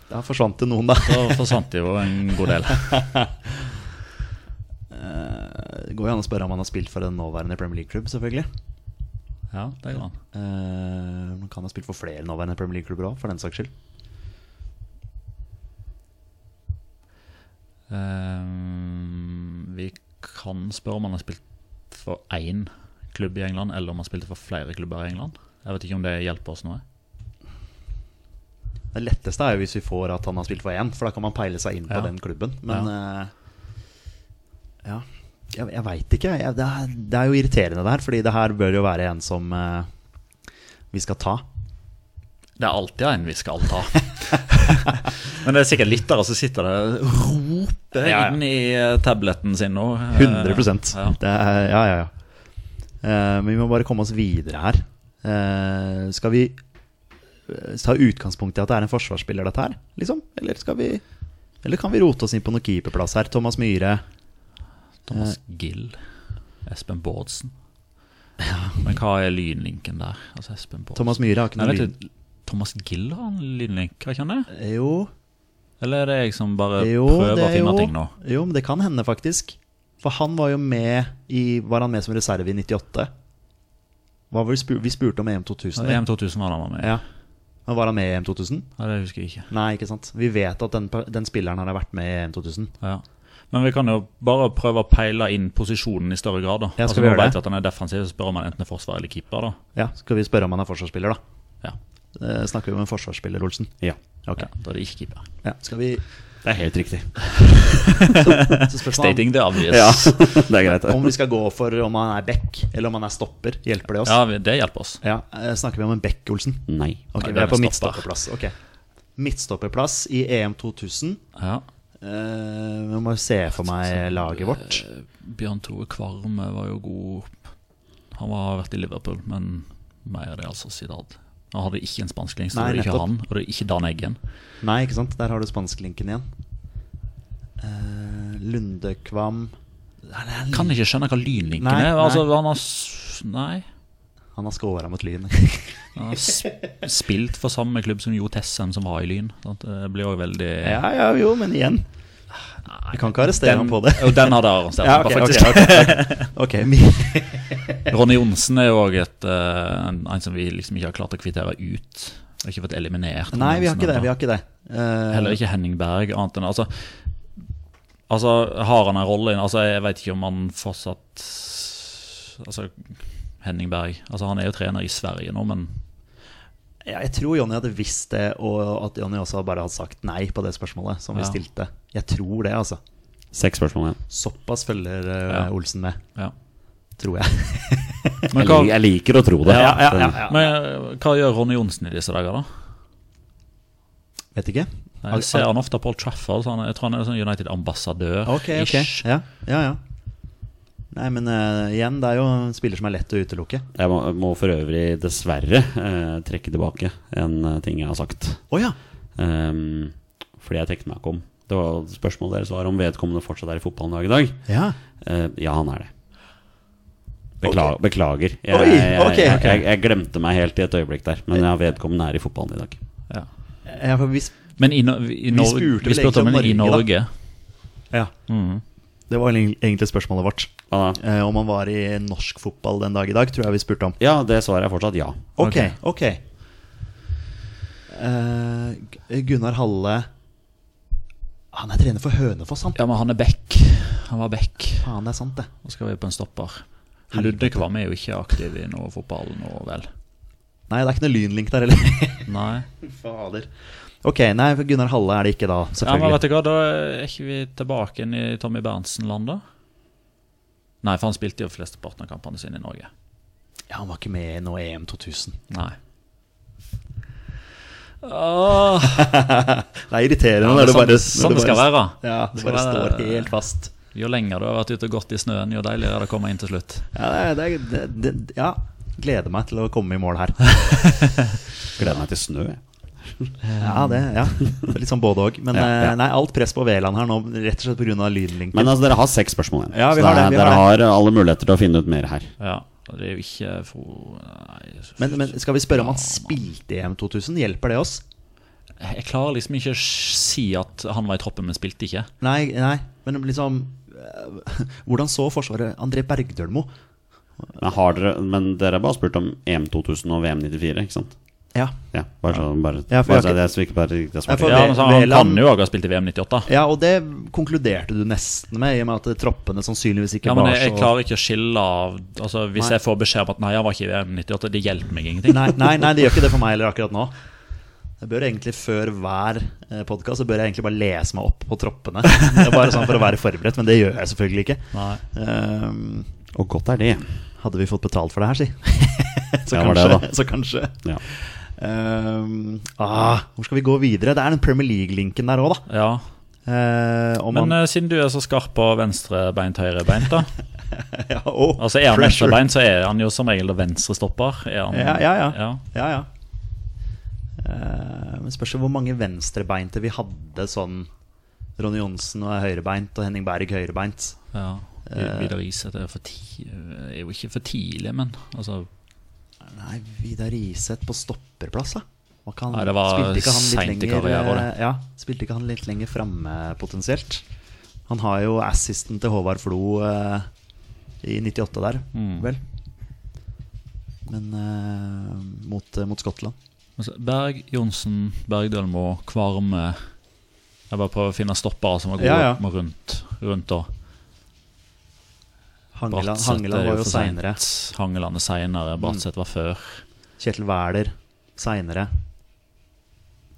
S3: Da forsvant det noen, da.
S1: Da forsvant det jo en god del.
S3: Det går jo an å spørre om han har spilt for en nåværende Premier League-klubb, selvfølgelig.
S1: Ja, det går an.
S3: Eh, Man kan ha spilt for flere nåværende Premier League-klubber òg, for den saks skyld.
S1: Ehm, vi kan spørre om han har spilt for én klubb i England, eller om han spilte for flere klubber i England. Jeg vet ikke om det hjelper oss noe.
S3: Det letteste er jo hvis vi får at han har spilt for én, for da kan man peile seg inn på
S1: Ja.
S3: den klubben. Men eh, ja, jeg, jeg veit ikke. Jeg, det, er, det er jo irriterende det her, fordi det her bør jo være en som eh, vi skal ta.
S1: Det er alltid en vi skal ta. Men det er sikkert lyttere som sitter der og roper
S3: Ja, ja.
S1: inn i eh, tableten sin nå. Eh,
S3: 100
S1: ja.
S3: Det er, Ja, ja, ja. Eh, men vi må bare komme oss videre her. Eh, skal vi eh, ta utgangspunkt i at det er en forsvarsspiller, dette her? Liksom? Eller, skal vi, eller kan vi rote oss inn på noen keeperplass her? Thomas Myhre.
S1: Eh, Thomas Gill. Espen Bårdsen. Men hva er lynlinken der? Altså Espen Bårdsen
S3: Thomas Myhre har ikke
S1: Nei,
S3: noe
S1: vet
S3: lyd.
S1: du, Thomas Gill har en lynlink, har ikke han det?
S3: Jo,
S1: Eller er det jeg som bare
S3: jo,
S1: prøver å
S3: det,
S1: finne
S3: jo,
S1: ting nå?
S3: jo, men det kan hende, faktisk. For han var jo med i Var han med som reserve i 98? Var vi, spur, vi spurte om EM 2000. vi.
S1: EM 2000 var det han var med. i.
S3: Ja. Men var han med i EM 2000?
S1: Ja, det husker jeg ikke.
S3: Nei, ikke sant. Vi vet at den, den spilleren har vært med i EM 2000.
S1: Ja. Men vi kan jo bare prøve å peile inn posisjonen i større grad. da
S3: Ja, skal
S1: altså,
S3: vi
S1: Nå
S3: gjøre det?
S1: vet vi at han er defensiv, så spør om han enten er forsvarer eller keeper. da
S3: Ja, Skal vi spørre om han er forsvarsspiller, da?
S1: Ja,
S3: Eh, snakker vi om en forsvarsspiller, Olsen?
S2: Ja.
S3: Ok.
S1: ja Da er det ikke keeper.
S3: Ja. Skal vi
S2: Det er helt riktig.
S3: Så spørs man
S1: Stating the obvious.
S2: Ja, det er greit.
S3: om
S2: det.
S3: vi skal gå for om han er back eller om han er stopper. Hjelper det oss?
S1: Ja, vi- det hjelper oss.
S3: Ja, eh, Snakker vi om en back, Olsen?
S2: Nei.
S3: Ok,
S1: Nei,
S3: Vi
S1: det
S3: er på
S1: er en stopper.
S3: midtstopperplass. Ok Midtstopperplass i EM 2000.
S1: Ja.
S3: Eh, Jeg må se for meg laget vårt.
S1: Bjørn Tore Kvarme var jo god Han har vært i Liverpool, men mer det, altså, Zidad. Han hadde ikke en spanskling, så
S3: Nei,
S1: det er ikke
S3: nettopp.
S1: han, og det er ikke Dan Eggen.
S3: Nei, ikke sant? Der har du spansklinken igjen. Eh, Lundekvam Nei, det er
S1: Kan ikke skjønne hva lynlinken
S3: Nei,
S1: er.
S3: nei.
S1: Altså, han har s- Nei.
S3: Han har scora mot Lyn.
S1: Han har sp- spilt for samme klubb som Jo Tessem, som var i Lyn. sant? Det blir òg veldig
S3: ja, ja, jo, men igjen. Du kan ikke arrestere ham på det.
S1: Jo, den hadde jeg arrangert.
S3: Ja,
S1: meg
S3: ok,
S1: på,
S3: ok,
S1: faktisk.
S3: ok, ok.
S1: Ronny Johnsen er jo òg et, eh, en en som vi liksom ikke har klart å kvittere ut. Vi har ikke fått eliminert. Ronny
S3: Nei, vi har
S1: Johnsen
S3: ikke det.
S1: ennå.
S3: Vi har ikke det. Eh,
S1: Heller ikke Henning Berg, annet enn altså, altså, har han en rolle inn altså, Jeg vet ikke om han fortsatt Altså, Henning Berg altså, Han er jo trener i Sverige nå, men
S3: ja, jeg tror Jonny hadde visst det, og at Jonny også bare hadde sagt nei på det spørsmålet som vi
S1: Ja.
S3: stilte. Jeg tror det, altså.
S2: Seks spørsmål igjen.
S3: Såpass følger eh,
S1: Ja.
S3: Olsen med,
S1: ja.
S3: tror jeg.
S1: Men
S2: Jeg,
S1: hva,
S2: lik- jeg liker å tro det.
S3: Ja, ja, ja, ja.
S1: men eh, hva gjør Ronny Johnsen i disse dager, da?
S3: Vet ikke.
S1: Jeg ser han ofte på Old Trafford. Så han, jeg tror han er sånn United-ambassadør.
S3: Ok, ok.
S1: ish.
S3: Ja, ja. ja. Nei, men eh, igjen, det er jo en spiller som er lett å utelukke.
S2: Jeg må, må for øvrig dessverre eh, trekke tilbake en eh, ting jeg har sagt.
S3: Å ja!
S2: Ehm, fordi jeg tenkte meg ikke om. Det var spørsmålet deres var om vedkommende fortsatt er i fotballen dag i dag.
S3: ja.
S2: Eh, ja, han er det. Bekla Beklager. Jeg,
S3: Oi, ok,
S2: jeg,
S3: ok.
S2: jeg, jeg glemte meg helt i et øyeblikk der. Men ja, vedkommende er i fotballen i dag.
S1: Ja.
S3: Ja, for hvis,
S1: Men i, no, i Norge
S3: spurte
S1: Vi spurte,
S3: vel egentlig om
S1: om det i
S3: Norge, Mm.
S1: Norge.
S3: ja.
S1: Mhm.
S3: Det var egentlig egentlig spørsmålet vårt.
S2: Ja, da.
S3: Eh, om han var i norsk fotball den dag i dag, tror jeg vi spurte om.
S2: ja, det svaret er fortsatt ja.
S3: Ok, ok. Eh, G- Gunnar Halle Han er trener for Hønefoss, han.
S1: Ja, men han er back. Han var back.
S3: Faen, det er sant, det.
S1: Nå skal vi på en stopper. Luddekvam er jo ikke aktiv i noe fotball nå, vel?
S3: Nei, det er ikke noe lynlink der heller.
S1: Nei.
S3: Fader. Ok, nei, for Gunnar Halle er det ikke da,
S1: Ja, men
S3: selvfølgelig.
S1: vet du hva, da er ikke vi tilbake igjen i Tommy Berntsen-land, da? Nei, for han spilte jo flesteparten av kampene sine i Norge.
S3: Ja, han var ikke med i noe EM 2000.
S1: Nei. Åh,
S3: Det er irriterende
S1: Ja, men
S3: når det
S1: sånn-
S3: bare
S1: sånn
S3: når
S1: det skal
S3: bare-
S1: være. Sånn
S3: Ja, det
S1: Skal
S3: bare
S1: være-
S3: står helt fast.
S1: jo lenger du har vært ute og gått i snøen, jo deiligere er det å komme inn til slutt.
S3: Ja, det, er- det, er- det, det, ja. gleder meg til å komme i mål her.
S2: Gleder meg til snø. jeg.
S3: Ja, det, ja. Det er litt sånn både òg. Men
S2: Ja, ja.
S3: eh, nei, alt press på Veland her nå, rett og slett pga. lynlinken.
S2: Men altså, dere har seks spørsmål igjen.
S3: Ja, vi
S2: så
S3: har det, vi har
S2: dere har alle muligheter til å finne ut mer her.
S1: Ja, og det er jo ikke for... Nei,
S3: Men, men skal vi spørre om han
S1: Ja,
S3: spilte i EM 2000? Hjelper det oss?
S1: Jeg klarer liksom ikke å si at han var i troppen, men spilte ikke.
S3: Nei, nei. men liksom eh, Hvordan så Forsvaret André Bergdølmo?
S2: Men, har dere, men dere har bare spurt om EM 2000 og VM 94, ikke sant?
S3: Ja.
S2: Ja, bare sånn bare,
S3: Ja, for
S2: bare
S3: jeg har
S2: så det, så vi ikke bare riktig har
S3: Ja,
S2: svart.
S3: for-
S1: Ja, men så Han
S3: Veland-
S1: kan jo også ha spilt i VM 98.
S3: ja, og det konkluderte du nesten med, i og med at troppene sannsynligvis ikke
S1: Ja, men
S3: var
S1: jeg, jeg
S3: så
S1: klarer ikke å skille av altså, Hvis
S3: Nei.
S1: jeg får beskjed om at nei, han var ikke i VM 98, det hjelper meg ingenting.
S3: nei, nei, nei, det gjør ikke det for meg heller akkurat nå. Jeg bør egentlig Før hver podkast bør jeg egentlig bare lese meg opp på troppene. Det er Bare sånn For å være forberedt, men det gjør jeg selvfølgelig ikke.
S1: Nei.
S3: Ehm,
S2: Og godt er det.
S3: hadde vi fått betalt for det her, si. så,
S2: Ja, det var
S3: kanskje,
S2: det,
S3: så kanskje.
S2: Ja.
S3: Ehm, ah, hvor skal vi gå videre? Det er den Premier League-linken der òg, da.
S1: Ja.
S3: Eh, om
S1: Men
S3: han,
S1: eh, siden du er så skarp på venstrebeint, høyrebeint, da.
S2: eh,
S3: ja, oh,
S1: Altså Er han
S3: pressure.
S1: venstrebeint, så er han jo som regel det venstrestopper. Er han,
S3: Ja, ja. ja. ja, ja. Eh, men spørs jo hvor mange venstrebeinte vi hadde sånn Ronny Johnsen og er høyrebeint, og Henning Berg høyrebeint.
S1: ja.
S3: Eh.
S1: Vidar Iseth er, for ti- eh, er jo ikke for tidlig, men altså
S3: Nei, Vidar Riseth på stopperplass, da. Var ikke han-
S1: Nei, det var
S3: spilte ikke han litt
S1: sent i
S3: lenger,
S1: karrieren,
S3: eh, Ja, spilte ikke han litt lenger framme, potensielt? Han har jo assisten til Håvard Flo eh, i 98 der, vel? Men eh, mot, mot Skottland.
S1: altså, Berg, Johnsen, Bergdølmo, Kvarme Jeg bare prøver å finne stoppere som er gode
S3: Ja, ja.
S1: med rundt, rundt da.
S3: Hangeland,
S1: Bratseth
S3: Hangeland
S1: er
S3: var jo Mm.
S1: for
S3: seinere.
S1: sent. Hangeland er seinere, Bratseth var før.
S3: Kjetil Wæler seinere.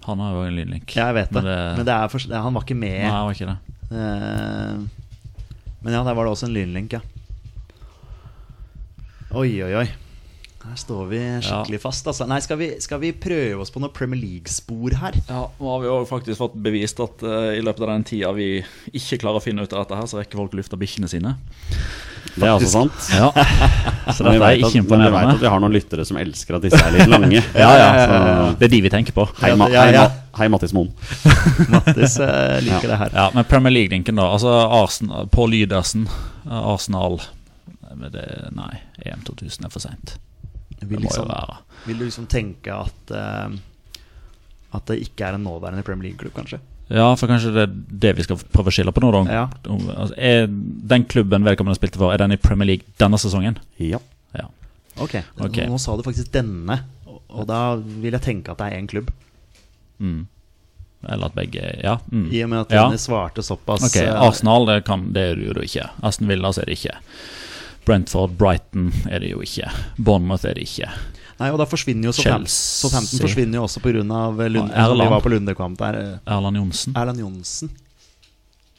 S1: Han har jo en lynlink.
S3: Jeg vet det,
S1: Men det-
S3: men det er for, det- han var ikke med.
S1: Nei, han var ikke det.
S3: Eh, Men ja, der var det også en lynlink, ja. Oi, oi, oi. Her står vi skikkelig fast. Altså. Nei, skal vi, skal vi prøve oss på noe Premier League-spor her?
S1: Ja, Nå har vi jo faktisk fått bevist at eh, i løpet av den tida vi ikke klarer å finne ut av dette, her, så rekker folk lufta bikkjene sine.
S2: Det er også altså sant.
S1: Ja, Så
S2: men
S1: dette er ikke
S2: vi vet
S1: imponerende.
S2: at vi har noen lyttere som elsker at disse er litt lange. ja, Så,
S1: Det er de vi tenker på.
S2: hei, Ma
S3: Ja, ja,
S2: hei,
S3: ja.
S2: Ma hei, Mattis Moen.
S3: Mattis eh, liker det her.
S1: Ja, Men Premier League-linken, da. Altså Arsenal, Paul Lydersen, Arsenal Men det, Nei, EM 2000 er for seint.
S3: Vil,
S1: Det må jo
S3: liksom,
S1: være
S3: vil du liksom tenke at eh, At det ikke er en nåværende Premier League-klubb, kanskje?
S1: Ja, for kanskje det er det vi skal prøve å skille på nå, da.
S3: Ja.
S1: Om- Altså, er den klubben vedkommende spilte for, er den i Premier League denne sesongen?
S2: Ja.
S1: Ja.
S3: Ok,
S1: Ok.
S3: Nå, nå sa du faktisk denne, og, og da vil jeg tenke at det er én klubb.
S1: Mm. Eller at begge Ja. Mm.
S3: I og med at
S1: Ja.
S3: denne svarte såpass
S1: Ok,
S3: eh,
S1: Arsenal det, kan, det er det jo da ikke. Aston Villa så er det ikke. Brentford, Brighton er det jo ikke. Bournemouth er det ikke.
S3: Nei, og da forsvinner jo Southampton.
S1: Chelsea.
S3: Southampton forsvinner jo også pga. eh, Lund...
S1: Og Erland.
S3: Vi var på Lundekamp der. eh,
S1: Erland Johnsen.
S3: Erland Johnsen.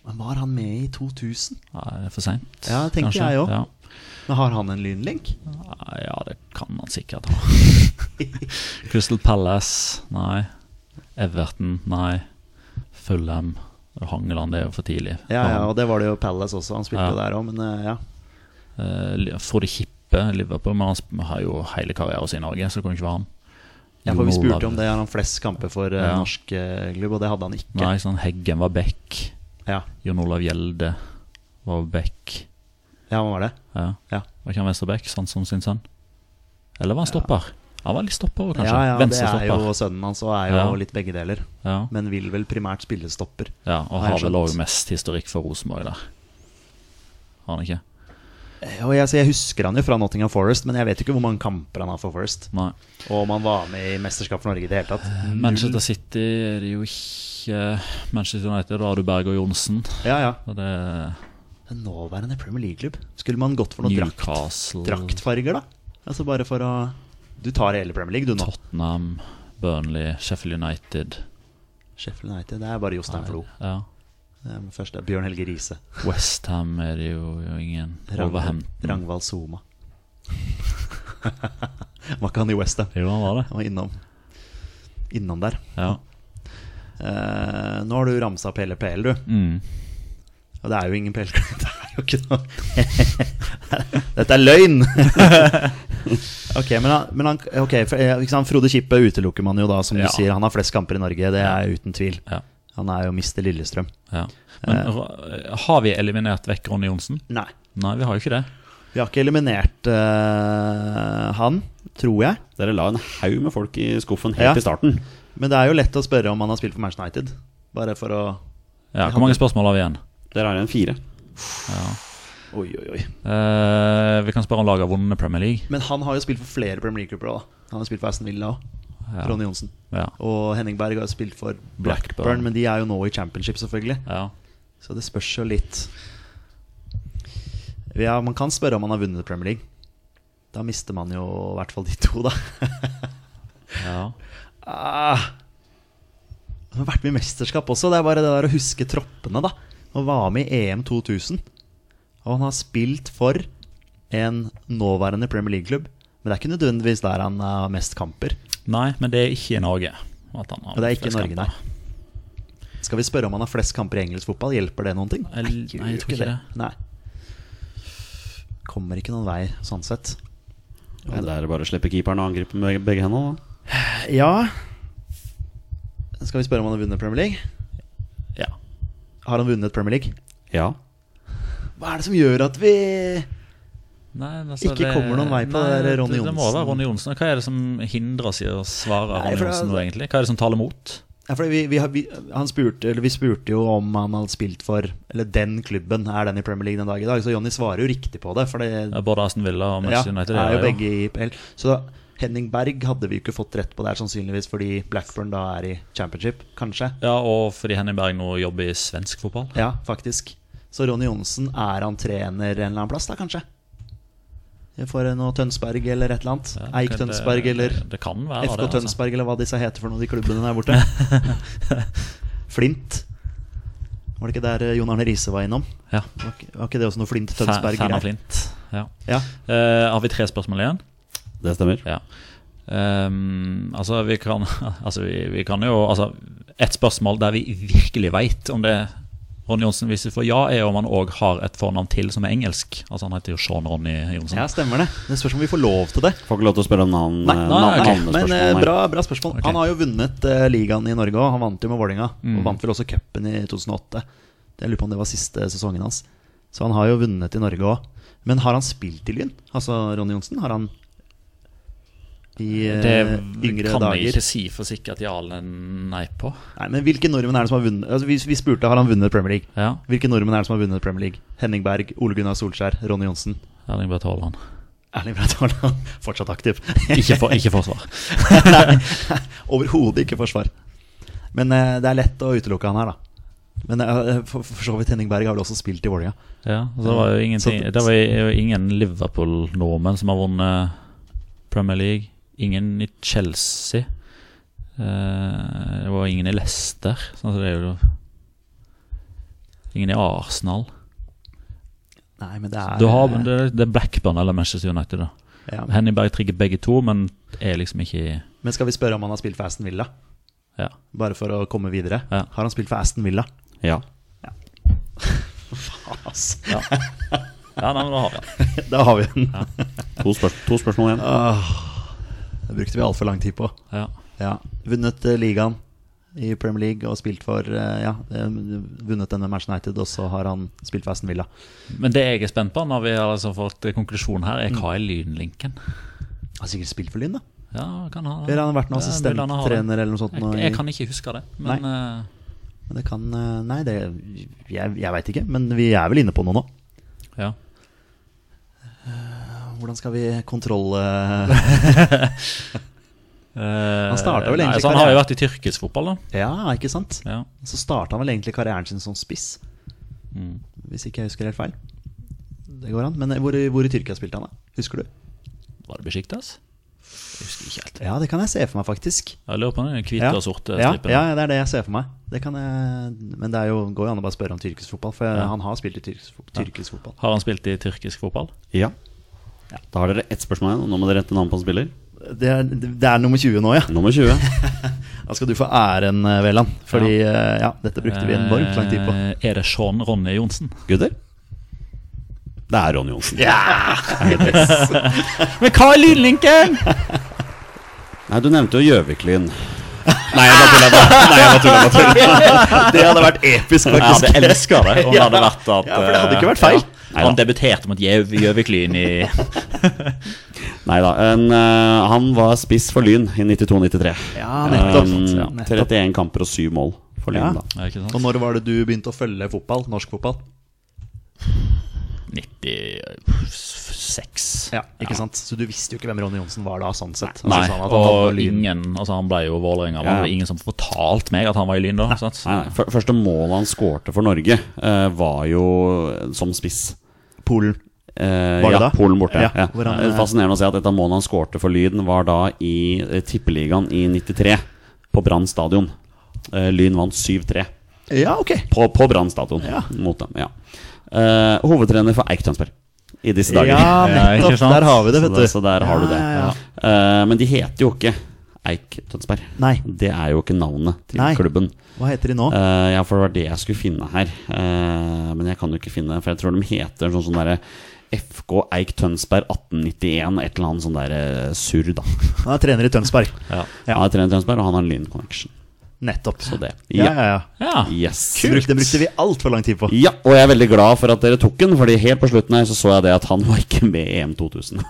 S3: Men Var han med i 2000?
S1: Ja, det er for seint.
S3: Ja, det tenker jeg også.
S1: Ja.
S3: Men har han en lynlink?
S1: Nei, Ah, ja, det kan han sikkert ha. Crystal Palace, nei. Everton, nei. Fulham. Hangeland det er jo for tidlig.
S3: Ja, ja, og det var det jo Palace også. Han spilte
S1: Ja.
S3: jo der òg, men eh, ja.
S1: Eh, Li- Frode Kippe, Liverpool. Men han sp- har jo hele karrieren sin i Norge, så det kan jo ikke være han.
S3: ja. For vi
S1: Jon
S3: spurte
S1: Olav-
S3: om det. Har han flest kamper for eh,
S1: Ja.
S3: norsk eh, klubb? Og det hadde han ikke.
S1: Nei, sånn Heggen var back.
S3: Ja,
S1: Jon Olav Gjelde var back.
S3: ja han var det.
S1: Ja.
S3: Ja.
S1: Var ikke han venstreback, sånn som sin sønn? Eller var han stopper? Han var litt stopper òg, kanskje.
S3: Ja, ja, det er
S1: Venstrestopper.
S3: jo sønnen hans, og er jo
S1: Ja.
S3: litt begge deler.
S1: Ja.
S3: Men vil vel primært spille stopper.
S1: ja, og
S3: Har jeg
S1: har vel
S3: skjønt.
S1: òg mest historikk for Rosenborg der. Har han ikke?
S3: Eh, Og jeg, så jeg husker han jo fra Nottingham Forest, men jeg vet ikke hvor mange kamper han har for Forest.
S1: Nei.
S3: Og om han var med i Mesterskap for Norge i det hele tatt.
S1: Manchester City er det jo ikke Manchester United, da har du Berg og Johnsen.
S3: Ja, ja.
S1: Og det er
S3: Den nåværende Premier League-klubb. Skulle man gått for noen drakt,
S1: Newcastle,
S3: draktfarger, da? Altså bare for å Du tar hele Premier League, du nå.
S1: Tottenham, Burnley, Sheffield United.
S3: Sheffield United, det er bare Jostein Flo.
S1: Ja.
S3: Det er den første. Bjørn Helge Riise.
S1: Westham er det jo, jo ingen.
S3: Rang-
S1: Wolverhampton.
S3: Rangvald Soma. Var ikke han i Westham?
S1: Jo, han var det.
S3: Han var innom. Innom der.
S1: Ja.
S3: Eh, nå har du ramsa opp hele PL, du.
S1: Mm.
S3: Og det er jo ingen PL-klubb. Det er jo ikke noe Dette er løgn! ok, men han, men han ok, for, eh, ikke sant, Frode Kippe utelukker man jo da, som
S1: Ja.
S3: du sier. Han har flest kamper i Norge, det er uten tvil.
S1: Ja.
S3: Han er jo mister Lillestrøm.
S1: Ja. Men
S3: Eh.
S1: ra- har vi eliminert vekk Ronny Johnsen?
S3: Nei.
S1: Nei, vi har jo ikke det.
S3: Vi har ikke eliminert eh, han, tror jeg.
S2: Dere la en haug med folk i skuffen
S3: Ja.
S2: helt i starten.
S3: Men det er jo lett å spørre om han har spilt for Manchester United. Bare for å
S1: Ja, Hvor mange spørsmål har vi igjen?
S2: Dere har en fire.
S3: Oi, oi, oi.
S1: Eh, vi kan spørre om laget har vunnet Premier League.
S3: Men han har jo spilt for flere Premier League-klubber òg. Han har spilt for Aston Villa òg.
S1: Ja.
S3: Ronny Johnsen.
S1: Ja.
S3: Og Henning Berg har jo spilt for
S1: Blackburn.
S3: Blackburn, men de er jo nå i championship, selvfølgelig.
S1: ja.
S3: Så det spørs jo litt Ja, man kan spørre om han har vunnet Premier League. Da mister man jo i hvert fall de to, da.
S1: ja.
S3: Ah. Han har vært med i mesterskap også. Det er bare det der å huske troppene, da. Han var med i EM 2000. Og han har spilt for en nåværende Premier League-klubb. Men det er ikke nødvendigvis der han har mest kamper.
S1: Nei, men det er ikke i Norge. At han har
S3: Og det er ikke i
S1: flest
S3: Norge,
S1: kamper.
S3: nei. Skal vi spørre om han har flest kamper i engelsk fotball? Hjelper det noen ting?
S1: Jeg-
S3: det gjør
S1: nei, jeg
S3: jo
S1: tror ikke
S3: Nei. Kommer ikke noen vei, sånn sett.
S2: Ja, det er bare å slippe keeperen og angripe med begge hendene. Da.
S3: Ja Skal vi spørre om han har vunnet Premier League?
S1: Ja.
S3: Har han vunnet Premier League?
S2: Ja.
S3: Hva er det som gjør at vi
S1: Nei, altså,
S3: Ikke kommer noen vei på det der Ronny
S1: Det må
S3: Johnsen.
S1: være Ronny Johnsen. Hva er det som hindrer oss i å svare
S3: Nei,
S1: Ronny
S3: for altså- det-
S1: Johnsen nå, egentlig? Hva er det som taler mot?
S3: ja, fordi vi, vi, har- vi, han spurte, eller vi spurte jo om han hadde spilt for Eller den klubben, er den i Premier League den dag i dag? Så Jonny svarer jo riktig på det. For det,
S1: Ja, Både Aston Villa og Manchester United.
S3: er jo
S1: det
S3: begge i PL. Så Henning Berg hadde vi jo ikke fått rett på der, sannsynligvis fordi Blackburn da er i championship, kanskje.
S1: Ja, Og fordi Henning Berg nå jobber i svensk fotball.
S3: Ja, faktisk. Så Ronny Johnsen, er han trener en eller annen plass, da, kanskje? for noe Tønsberg eller et eller annet.
S1: Ja,
S3: Eik
S1: kan-
S3: Tønsberg eller
S1: det, det kan være,
S3: FK
S1: det, altså.
S3: Tønsberg, eller hva disse heter for noe, de klubbene der borte. Flint. Var det ikke der eh, Jon Arne Riise var innom?
S1: Ja.
S3: Var ikke, var ikke det også noe Flint
S1: Fan,
S3: Tønsberg?
S1: fan av
S3: greier?
S1: Flint. Ja.
S3: Ja.
S1: Eh, har vi tre spørsmål igjen?
S2: Det stemmer.
S1: Ja. Ehm, altså, vi kan, altså, vi, vi kan jo altså, Et spørsmål der vi virkelig veit om det Ronny Johnsen, hvis vi får ja, er om han òg har et fornavn til som er engelsk. Altså Han heter jo Sean Ronny Johnsen.
S3: ja, stemmer det. Det spørs om vi får lov til det.
S2: Får ikke lov til å spørre om navn.
S3: Nei,
S2: eh,
S3: nei,
S2: navn-
S3: ok.
S2: navnespørsmål,
S3: Men eh,
S2: nei.
S3: bra, bra spørsmål.
S1: Ok.
S3: Han har jo vunnet eh, ligaen i Norge, og han vant jo med Vålinga Og vant vel også cupen i 2008. Jeg lurer på om det var siste sesongen hans. Så han har jo vunnet i Norge òg. Men har han spilt i Lyn? Altså Ronny Johnsen? Har han i eh,
S1: det
S3: yngre
S1: kan jeg
S3: dager?
S1: ikke si for sikkert ja eller nei på.
S3: Nei, men Hvilke nordmenn er det som har vunnet? Altså, vi, vi spurte har han vunnet Premier League.
S1: Ja,
S3: Hvilke nordmenn er det som har vunnet Premier League? Henning Berg, Ole Gunnar Solskjær, Ronny Johnsen.
S1: Erling Braut Haaland.
S3: Erling Braut Haaland, fortsatt aktiv.
S1: Ikke, for, ikke forsvar.
S3: Nei, overhodet ikke forsvar. Men eh, det er lett å utelukke han her, da. Men eh, for, for så vidt Henning Berg har vel også spilt i Vålerenga.
S1: Ja, altså, det var jo ingenting
S3: Så-
S1: Det var jo ingen Liverpool-nordmenn som har vunnet Premier League. Ingen i Chelsea. Eh, Det var ingen i Leicester. Sånn at det er jo Ingen i Arsenal.
S3: Nei, men det er
S1: Du har, men det, det er Blackburn eller Manchester United. da
S3: ja.
S1: Henny Berg trigger begge to, men er liksom ikke i
S3: Men skal vi spørre om han har spilt for Aston Villa?
S1: Ja.
S3: Bare for å komme videre.
S1: Ja.
S3: Har han spilt for Aston Villa?
S2: Ja.
S3: Ass,
S1: Ja, nei, men da har vi den.
S3: da har vi den.
S2: To, spørs to spørsmål igjen.
S3: Det brukte vi altfor lang tid på.
S1: Ja.
S3: Ja. Vunnet eh, ligaen i Premier League og spilt for eh, Ja, eh, vunnet den med Manchester United, og så har han spilt for Aston Villa.
S1: Men det jeg er spent på, når vi har liksom fått konklusjonen her,
S3: Mm.
S1: er hva er lynlinken?
S3: Han har sikkert spilt for Lyn, da.
S1: Ja, kan ha
S3: Eller han har vært noen
S1: Ja, mulig han har det.
S3: assistenttrener eller noe sånt. nå
S1: Jeg,
S3: i-
S1: jeg kan ikke huske det, men eh,
S3: Men det kan eh, Nei, det Jeg, jeg veit ikke, men vi er vel inne på noe nå.
S1: ja.
S3: Hvordan skal vi kontrolle
S1: Han
S3: startet vel egentlig
S1: Eh, nei, så Han har jo
S3: karrieren-
S1: vært i tyrkisk fotball, da.
S3: Ja, ikke sant?
S1: Ja.
S3: Så starta han vel egentlig karrieren sin som spiss,
S1: Mm.
S3: hvis ikke jeg husker helt feil. Det går an. Men eh, hvor, hvor i Tyrkia spilte han, da? Husker du?
S1: Var det Besjiktas? Jeg husker ikke helt.
S3: Ja, det kan jeg se for meg, faktisk.
S1: Jeg lurer på den hvite
S3: Ja.
S1: og sorte
S3: ja,
S1: stripen.
S3: ja, det er det jeg ser for meg. Det kan jeg, men det er jo, går jo an å bare spørre om tyrkisk fotball, for han har spilt i tyrkisk, fo- tyrkisk fotball.
S1: Har han spilt i tyrkisk fotball?
S2: Ja. Da har dere ett spørsmål igjen, og nå må dere rette navn på en spiller.
S3: Det er, det er nummer 20 nå, ja.
S2: Nummer 20.
S3: Da skal du få æren, eh, Veland. Fordi eh, ja, dette brukte vi en enormt lang tid på.
S1: Eh, Er det Sean Ronny Johnsen?
S2: Gutter? Det er Ronny Johnsen.
S1: Men hva er lynlinken?!
S2: Nei, du nevnte jo Gjøvik-Lyn. Nei, jeg bare tuller. bare. Nei, jeg bare tuller, jeg bare tuller.
S3: Det hadde vært episk,
S1: Jeg hadde elska det om det hadde vært at
S3: Ja, for det hadde ikke vært feil.
S1: eh, ja. Han debuterte mot Gjøv- Gjøvik-Lyn i
S2: Neida, en, eh, han var spiss for Lyn i 92-93.
S3: Ja, nettopp.
S2: Um,
S3: nettopp.
S2: 31 kamper og 7 mål for Lyn,
S3: Ja.
S2: da.
S1: Ja, Ikke
S3: Og
S1: sant?
S3: når var det du begynte å følge fotball? Norsk fotball?
S1: 96.
S3: Ja, ikke sant? Så du visste jo ikke hvem Ronny Johnsen var da, sånn sett.
S1: Nei,
S3: Altså, sånn at han hadde
S1: og
S3: lyn.
S1: ingen Altså Han ble jo Vålerenga. men
S2: Ja.
S1: Det var ingen som fortalte meg at han var i Lyn da. Sant?
S2: Nei, nei. Før- Første målet han skårte for Norge, eh, var jo eh, som spiss.
S3: Polen.
S2: Eh,
S3: Var det
S2: ja,
S3: da?
S2: Polen borte.
S3: Ja,
S2: Ja,
S3: hvor han,
S2: Det er Fascinerende å se at et av målene han skårte for Lyn, var da i eh, Tippeligaen i 93, på Brann stadion. Eh, Lyn vant 7-3
S3: Ja, ok.
S2: på, på Brann stadion
S3: Ja.
S2: mot dem. Ja. Eh, hovedtrener for Eik Tønsberg i disse dager.
S3: Ja,
S1: Ja, ikke
S3: nettopp.
S1: sant?
S3: Der har vi det,
S2: så,
S3: vet
S2: der,
S3: du.
S2: så der har du det.
S3: Ja, ja,
S2: Eh, men de heter jo ikke Eik Tønsberg.
S3: Nei.
S2: Det er jo ikke navnet til
S3: Nei.
S2: klubben.
S3: Hva heter de nå?
S2: Eh, ja, for det var det jeg skulle finne her. Eh, men jeg kan jo ikke finne For jeg tror de heter sånn sånn derre FK Eik Tønsberg 1891, et eller annet sånn der eh, surr, da.
S3: Han er trener i Tønsberg.
S2: Han er trener i Tønsberg, og han har Lyn Connection.
S3: Nettopp.
S2: Så det.
S3: Ja,
S2: Ja.
S3: ja, ja.
S1: Ja.
S2: Yes.
S3: Bruk- Det brukte vi altfor lang tid på.
S2: Ja, og jeg er veldig glad for at dere tok den, Fordi helt på slutten her så så jeg det at han var ikke med i EM 2000.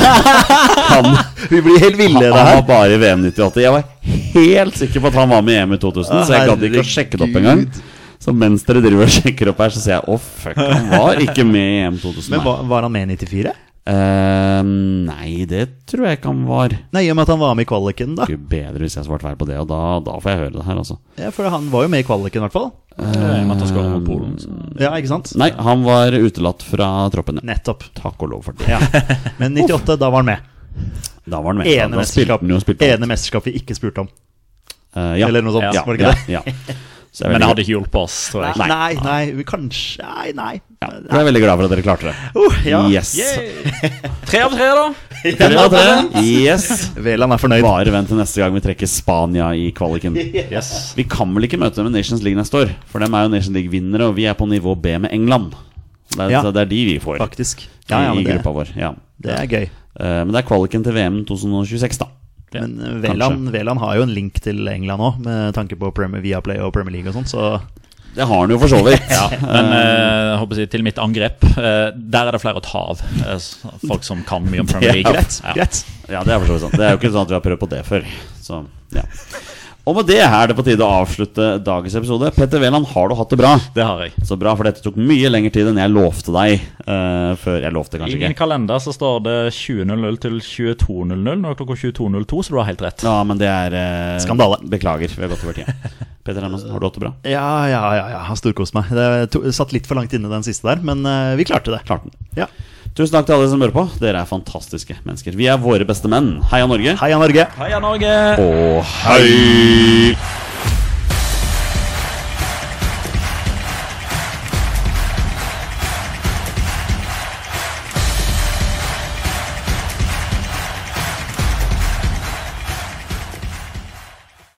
S2: Han,
S3: Vi blir helt
S2: han, han
S3: ville i det her.
S2: var bare i VM 98. Jeg var helt sikker på at han var med i EM i 2000, så jeg gadd ikke å sjekke det opp engang.
S3: Herregud.
S2: Så mens dere driver og sjekker opp her, så sier jeg å, fuck, han var ikke med i EM 2000.
S3: Men
S2: nei.
S3: var, var han med i 94?
S2: Eh, nei, det tror jeg ikke han var.
S3: Nei, i og med at han var med i kvaliken, da.
S2: Gud bedre hvis jeg svarte feil på det, og da, da får jeg høre det her, altså.
S3: Ja, for han var jo med i kvaliken, i hvert fall.
S1: Eh, Matta skåret mot Polen. så-
S3: Ja, ikke sant?
S2: Nei, han var utelatt fra troppen. ja.
S3: Nettopp.
S2: Takk og lov for det.
S3: Ja. Men 98, da var han med.
S2: Da var han med.
S3: Ene
S2: Da spilte
S3: mesterskap,
S2: han jo spilte alt.
S3: ene mesterskap vi ikke spurte om.
S2: Eh, ja.
S3: Eller noe sånt,
S2: ja,
S3: var det ikke
S2: ja, det? Ja. Så jeg er
S1: Men det
S2: veldig-
S1: hadde ikke hjulpet oss, tror jeg.
S3: Nei, nei, nei vi kanskje Nei, nei.
S2: ja. Jeg er veldig glad for at dere klarte det.
S3: Oh, ja.
S2: Yes.
S1: Tre av tre, da.
S2: Tre av tre. Yes.
S3: Veland er fornøyd.
S2: Bare vent til neste gang vi trekker Spania i kvaliken.
S1: Yes.
S2: Vi kan vel ikke møte dem i Nations League neste år, for dem er jo Nations League-vinnere, og vi er på nivå B med England. Det er,
S3: Ja.
S2: så det er de vi får
S3: Faktisk. Ja, ja,
S2: i i
S3: men
S2: gruppa
S3: det,
S2: vår. Ja.
S3: det er gøy.
S2: Eh, men det er kvaliken til VM 2026, da.
S3: Men eh, Veland, Veland har jo en link til England òg, med tanke på Premier, Viaplay og Premier League og sånn, så
S2: Det har han jo for så vidt.
S1: Men eh, jeg håper å si, til mitt angrep, eh, der er det flere å ta av. eh, s- folk som kan mye om Premier League.
S3: greit.
S1: Ja.
S3: greit.
S2: Ja, Det er for så vidt sant. Det er jo ikke sånn at vi har prøvd på det før. Så, ja. Og med det er det på tide å avslutte dagens episode. Petter Veland, har du hatt det bra?
S1: Det har jeg.
S2: Så bra, for dette tok mye lengre tid enn jeg lovte deg eh, før. Jeg lovte
S1: I
S2: kanskje
S1: min
S2: ikke.
S1: kalender så står det 20.00 til 22.00. Nå er det klokka 22.02, så du har helt rett.
S2: Ja, men det er eh,
S3: Skandale.
S2: Beklager, vi har gått over tida. Petter Hermansen, har du hatt det bra?
S3: Ja, ja, ja. ja. Har storkost meg. Det to, satt litt for langt inne, den siste der, men eh, vi klarte det.
S2: Klarte den.
S3: Ja.
S2: Tusen takk til alle som hører på. Dere er fantastiske mennesker. Vi er våre beste menn. Heia Norge.
S3: Heia Norge!
S1: Heia Norge!
S2: Og hei!